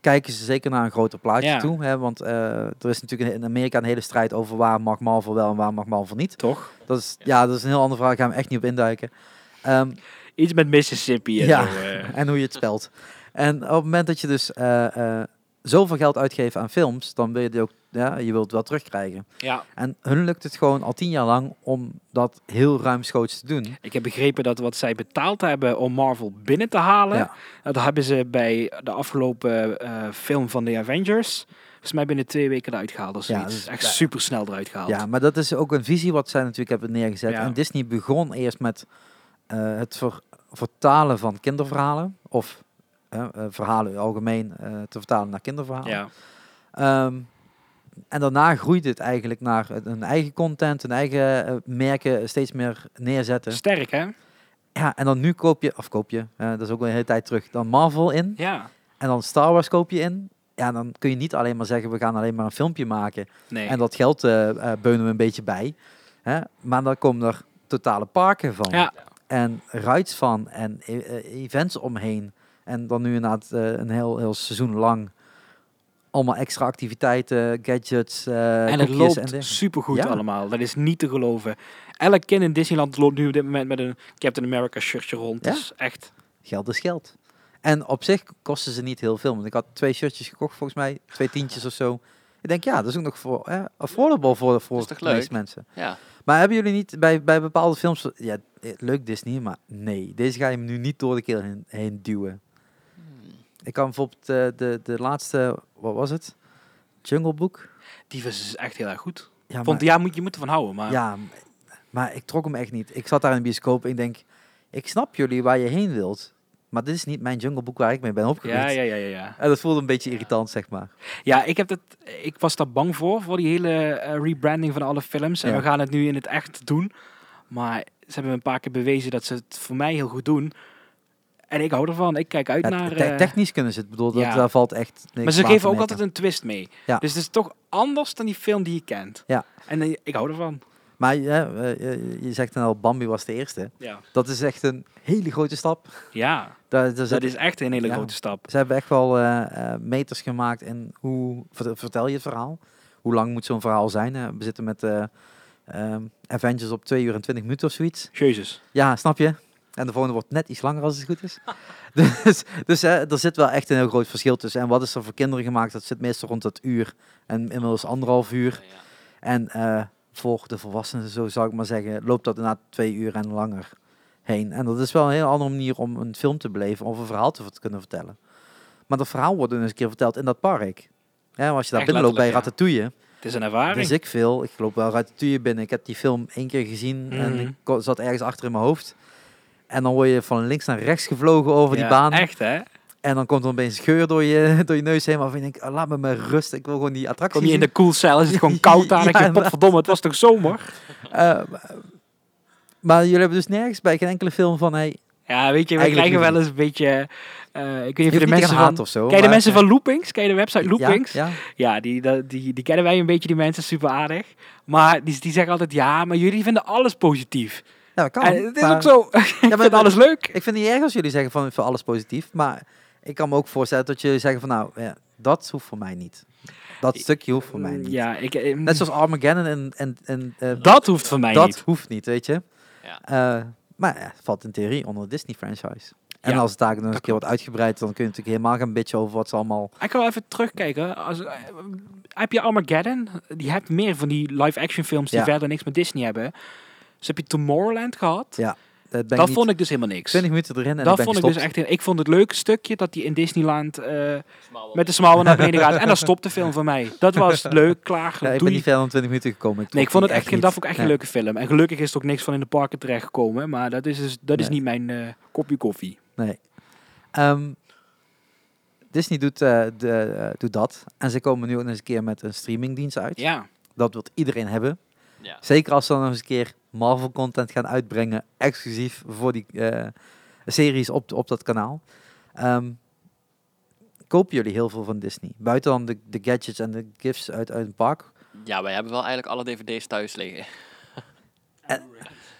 A: kijken ze zeker naar een groter plaatje
B: Ja.
A: toe. Hè? Want eh, er is natuurlijk in Amerika een hele strijd over waar mag Marvel wel en waar mag Marvel niet.
B: Toch?
A: Dat is, ja, dat is een heel andere vraag. Daar gaan we echt niet op induiken. Ehm,
B: Iets met Mississippi en
A: Ja.
B: zo. eh.
A: en hoe je het spelt. En op het moment dat je dus eh, eh, zoveel geld uitgeven aan films, dan wil je het ook, ja, je wilt het wel terugkrijgen.
B: Ja.
A: En hun lukt het gewoon al tien jaar lang om dat heel ruimschoots te doen.
B: Ik heb begrepen dat wat zij betaald hebben om Marvel binnen te halen,
A: Ja.
B: dat hebben ze bij de afgelopen eh, film van de Avengers, volgens mij binnen twee weken eruit gehaald. Of
A: Ja,
B: zoiets.
A: dat is-
B: echt super snel eruit gehaald.
A: Ja, maar dat is ook een visie wat zij natuurlijk hebben neergezet.
B: Ja.
A: En Disney begon eerst met eh, het ver- vertalen van kinderverhalen. Of eh, eh, verhalen in het algemeen eh, te vertalen naar kinderverhalen.
B: Ja.
A: Ehm, en daarna groeit het eigenlijk naar het- hun eigen content, hun eigen eh, merken steeds meer neerzetten.
B: Sterk, hè?
A: Ja, en dan nu koop je, of koop je, eh, dat is ook wel een hele tijd terug, dan Marvel in.
B: Ja.
A: En dan Star Wars koop je in. Ja, dan kun je niet alleen maar zeggen, we gaan alleen maar een filmpje maken.
B: Nee.
A: En dat geld eh eh, beunen we een beetje bij. Hè? Maar dan komen er totale parken van.
B: ja.
A: En rides van. En e- eh, events omheen. En dan nu inderdaad eh, een heel, heel seizoen lang. Allemaal extra activiteiten, gadgets, eh
B: en het
A: koekjes
B: loopt
A: en dingen.
B: supergoed
A: Ja.
B: allemaal. Dat is niet te geloven. Elk kind in Disneyland loopt nu op dit moment met een Captain America shirtje rond.
A: Ja.
B: Dat is echt...
A: Geld is geld. En op zich kosten ze niet heel veel. Want ik had twee shirtjes gekocht volgens mij. Twee tientjes of zo. Ik denk, ja, dat is ook nog voor, eh, affordable voor, voor
C: Is toch
A: de meeste
C: leuk?
A: mensen.
C: Ja.
A: Maar hebben jullie niet bij, bij bepaalde films... Ja, eh, leuk Disney, maar nee. Deze ga je hem nu niet door de keel heen, heen duwen.
C: Hmm.
A: Ik kan bijvoorbeeld eh, de, de laatste... Wat was het? Jungle Book?
B: Die vis is echt heel erg goed.
A: Ja,
B: Vond, ja, moet, je moet ervan houden, maar...
A: maar, ja, m- maar ik trok hem echt niet. Ik zat daar in de bioscoop en ik denk... Ik snap jullie waar je heen wilt. Maar dit is niet mijn Jungle Book waar ik mee ben opgegroeid.
B: ja, ja, ja, ja. ja.
A: En dat voelde een beetje irritant, zeg maar.
B: Ja, ik, heb dat, ik was daar bang voor, voor die hele eh, rebranding van alle films. En
A: Ja.
B: we gaan het nu in het echt doen. Maar ze hebben een paar keer bewezen dat ze het voor mij heel goed doen. En ik hou ervan. Ik kijk uit
A: Ja,
B: naar...
A: te-
B: eh,
A: technisch kunnen ze het. bedoel, dat,
B: ja.
A: daar valt echt niks
B: maar ze
A: aan te
B: geven ook
A: merken.
B: altijd een twist mee.
A: Ja.
B: Dus het is toch anders dan die film die je kent.
A: Ja.
B: En eh, ik hou ervan.
A: Maar ja, eh, je, je zegt dan al, Bambi was de eerste.
B: Ja,
A: Dat is echt een hele grote stap.
B: ja
A: Daar, daar
B: dat
A: zit-
B: is echt een hele
A: Dus Ja.
B: grote stap.
A: Ze hebben echt wel eh, eh, meters gemaakt in hoe vert- vertel je het verhaal. Hoe lang moet zo'n verhaal zijn? Eh, we zitten met eh, ehm, Avengers op 2 uur en 20 minuten of zoiets.
B: Jezus.
A: Ja, snap je? En de volgende wordt net iets langer als het goed is. dus dus eh, er zit wel echt een heel groot verschil tussen. En wat is er voor kinderen gemaakt? Dat zit meestal rond dat uur en inmiddels anderhalf uur.
C: Ja.
A: En eh, voor de volwassenen, zo zou ik maar zeggen, loopt dat na twee uur en langer heen. En dat is wel een heel andere manier om een film te beleven of een verhaal te vert- kunnen vertellen. Maar dat verhaal wordt dus een keer verteld in dat park. Ja, als je daar
B: Echt
A: binnenloopt bij
B: letterlijk,
A: Ratatouille,
B: Het is een ervaring.
A: dus ik veel. Ik loop wel Ratatouille binnen. Ik heb die film één keer gezien en
B: Mhm.
A: ik ko- zat ergens achter in mijn hoofd. En dan word je van links naar rechts gevlogen over die baan.
B: Echt, hè?
A: En dan komt er opeens geur door je, door je neus heen. Of je denkt, ah, laat me maar rust. Ik wil gewoon die attractie
B: Kom je in
A: zien.
B: de koelcel, is het gewoon koud aan.
A: Ja,
B: en ik denk,
A: inderdaad.
B: potverdomme, het was toch zomer?
A: Eh, maar jullie hebben dus nergens bij geen enkele film van hey,
B: Ja, weet je, we
A: Eigenlijk
B: krijgen
A: niet.
B: wel eens een beetje... eh,
A: je hoeft
B: ik weet niet of je de
A: niet tegen
B: mensen
A: haat
B: van...
A: of zo.
B: Ken je de
A: maar-
B: mensen van Loopings? Ken je de website Loopings? Ja,
A: Ja, ja.
B: die, dat- die, die kennen wij een beetje, die mensen, super aardig. Maar die, die zeggen altijd, ja, maar jullie vinden alles positief.
A: ja dat kan.
B: en Eh, het is
A: maar
B: ook zo, ik
A: maar
B: vind
A: dat-
B: alles leuk.
A: Ik vind het niet erg als jullie zeggen van voor alles positief. Maar ik kan me ook voorstellen dat jullie zeggen van nou, ja, dat hoeft voor mij niet. Dat stukje hoeft voor mij niet.
B: Ja, ik, eh,
A: Net zoals Armageddon en, en, en eh,
B: dat hoeft van mij
A: dat
B: niet.
A: hoeft niet, weet je.
C: Ja.
A: Eh, maar ja, het valt in theorie onder de Disney franchise. En
B: Ja,
A: als het daar nog een
B: dat
A: keer wordt uitgebreid, dan kun je natuurlijk helemaal gaan bitchen over wat ze allemaal...
B: Ik kan wel even terugkijken. Als, eh, heb je Armageddon? Die hebt meer van die live-action films die
A: Ja.
B: verder niks met Disney hebben. Dus heb je Tomorrowland gehad.
A: Dat ben
B: dat
A: ik niet
B: vond ik dus helemaal niks.
A: 20 minuten erin en
B: dat
A: ik ben
B: vond ik
A: gestopt.
B: dus echt... heel- Ik vond het leuke stukje dat die in Disneyland... eh,
C: Smouwen.
B: Met de smouwen naar beneden gaat. En dan stopt de film voor mij. Dat was leuk, klaar.
A: Ja, ik
B: doe
A: ben
B: niet-
A: niet verder dan 20 minuten gekomen.
B: nee, ik
A: trok
B: vond
A: die
B: het echt, geen-
A: niet.
B: dat vond ik echt
A: Nee.
B: een leuke film. En gelukkig is er ook niks van in de parken terechtgekomen. Maar dat is, dus, dat is
A: Nee.
B: niet mijn eh, kopje koffie.
A: Nee. Ehm, Disney doet, eh, de, eh, doet dat. En ze komen nu ook nog eens een keer met een streamingdienst uit.
B: Ja,
A: Dat wil iedereen hebben.
C: Ja.
A: Zeker als ze dan nog eens een keer Marvel-content gaan uitbrengen. Exclusief voor die eh, series op, op dat kanaal. Ehm, kopen jullie heel veel van Disney? Buiten dan de, de gadgets en de gifts uit, uit het park.
C: ja, wij hebben wel eigenlijk alle dvd's thuis liggen.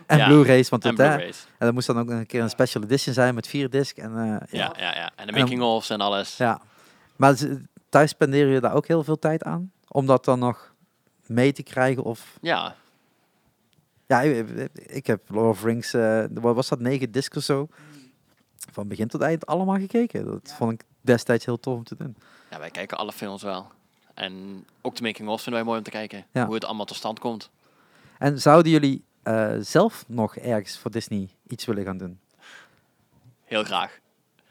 A: En
C: Ja,
A: Blu-rays. Want
C: En
A: dat, hè,
C: Blu-rays.
A: en dat moest dan ook een keer een special edition zijn met vier disc. En, eh,
C: Ja, ja, ja. En de
A: En-
C: making-ofs en alles.
A: Ja, maar ze- thuis spendeer je daar ook heel veel tijd aan? Om dat dan nog mee te krijgen? Of,
C: Ja,
A: ja, ik, ik heb Lord of the Rings, eh, wat was dat, negen discs of zo? Van begin tot eind allemaal gekeken. Dat vond ik destijds heel tof om te doen.
C: Ja, wij kijken alle films wel. En ook de making-ofs vinden wij mooi om te kijken.
A: Ja.
C: Hoe het allemaal tot stand komt.
A: En zouden jullie eh, zelf nog ergens voor Disney iets willen gaan doen?
C: Heel graag.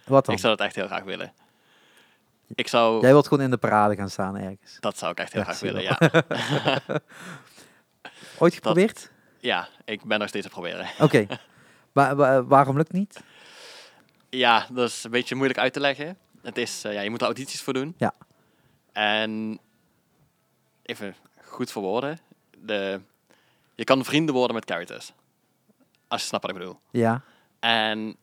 A: Wat dan?
C: Ik zou dat echt heel graag willen. Ik zou...
A: Jij wilt gewoon in de parade gaan staan ergens.
C: Dat zou ik echt heel
A: Ja,
C: graag
A: zie je
C: willen, ja.
A: Ooit geprobeerd?
C: Ja, ik ben nog steeds aan het proberen.
A: Oké. Wa- wa- waarom lukt niet?
C: Ja, dat is een beetje moeilijk uit te leggen. Het is, eh, ja, je moet er audities voor doen.
A: Ja.
C: En even goed verwoorden. De, je kan vrienden worden met characters. Als je snapt wat ik bedoel.
A: Ja,
C: En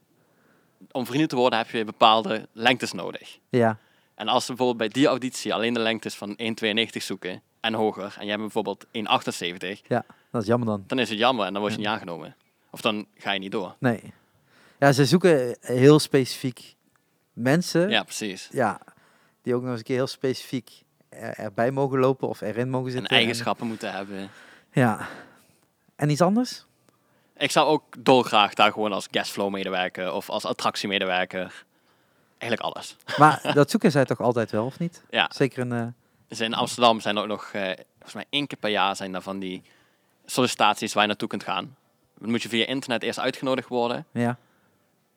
C: om vrienden te worden heb je bepaalde lengtes nodig.
A: ja,
C: En als ze bijvoorbeeld bij die auditie alleen de lengtes van 1,92 zoeken en hoger, en jij hebt bijvoorbeeld 1,78,
A: ja. Dat is jammer dan.
C: dan is het jammer en dan word je niet aangenomen. Of dan ga je niet door.
A: Nee. Ja, ze zoeken heel specifiek mensen.
C: Ja, precies.
A: Ja, die ook nog eens een keer heel specifiek er- erbij mogen lopen of erin mogen
C: En
A: zitten.
C: eigenschappen moeten hebben.
A: En- ja. En iets anders?
C: Ik zou ook dolgraag daar gewoon als guestflow medewerker of als attractiemedewerker. Eigenlijk alles.
A: Maar dat zoeken zij toch altijd wel, of niet?
C: Ja.
A: Zeker een... eh,
C: Dus in Amsterdam zijn er ook nog, eh, volgens mij één keer per jaar zijn er van die sollicitaties waar je naartoe kunt gaan. Dan moet je via internet eerst uitgenodigd worden.
A: ja.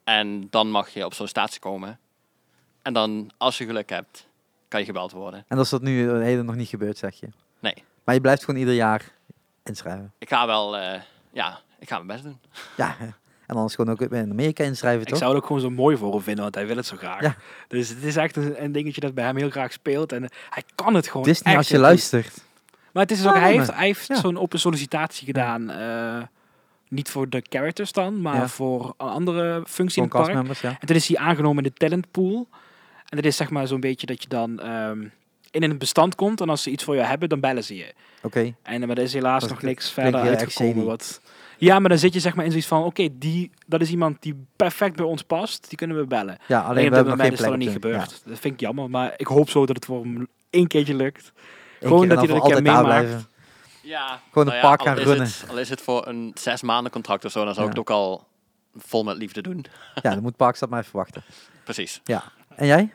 C: En dan mag je op sollicitatie komen. En dan, als je geluk hebt, kan je gebeld worden.
A: En dat is dat nu de hele nog niet gebeurd, zeg je?
C: Nee.
A: Maar je blijft gewoon ieder jaar inschrijven.
C: Ik ga wel, eh, ja, ik ga mijn best doen.
A: Ja. En anders gewoon ook in Amerika inschrijven,
B: Ik
A: toch?
B: zou het ook gewoon zo mooi voor hem vinden, want hij wil het zo graag.
A: Ja.
B: Dus het is echt een, een dingetje dat bij hem heel graag speelt. En hij kan het gewoon.
A: Disney,
B: echt
A: als je
B: heel goed.
A: luistert.
B: Maar het is dus ook,
A: Ja,
B: hij
A: nee,
B: heeft, hij heeft
A: Ja.
B: zo'n open sollicitatie gedaan. eh, niet voor de characters dan, maar
A: Ja.
B: voor een andere functie in
A: Gewoon
B: het park.
A: castmembers, ja.
B: En toen is hij aangenomen in de talentpool. En dat is zeg maar zo'n beetje dat je dan ehm, in een bestand komt. En als ze iets voor je hebben, dan bellen ze je.
A: Oké.
B: En eh, maar er is helaas
A: Dat
B: nog
A: klinkt-
B: niks
A: klinkt
B: verder
A: heel erg
B: uitgekomen.
A: shady.
B: Wat... Ja, maar dan zit je zeg maar in zoiets van... Oké, die, dat is iemand die perfect bij ons past. Die kunnen we bellen.
A: Ja,
B: Alleen
A: alleen we
B: dat bij
A: hebben nog
B: mij
A: geen
B: is dat
A: plek
B: nog niet
A: op de- ja.
B: gebeurd. Dat vind ik jammer. Maar ik hoop zo dat het voor hem één keertje lukt.
A: Eén
B: Gewoon
A: keer en dan
B: dat hij er een keer
A: voor altijd daar
B: meemaakt.
A: blijven.
C: Nou Ja,
A: Gewoon een park
C: al
A: gaan
C: is
A: runnen.
C: het- al is het voor een zes maanden contract of zo, dan zou ik
A: Ja.
C: het ook al vol met liefde doen.
A: Ja, dan moet Parkstad maar even wachten.
C: Precies.
A: Ja. En jij?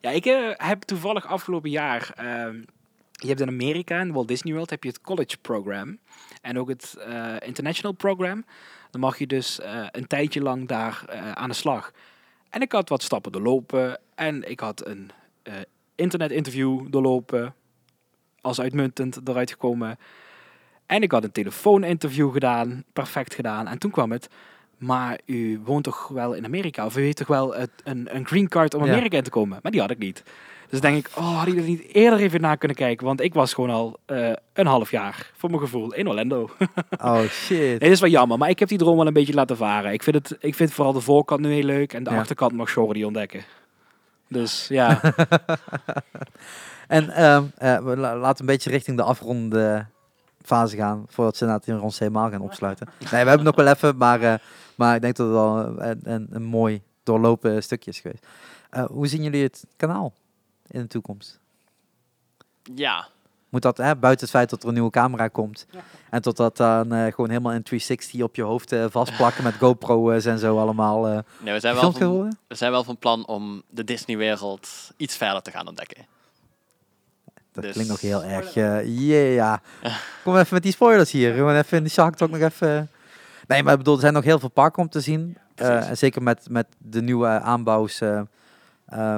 B: Ja, ik eh, heb toevallig afgelopen jaar. ehm, je hebt in Amerika, in Walt Disney World, heb je het college program. En ook het eh, international program. Dan mag je dus eh, een tijdje lang daar eh, aan de slag. En ik had wat stappen doorlopen. En ik had een eh, internetinterview doorlopen. Als uitmuntend eruit gekomen. En ik had een telefooninterview gedaan. Perfect gedaan. En toen kwam het. Maar u woont toch wel in Amerika? Of u heeft toch wel het- een, een green card om
A: Ja.
B: Amerika in te komen? Maar die had ik niet. Dus denk ik, oh, had ik er niet eerder even naar kunnen kijken? Want ik was gewoon al eh, een half jaar, voor mijn gevoel, in Orlando.
A: Oh shit.
B: Het is wel jammer, maar ik heb die droom wel een beetje laten varen. Ik vind, het, ik vind vooral de voorkant nu heel leuk en de
A: Ja.
B: achterkant mag Shore die ontdekken. Dus ja,
A: En ehm, eh, we la- laten een beetje richting de afrondende fase gaan. Voordat ze inderdaad in ons helemaal gaan opsluiten. Nee, we hebben nog wel even, maar, eh, maar ik denk dat het al een, een, een mooi doorlopen stukje is geweest. Eh, hoe zien jullie het kanaal in de toekomst?
C: Ja,
A: Moet dat, hè, buiten het feit dat er een nieuwe camera komt. En tot dat dan eh, gewoon helemaal in 360 op je hoofd eh, vastplakken met GoPro's en zo allemaal. eh
C: nee, we, zijn wel
A: gefilmd gaan
C: van,
A: worden?
C: we zijn wel van plan om de Disney-wereld iets verder te gaan ontdekken.
A: Dat
C: Dus-
A: klinkt nog heel erg. eh, yeah, ja. Kom even met die spoilers hier. Gewoon even in de Shark Talk nog even. Nee, maar ik bedoel, er zijn nog heel veel parken om te zien. Eh,
C: precies.
A: en zeker met, met de nieuwe aanbouws. eh, eh,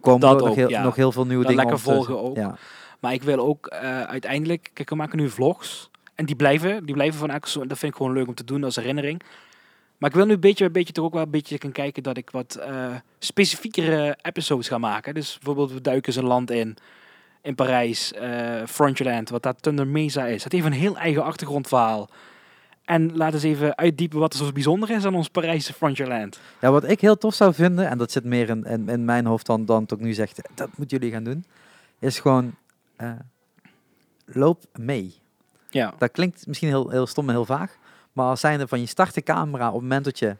A: komen
B: Dat
A: er nog,
B: ook,
A: heel,
B: ja.
A: nog heel veel nieuwe
B: Dat
A: dingen.
B: lekker
A: om te-
B: volgen ook.
A: Ja.
B: maar ik wil ook eh, uiteindelijk, kijk, we maken nu vlogs en die blijven, die blijven van elke seizoen. Dat vind ik gewoon leuk om te doen als herinnering. Maar ik wil nu een beetje, een beetje toch ook wel een beetje gaan kijken dat ik wat eh, specifiekere episodes ga maken. Dus bijvoorbeeld we duiken eens een land in, in Parijs, eh Frontierland, wat daar Thunder Mesa is. Het heeft een heel eigen achtergrondverhaal. En laten eens even uitdiepen wat er zo bijzonder is aan ons Parijse Frontierland.
A: ja, wat ik heel tof zou vinden, en dat zit meer in, in, in mijn hoofd dan, dan tot nu zegt, dat moeten jullie gaan doen, is gewoon eh, loop mee.
B: Ja.
A: Dat klinkt misschien heel, heel stom en heel vaag, maar als zijnde van je start de camera op het moment dat je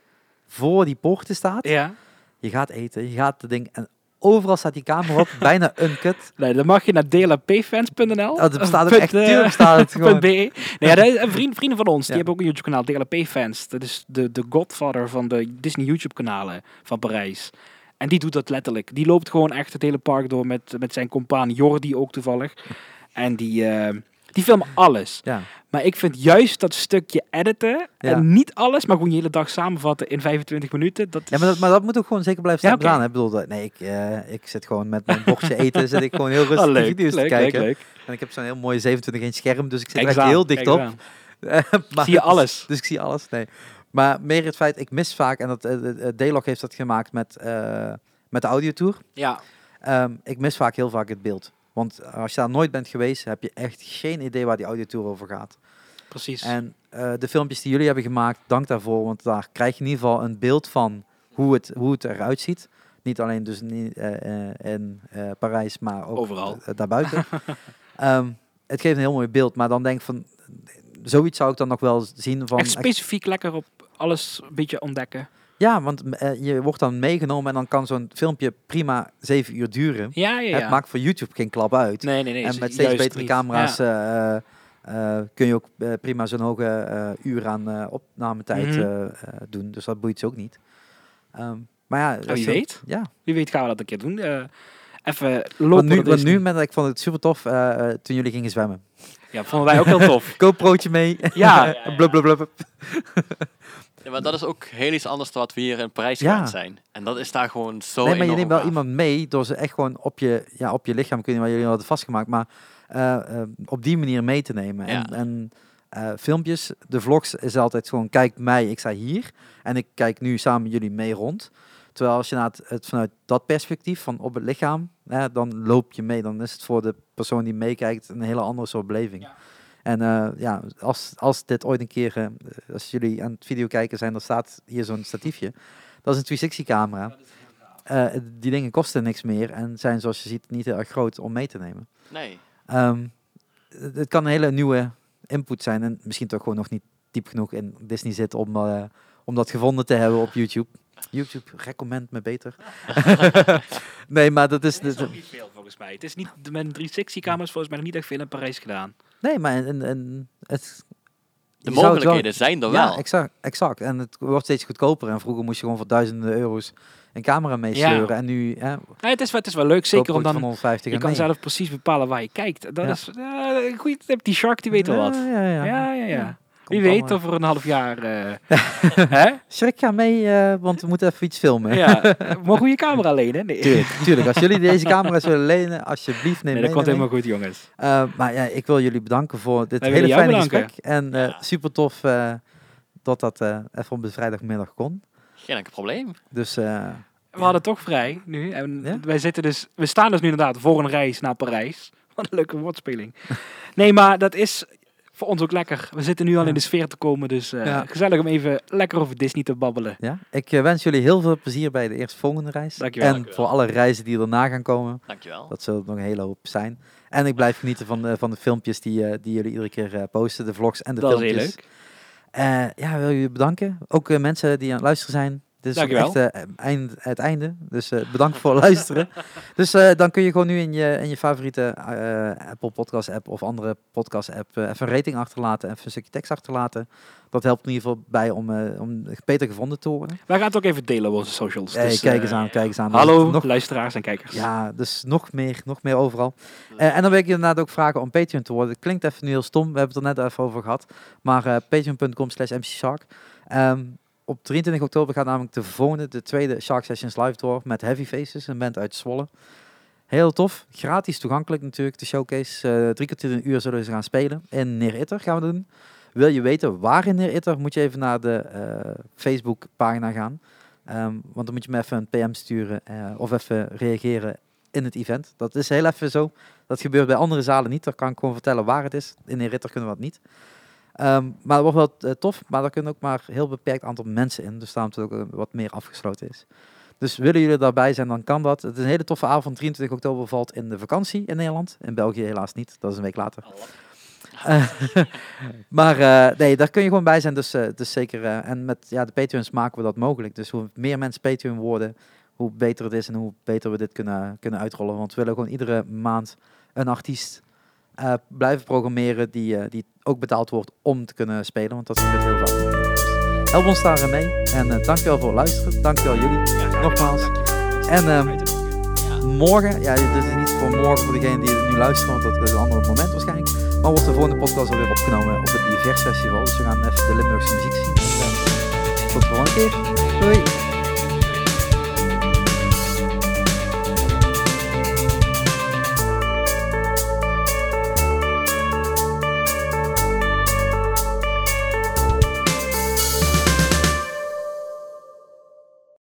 A: voor die poorten staat,
B: Ja.
A: Je gaat eten, je gaat de ding. En overal staat die camera op, bijna uncut.
B: Nee, dan mag je naar dlapfans.nl.
A: Oh, dat bestaat ook
B: Punt,
A: echt,
B: eh,
A: tuurlijk bestaat het
B: punt
A: gewoon.
B: BE. Nee, ja, dat is- eh, vriend, vrienden van ons, die
A: Ja.
B: hebben ook een YouTube-kanaal, DLP Fans. Dat is de, de godfather van de Disney YouTube-kanalen van Parijs. En die doet dat letterlijk. Die loopt gewoon echt het hele park door met, met zijn compaan Jordi ook toevallig. En die, eh, die filmen alles.
A: Ja.
B: Maar ik vind juist dat stukje editen,
A: Ja.
B: en niet alles, maar gewoon je hele dag samenvatten in 25 minuten. Dat is...
A: Ja, maar dat, maar dat moet ook gewoon zeker blijven
B: Ja,
A: staan.
B: oké.
A: gedaan, hè. Ik bedoel, dat- nee, ik, eh, ik zit gewoon met mijn bordje eten, zit ik gewoon heel rustig
B: Ah,
A: de video's te kijken.
B: leuk.
A: En ik heb zo'n heel mooi 27 inch scherm, dus ik zit er echt
B: Kijk eens aan,
A: heel dicht
B: kijk
A: op.
B: eens aan.
A: Maar
B: Zie je
A: dus-
B: alles?
A: Dus ik zie alles, nee. Maar meer het feit, ik mis vaak, en dat eh, eh, eh, D-Log heeft dat gemaakt met, eh, met de audiotour.
B: Ja,
A: Ehm, ik mis vaak heel vaak het beeld. Want als je daar nooit bent geweest, heb je echt geen idee waar die audiotour over gaat.
B: precies.
A: En eh, de filmpjes die jullie hebben gemaakt, dank daarvoor. Want daar krijg je in ieder geval een beeld van hoe het, hoe het eruit ziet. Niet alleen dus niet, eh, eh, in eh, Parijs, maar ook
B: Overal.
A: eh, daarbuiten. Ehm, het geeft een heel mooi beeld. Maar dan denk ik van, zoiets zou ik dan nog wel zien van...
B: echt specifiek lekker op alles een beetje ontdekken.
A: Ja, want eh, je wordt dan meegenomen en dan kan zo'n filmpje prima zeven uur duren.
B: Ja, ja, ja.
A: Het maakt voor YouTube geen klap uit.
B: Nee, nee, nee.
A: en
B: ju-
A: met steeds
B: juist
A: betere
B: niet.
A: camera's
B: Ja.
A: eh, eh, eh, kun je ook eh, prima zo'n hoge eh, uur aan eh, opnametijd
B: Mhm.
A: eh, eh, doen. Dus dat boeit ze ook niet. Ehm, maar ja, dat
B: wie
A: is-
B: Oh, weet.
A: Ja,
B: Wie weet gaan we dat een keer doen. Eh, even
A: want
B: lopen.
A: nu,
B: op
A: want nu
B: Disney.
A: met, ik vond het super tof eh, eh, toen jullie gingen zwemmen.
B: Ja, vonden wij ook heel tof.
A: GoPro'tje mee.
B: Ja, ja, ja.
A: blub, blub, blub.
C: Ja, maar dat is ook heel iets anders dan wat we hier in Parijs
A: Ja.
C: gewend zijn. En dat is daar gewoon zo
A: nee, maar je
C: enorm
A: neemt wel
C: gaaf.
A: iemand mee door ze echt gewoon op je, ja, op je lichaam, ik weet niet waar jullie hadden vastgemaakt, maar eh, eh, op die manier mee te nemen.
C: Ja.
A: En, en eh, filmpjes, de vlogs is altijd gewoon, kijk mij, ik sta hier en ik kijk nu samen jullie mee rond. Terwijl als je naar het, het vanuit dat perspectief van op het lichaam, hè, dan loop je mee. Dan is het voor de persoon die meekijkt een hele andere soort beleving.
B: Ja.
A: En eh, ja, als, als dit ooit een keer, eh, als jullie aan het video kijken zijn, dan staat hier zo'n statiefje. Dat is een 360-camera. Eh, die dingen kosten niks meer en zijn, zoals je ziet, niet heel erg groot om mee te nemen.
C: Nee.
A: Ehm, het het kan een hele nieuwe input zijn en misschien toch gewoon nog niet diep genoeg in Disney zit om, eh, om dat gevonden te hebben op YouTube. YouTube, recommend me beter. nee, maar dat is... dus-
B: Het is
A: dat-
B: ook niet veel volgens mij. Het is niet, met een 360-camera's volgens mij nog niet echt veel in Parijs gedaan.
A: nee, maar en, en, het, je zou
C: De
A: het wel-
C: mogelijkheden zijn er
A: ja,
C: wel.
A: exact, exact. En het wordt steeds goedkoper. En vroeger moest je gewoon voor duizenden euro's een camera meesleuren. En nu... hè,
B: Nee, het, is, wel- het is wel leuk, zeker
A: GoPro's
B: omdat
A: van 150
B: je
A: en
B: kan
A: mee.
B: zelf precies bepalen waar je kijkt. Dat
A: Ja.
B: is eh, een goede tip. Die shark die weet wel
A: Ja,
B: wat.
A: Ja, ja.
B: Ja, ja, ja.
A: Ja.
B: Wie
A: Komt
B: weet
A: allemaal.
B: over een half jaar. eh, hè?
A: Schrik, ga mee, eh, want we moeten even iets filmen.
B: Ja. Mogen we je camera lenen? Nee.
A: Tuurlijk, tuurlijk. Als jullie deze camera's willen lenen, alsjeblieft neem
B: Nee,
A: mee
B: dat komt
A: naar
B: helemaal goed, jongens.
A: mij. Eh, maar ja, ik wil jullie bedanken voor dit
B: Wij willen
A: hele
B: jou
A: fijne
B: bedanken.
A: gesprek. En eh,
C: Ja.
A: super tof eh, dat dat eh, even op de vrijdagmiddag kon.
C: Geen enkel probleem.
A: Dus eh,
B: We hadden toch vrij nu. En
A: Ja?
B: wij zitten dus, we staan dus nu inderdaad voor een reis naar Parijs. Wat een leuke woordspeling. Nee, maar dat is voor ons ook lekker. We zitten nu al
A: Ja.
B: in de sfeer te komen, dus eh,
A: Ja.
B: gezellig om even lekker over Disney te babbelen.
A: ja, ik eh, wens jullie heel veel plezier bij de eerstvolgende reis.
B: Dankjewel,
A: en
C: dankjewel.
A: voor alle reizen die erna gaan komen.
C: Dankjewel.
A: Dat zullen er nog een hele hoop zijn. En ik blijf genieten van, de- van de filmpjes die, eh, die jullie iedere keer eh, posten. De vlogs en de
B: dat is heel
A: filmpjes.
B: leuk.
A: Eh, ja, wil jullie bedanken. Ook eh, mensen die aan het luisteren zijn. Dit is
B: Dankjewel.
A: echt eh, eind, het einde. Dus eh, bedankt voor het luisteren. Dus eh, dan kun je gewoon nu in je, in je favoriete eh, Apple Podcast app of andere podcast app eh, even een rating achterlaten. Even een stukje tekst achterlaten. Dat helpt in ieder geval bij om, eh, om beter gevonden te worden.
B: Wij gaan het ook even delen op onze socials.
A: Hey,
B: dus,
A: kijk
B: eh,
A: eens aan, kijk eens aan.
B: Hallo,
A: Nog,
B: luisteraars en kijkers.
A: ja, dus nog meer, nog meer overal.
C: Dus-
A: Eh, en dan wil ik je inderdaad ook vragen om Patreon te worden. Het klinkt even nu heel stom, we hebben het er net even over gehad. Maar eh, patreon.com slash mcshark. Ehm, op 23 oktober gaat namelijk de volgende, de tweede Shark Sessions live door met Heavy Faces, een band uit Zwolle. Heel tof, gratis toegankelijk natuurlijk, de showcase. Eh, drie kwartier een uur zullen ze gaan spelen in Neeritter gaan we doen. Wil je weten waar in Neeritter, moet je even naar de eh Facebookpagina gaan. Ehm, want dan moet je me even een PM sturen eh, of even reageren in het event. Dat is heel even zo. Dat gebeurt bij andere zalen niet. Daar kan ik gewoon vertellen waar het is. In een ritter kunnen we dat niet. Ehm, maar dat wordt wel eh, tof. Maar daar kunnen ook maar een heel beperkt aantal mensen in. Dus daarom dat het ook eh, wat meer afgesloten is. Dus willen jullie daarbij zijn, dan kan dat. Het is een hele toffe avond. 23 oktober valt in de vakantie in Nederland. In België helaas niet. Dat is een week later. Eh, maar eh, nee, daar kun je gewoon bij zijn. Dus, eh, dus zeker. eh, en met ja, de Patreons maken we dat mogelijk. Dus hoe meer mensen Patreon worden, hoe beter het is en hoe beter we dit kunnen, kunnen uitrollen. Want we willen gewoon iedere maand een artiest eh, blijven programmeren die, eh, die ook betaald wordt om te kunnen spelen. Want dat gebeurt heel vaak. Dus help ons daarin mee. En eh, dankjewel voor het luisteren. Dankjewel jullie. Nogmaals. En En ehm, morgen, ja, dit is niet voor morgen voor degene die het nu luisteren, want dat is een ander moment waarschijnlijk. Maar wordt de volgende podcast alweer opgenomen op het Divers Festival. Dus we gaan even de Limburgse muziek zien. En, eh, tot de volgende keer. Doei!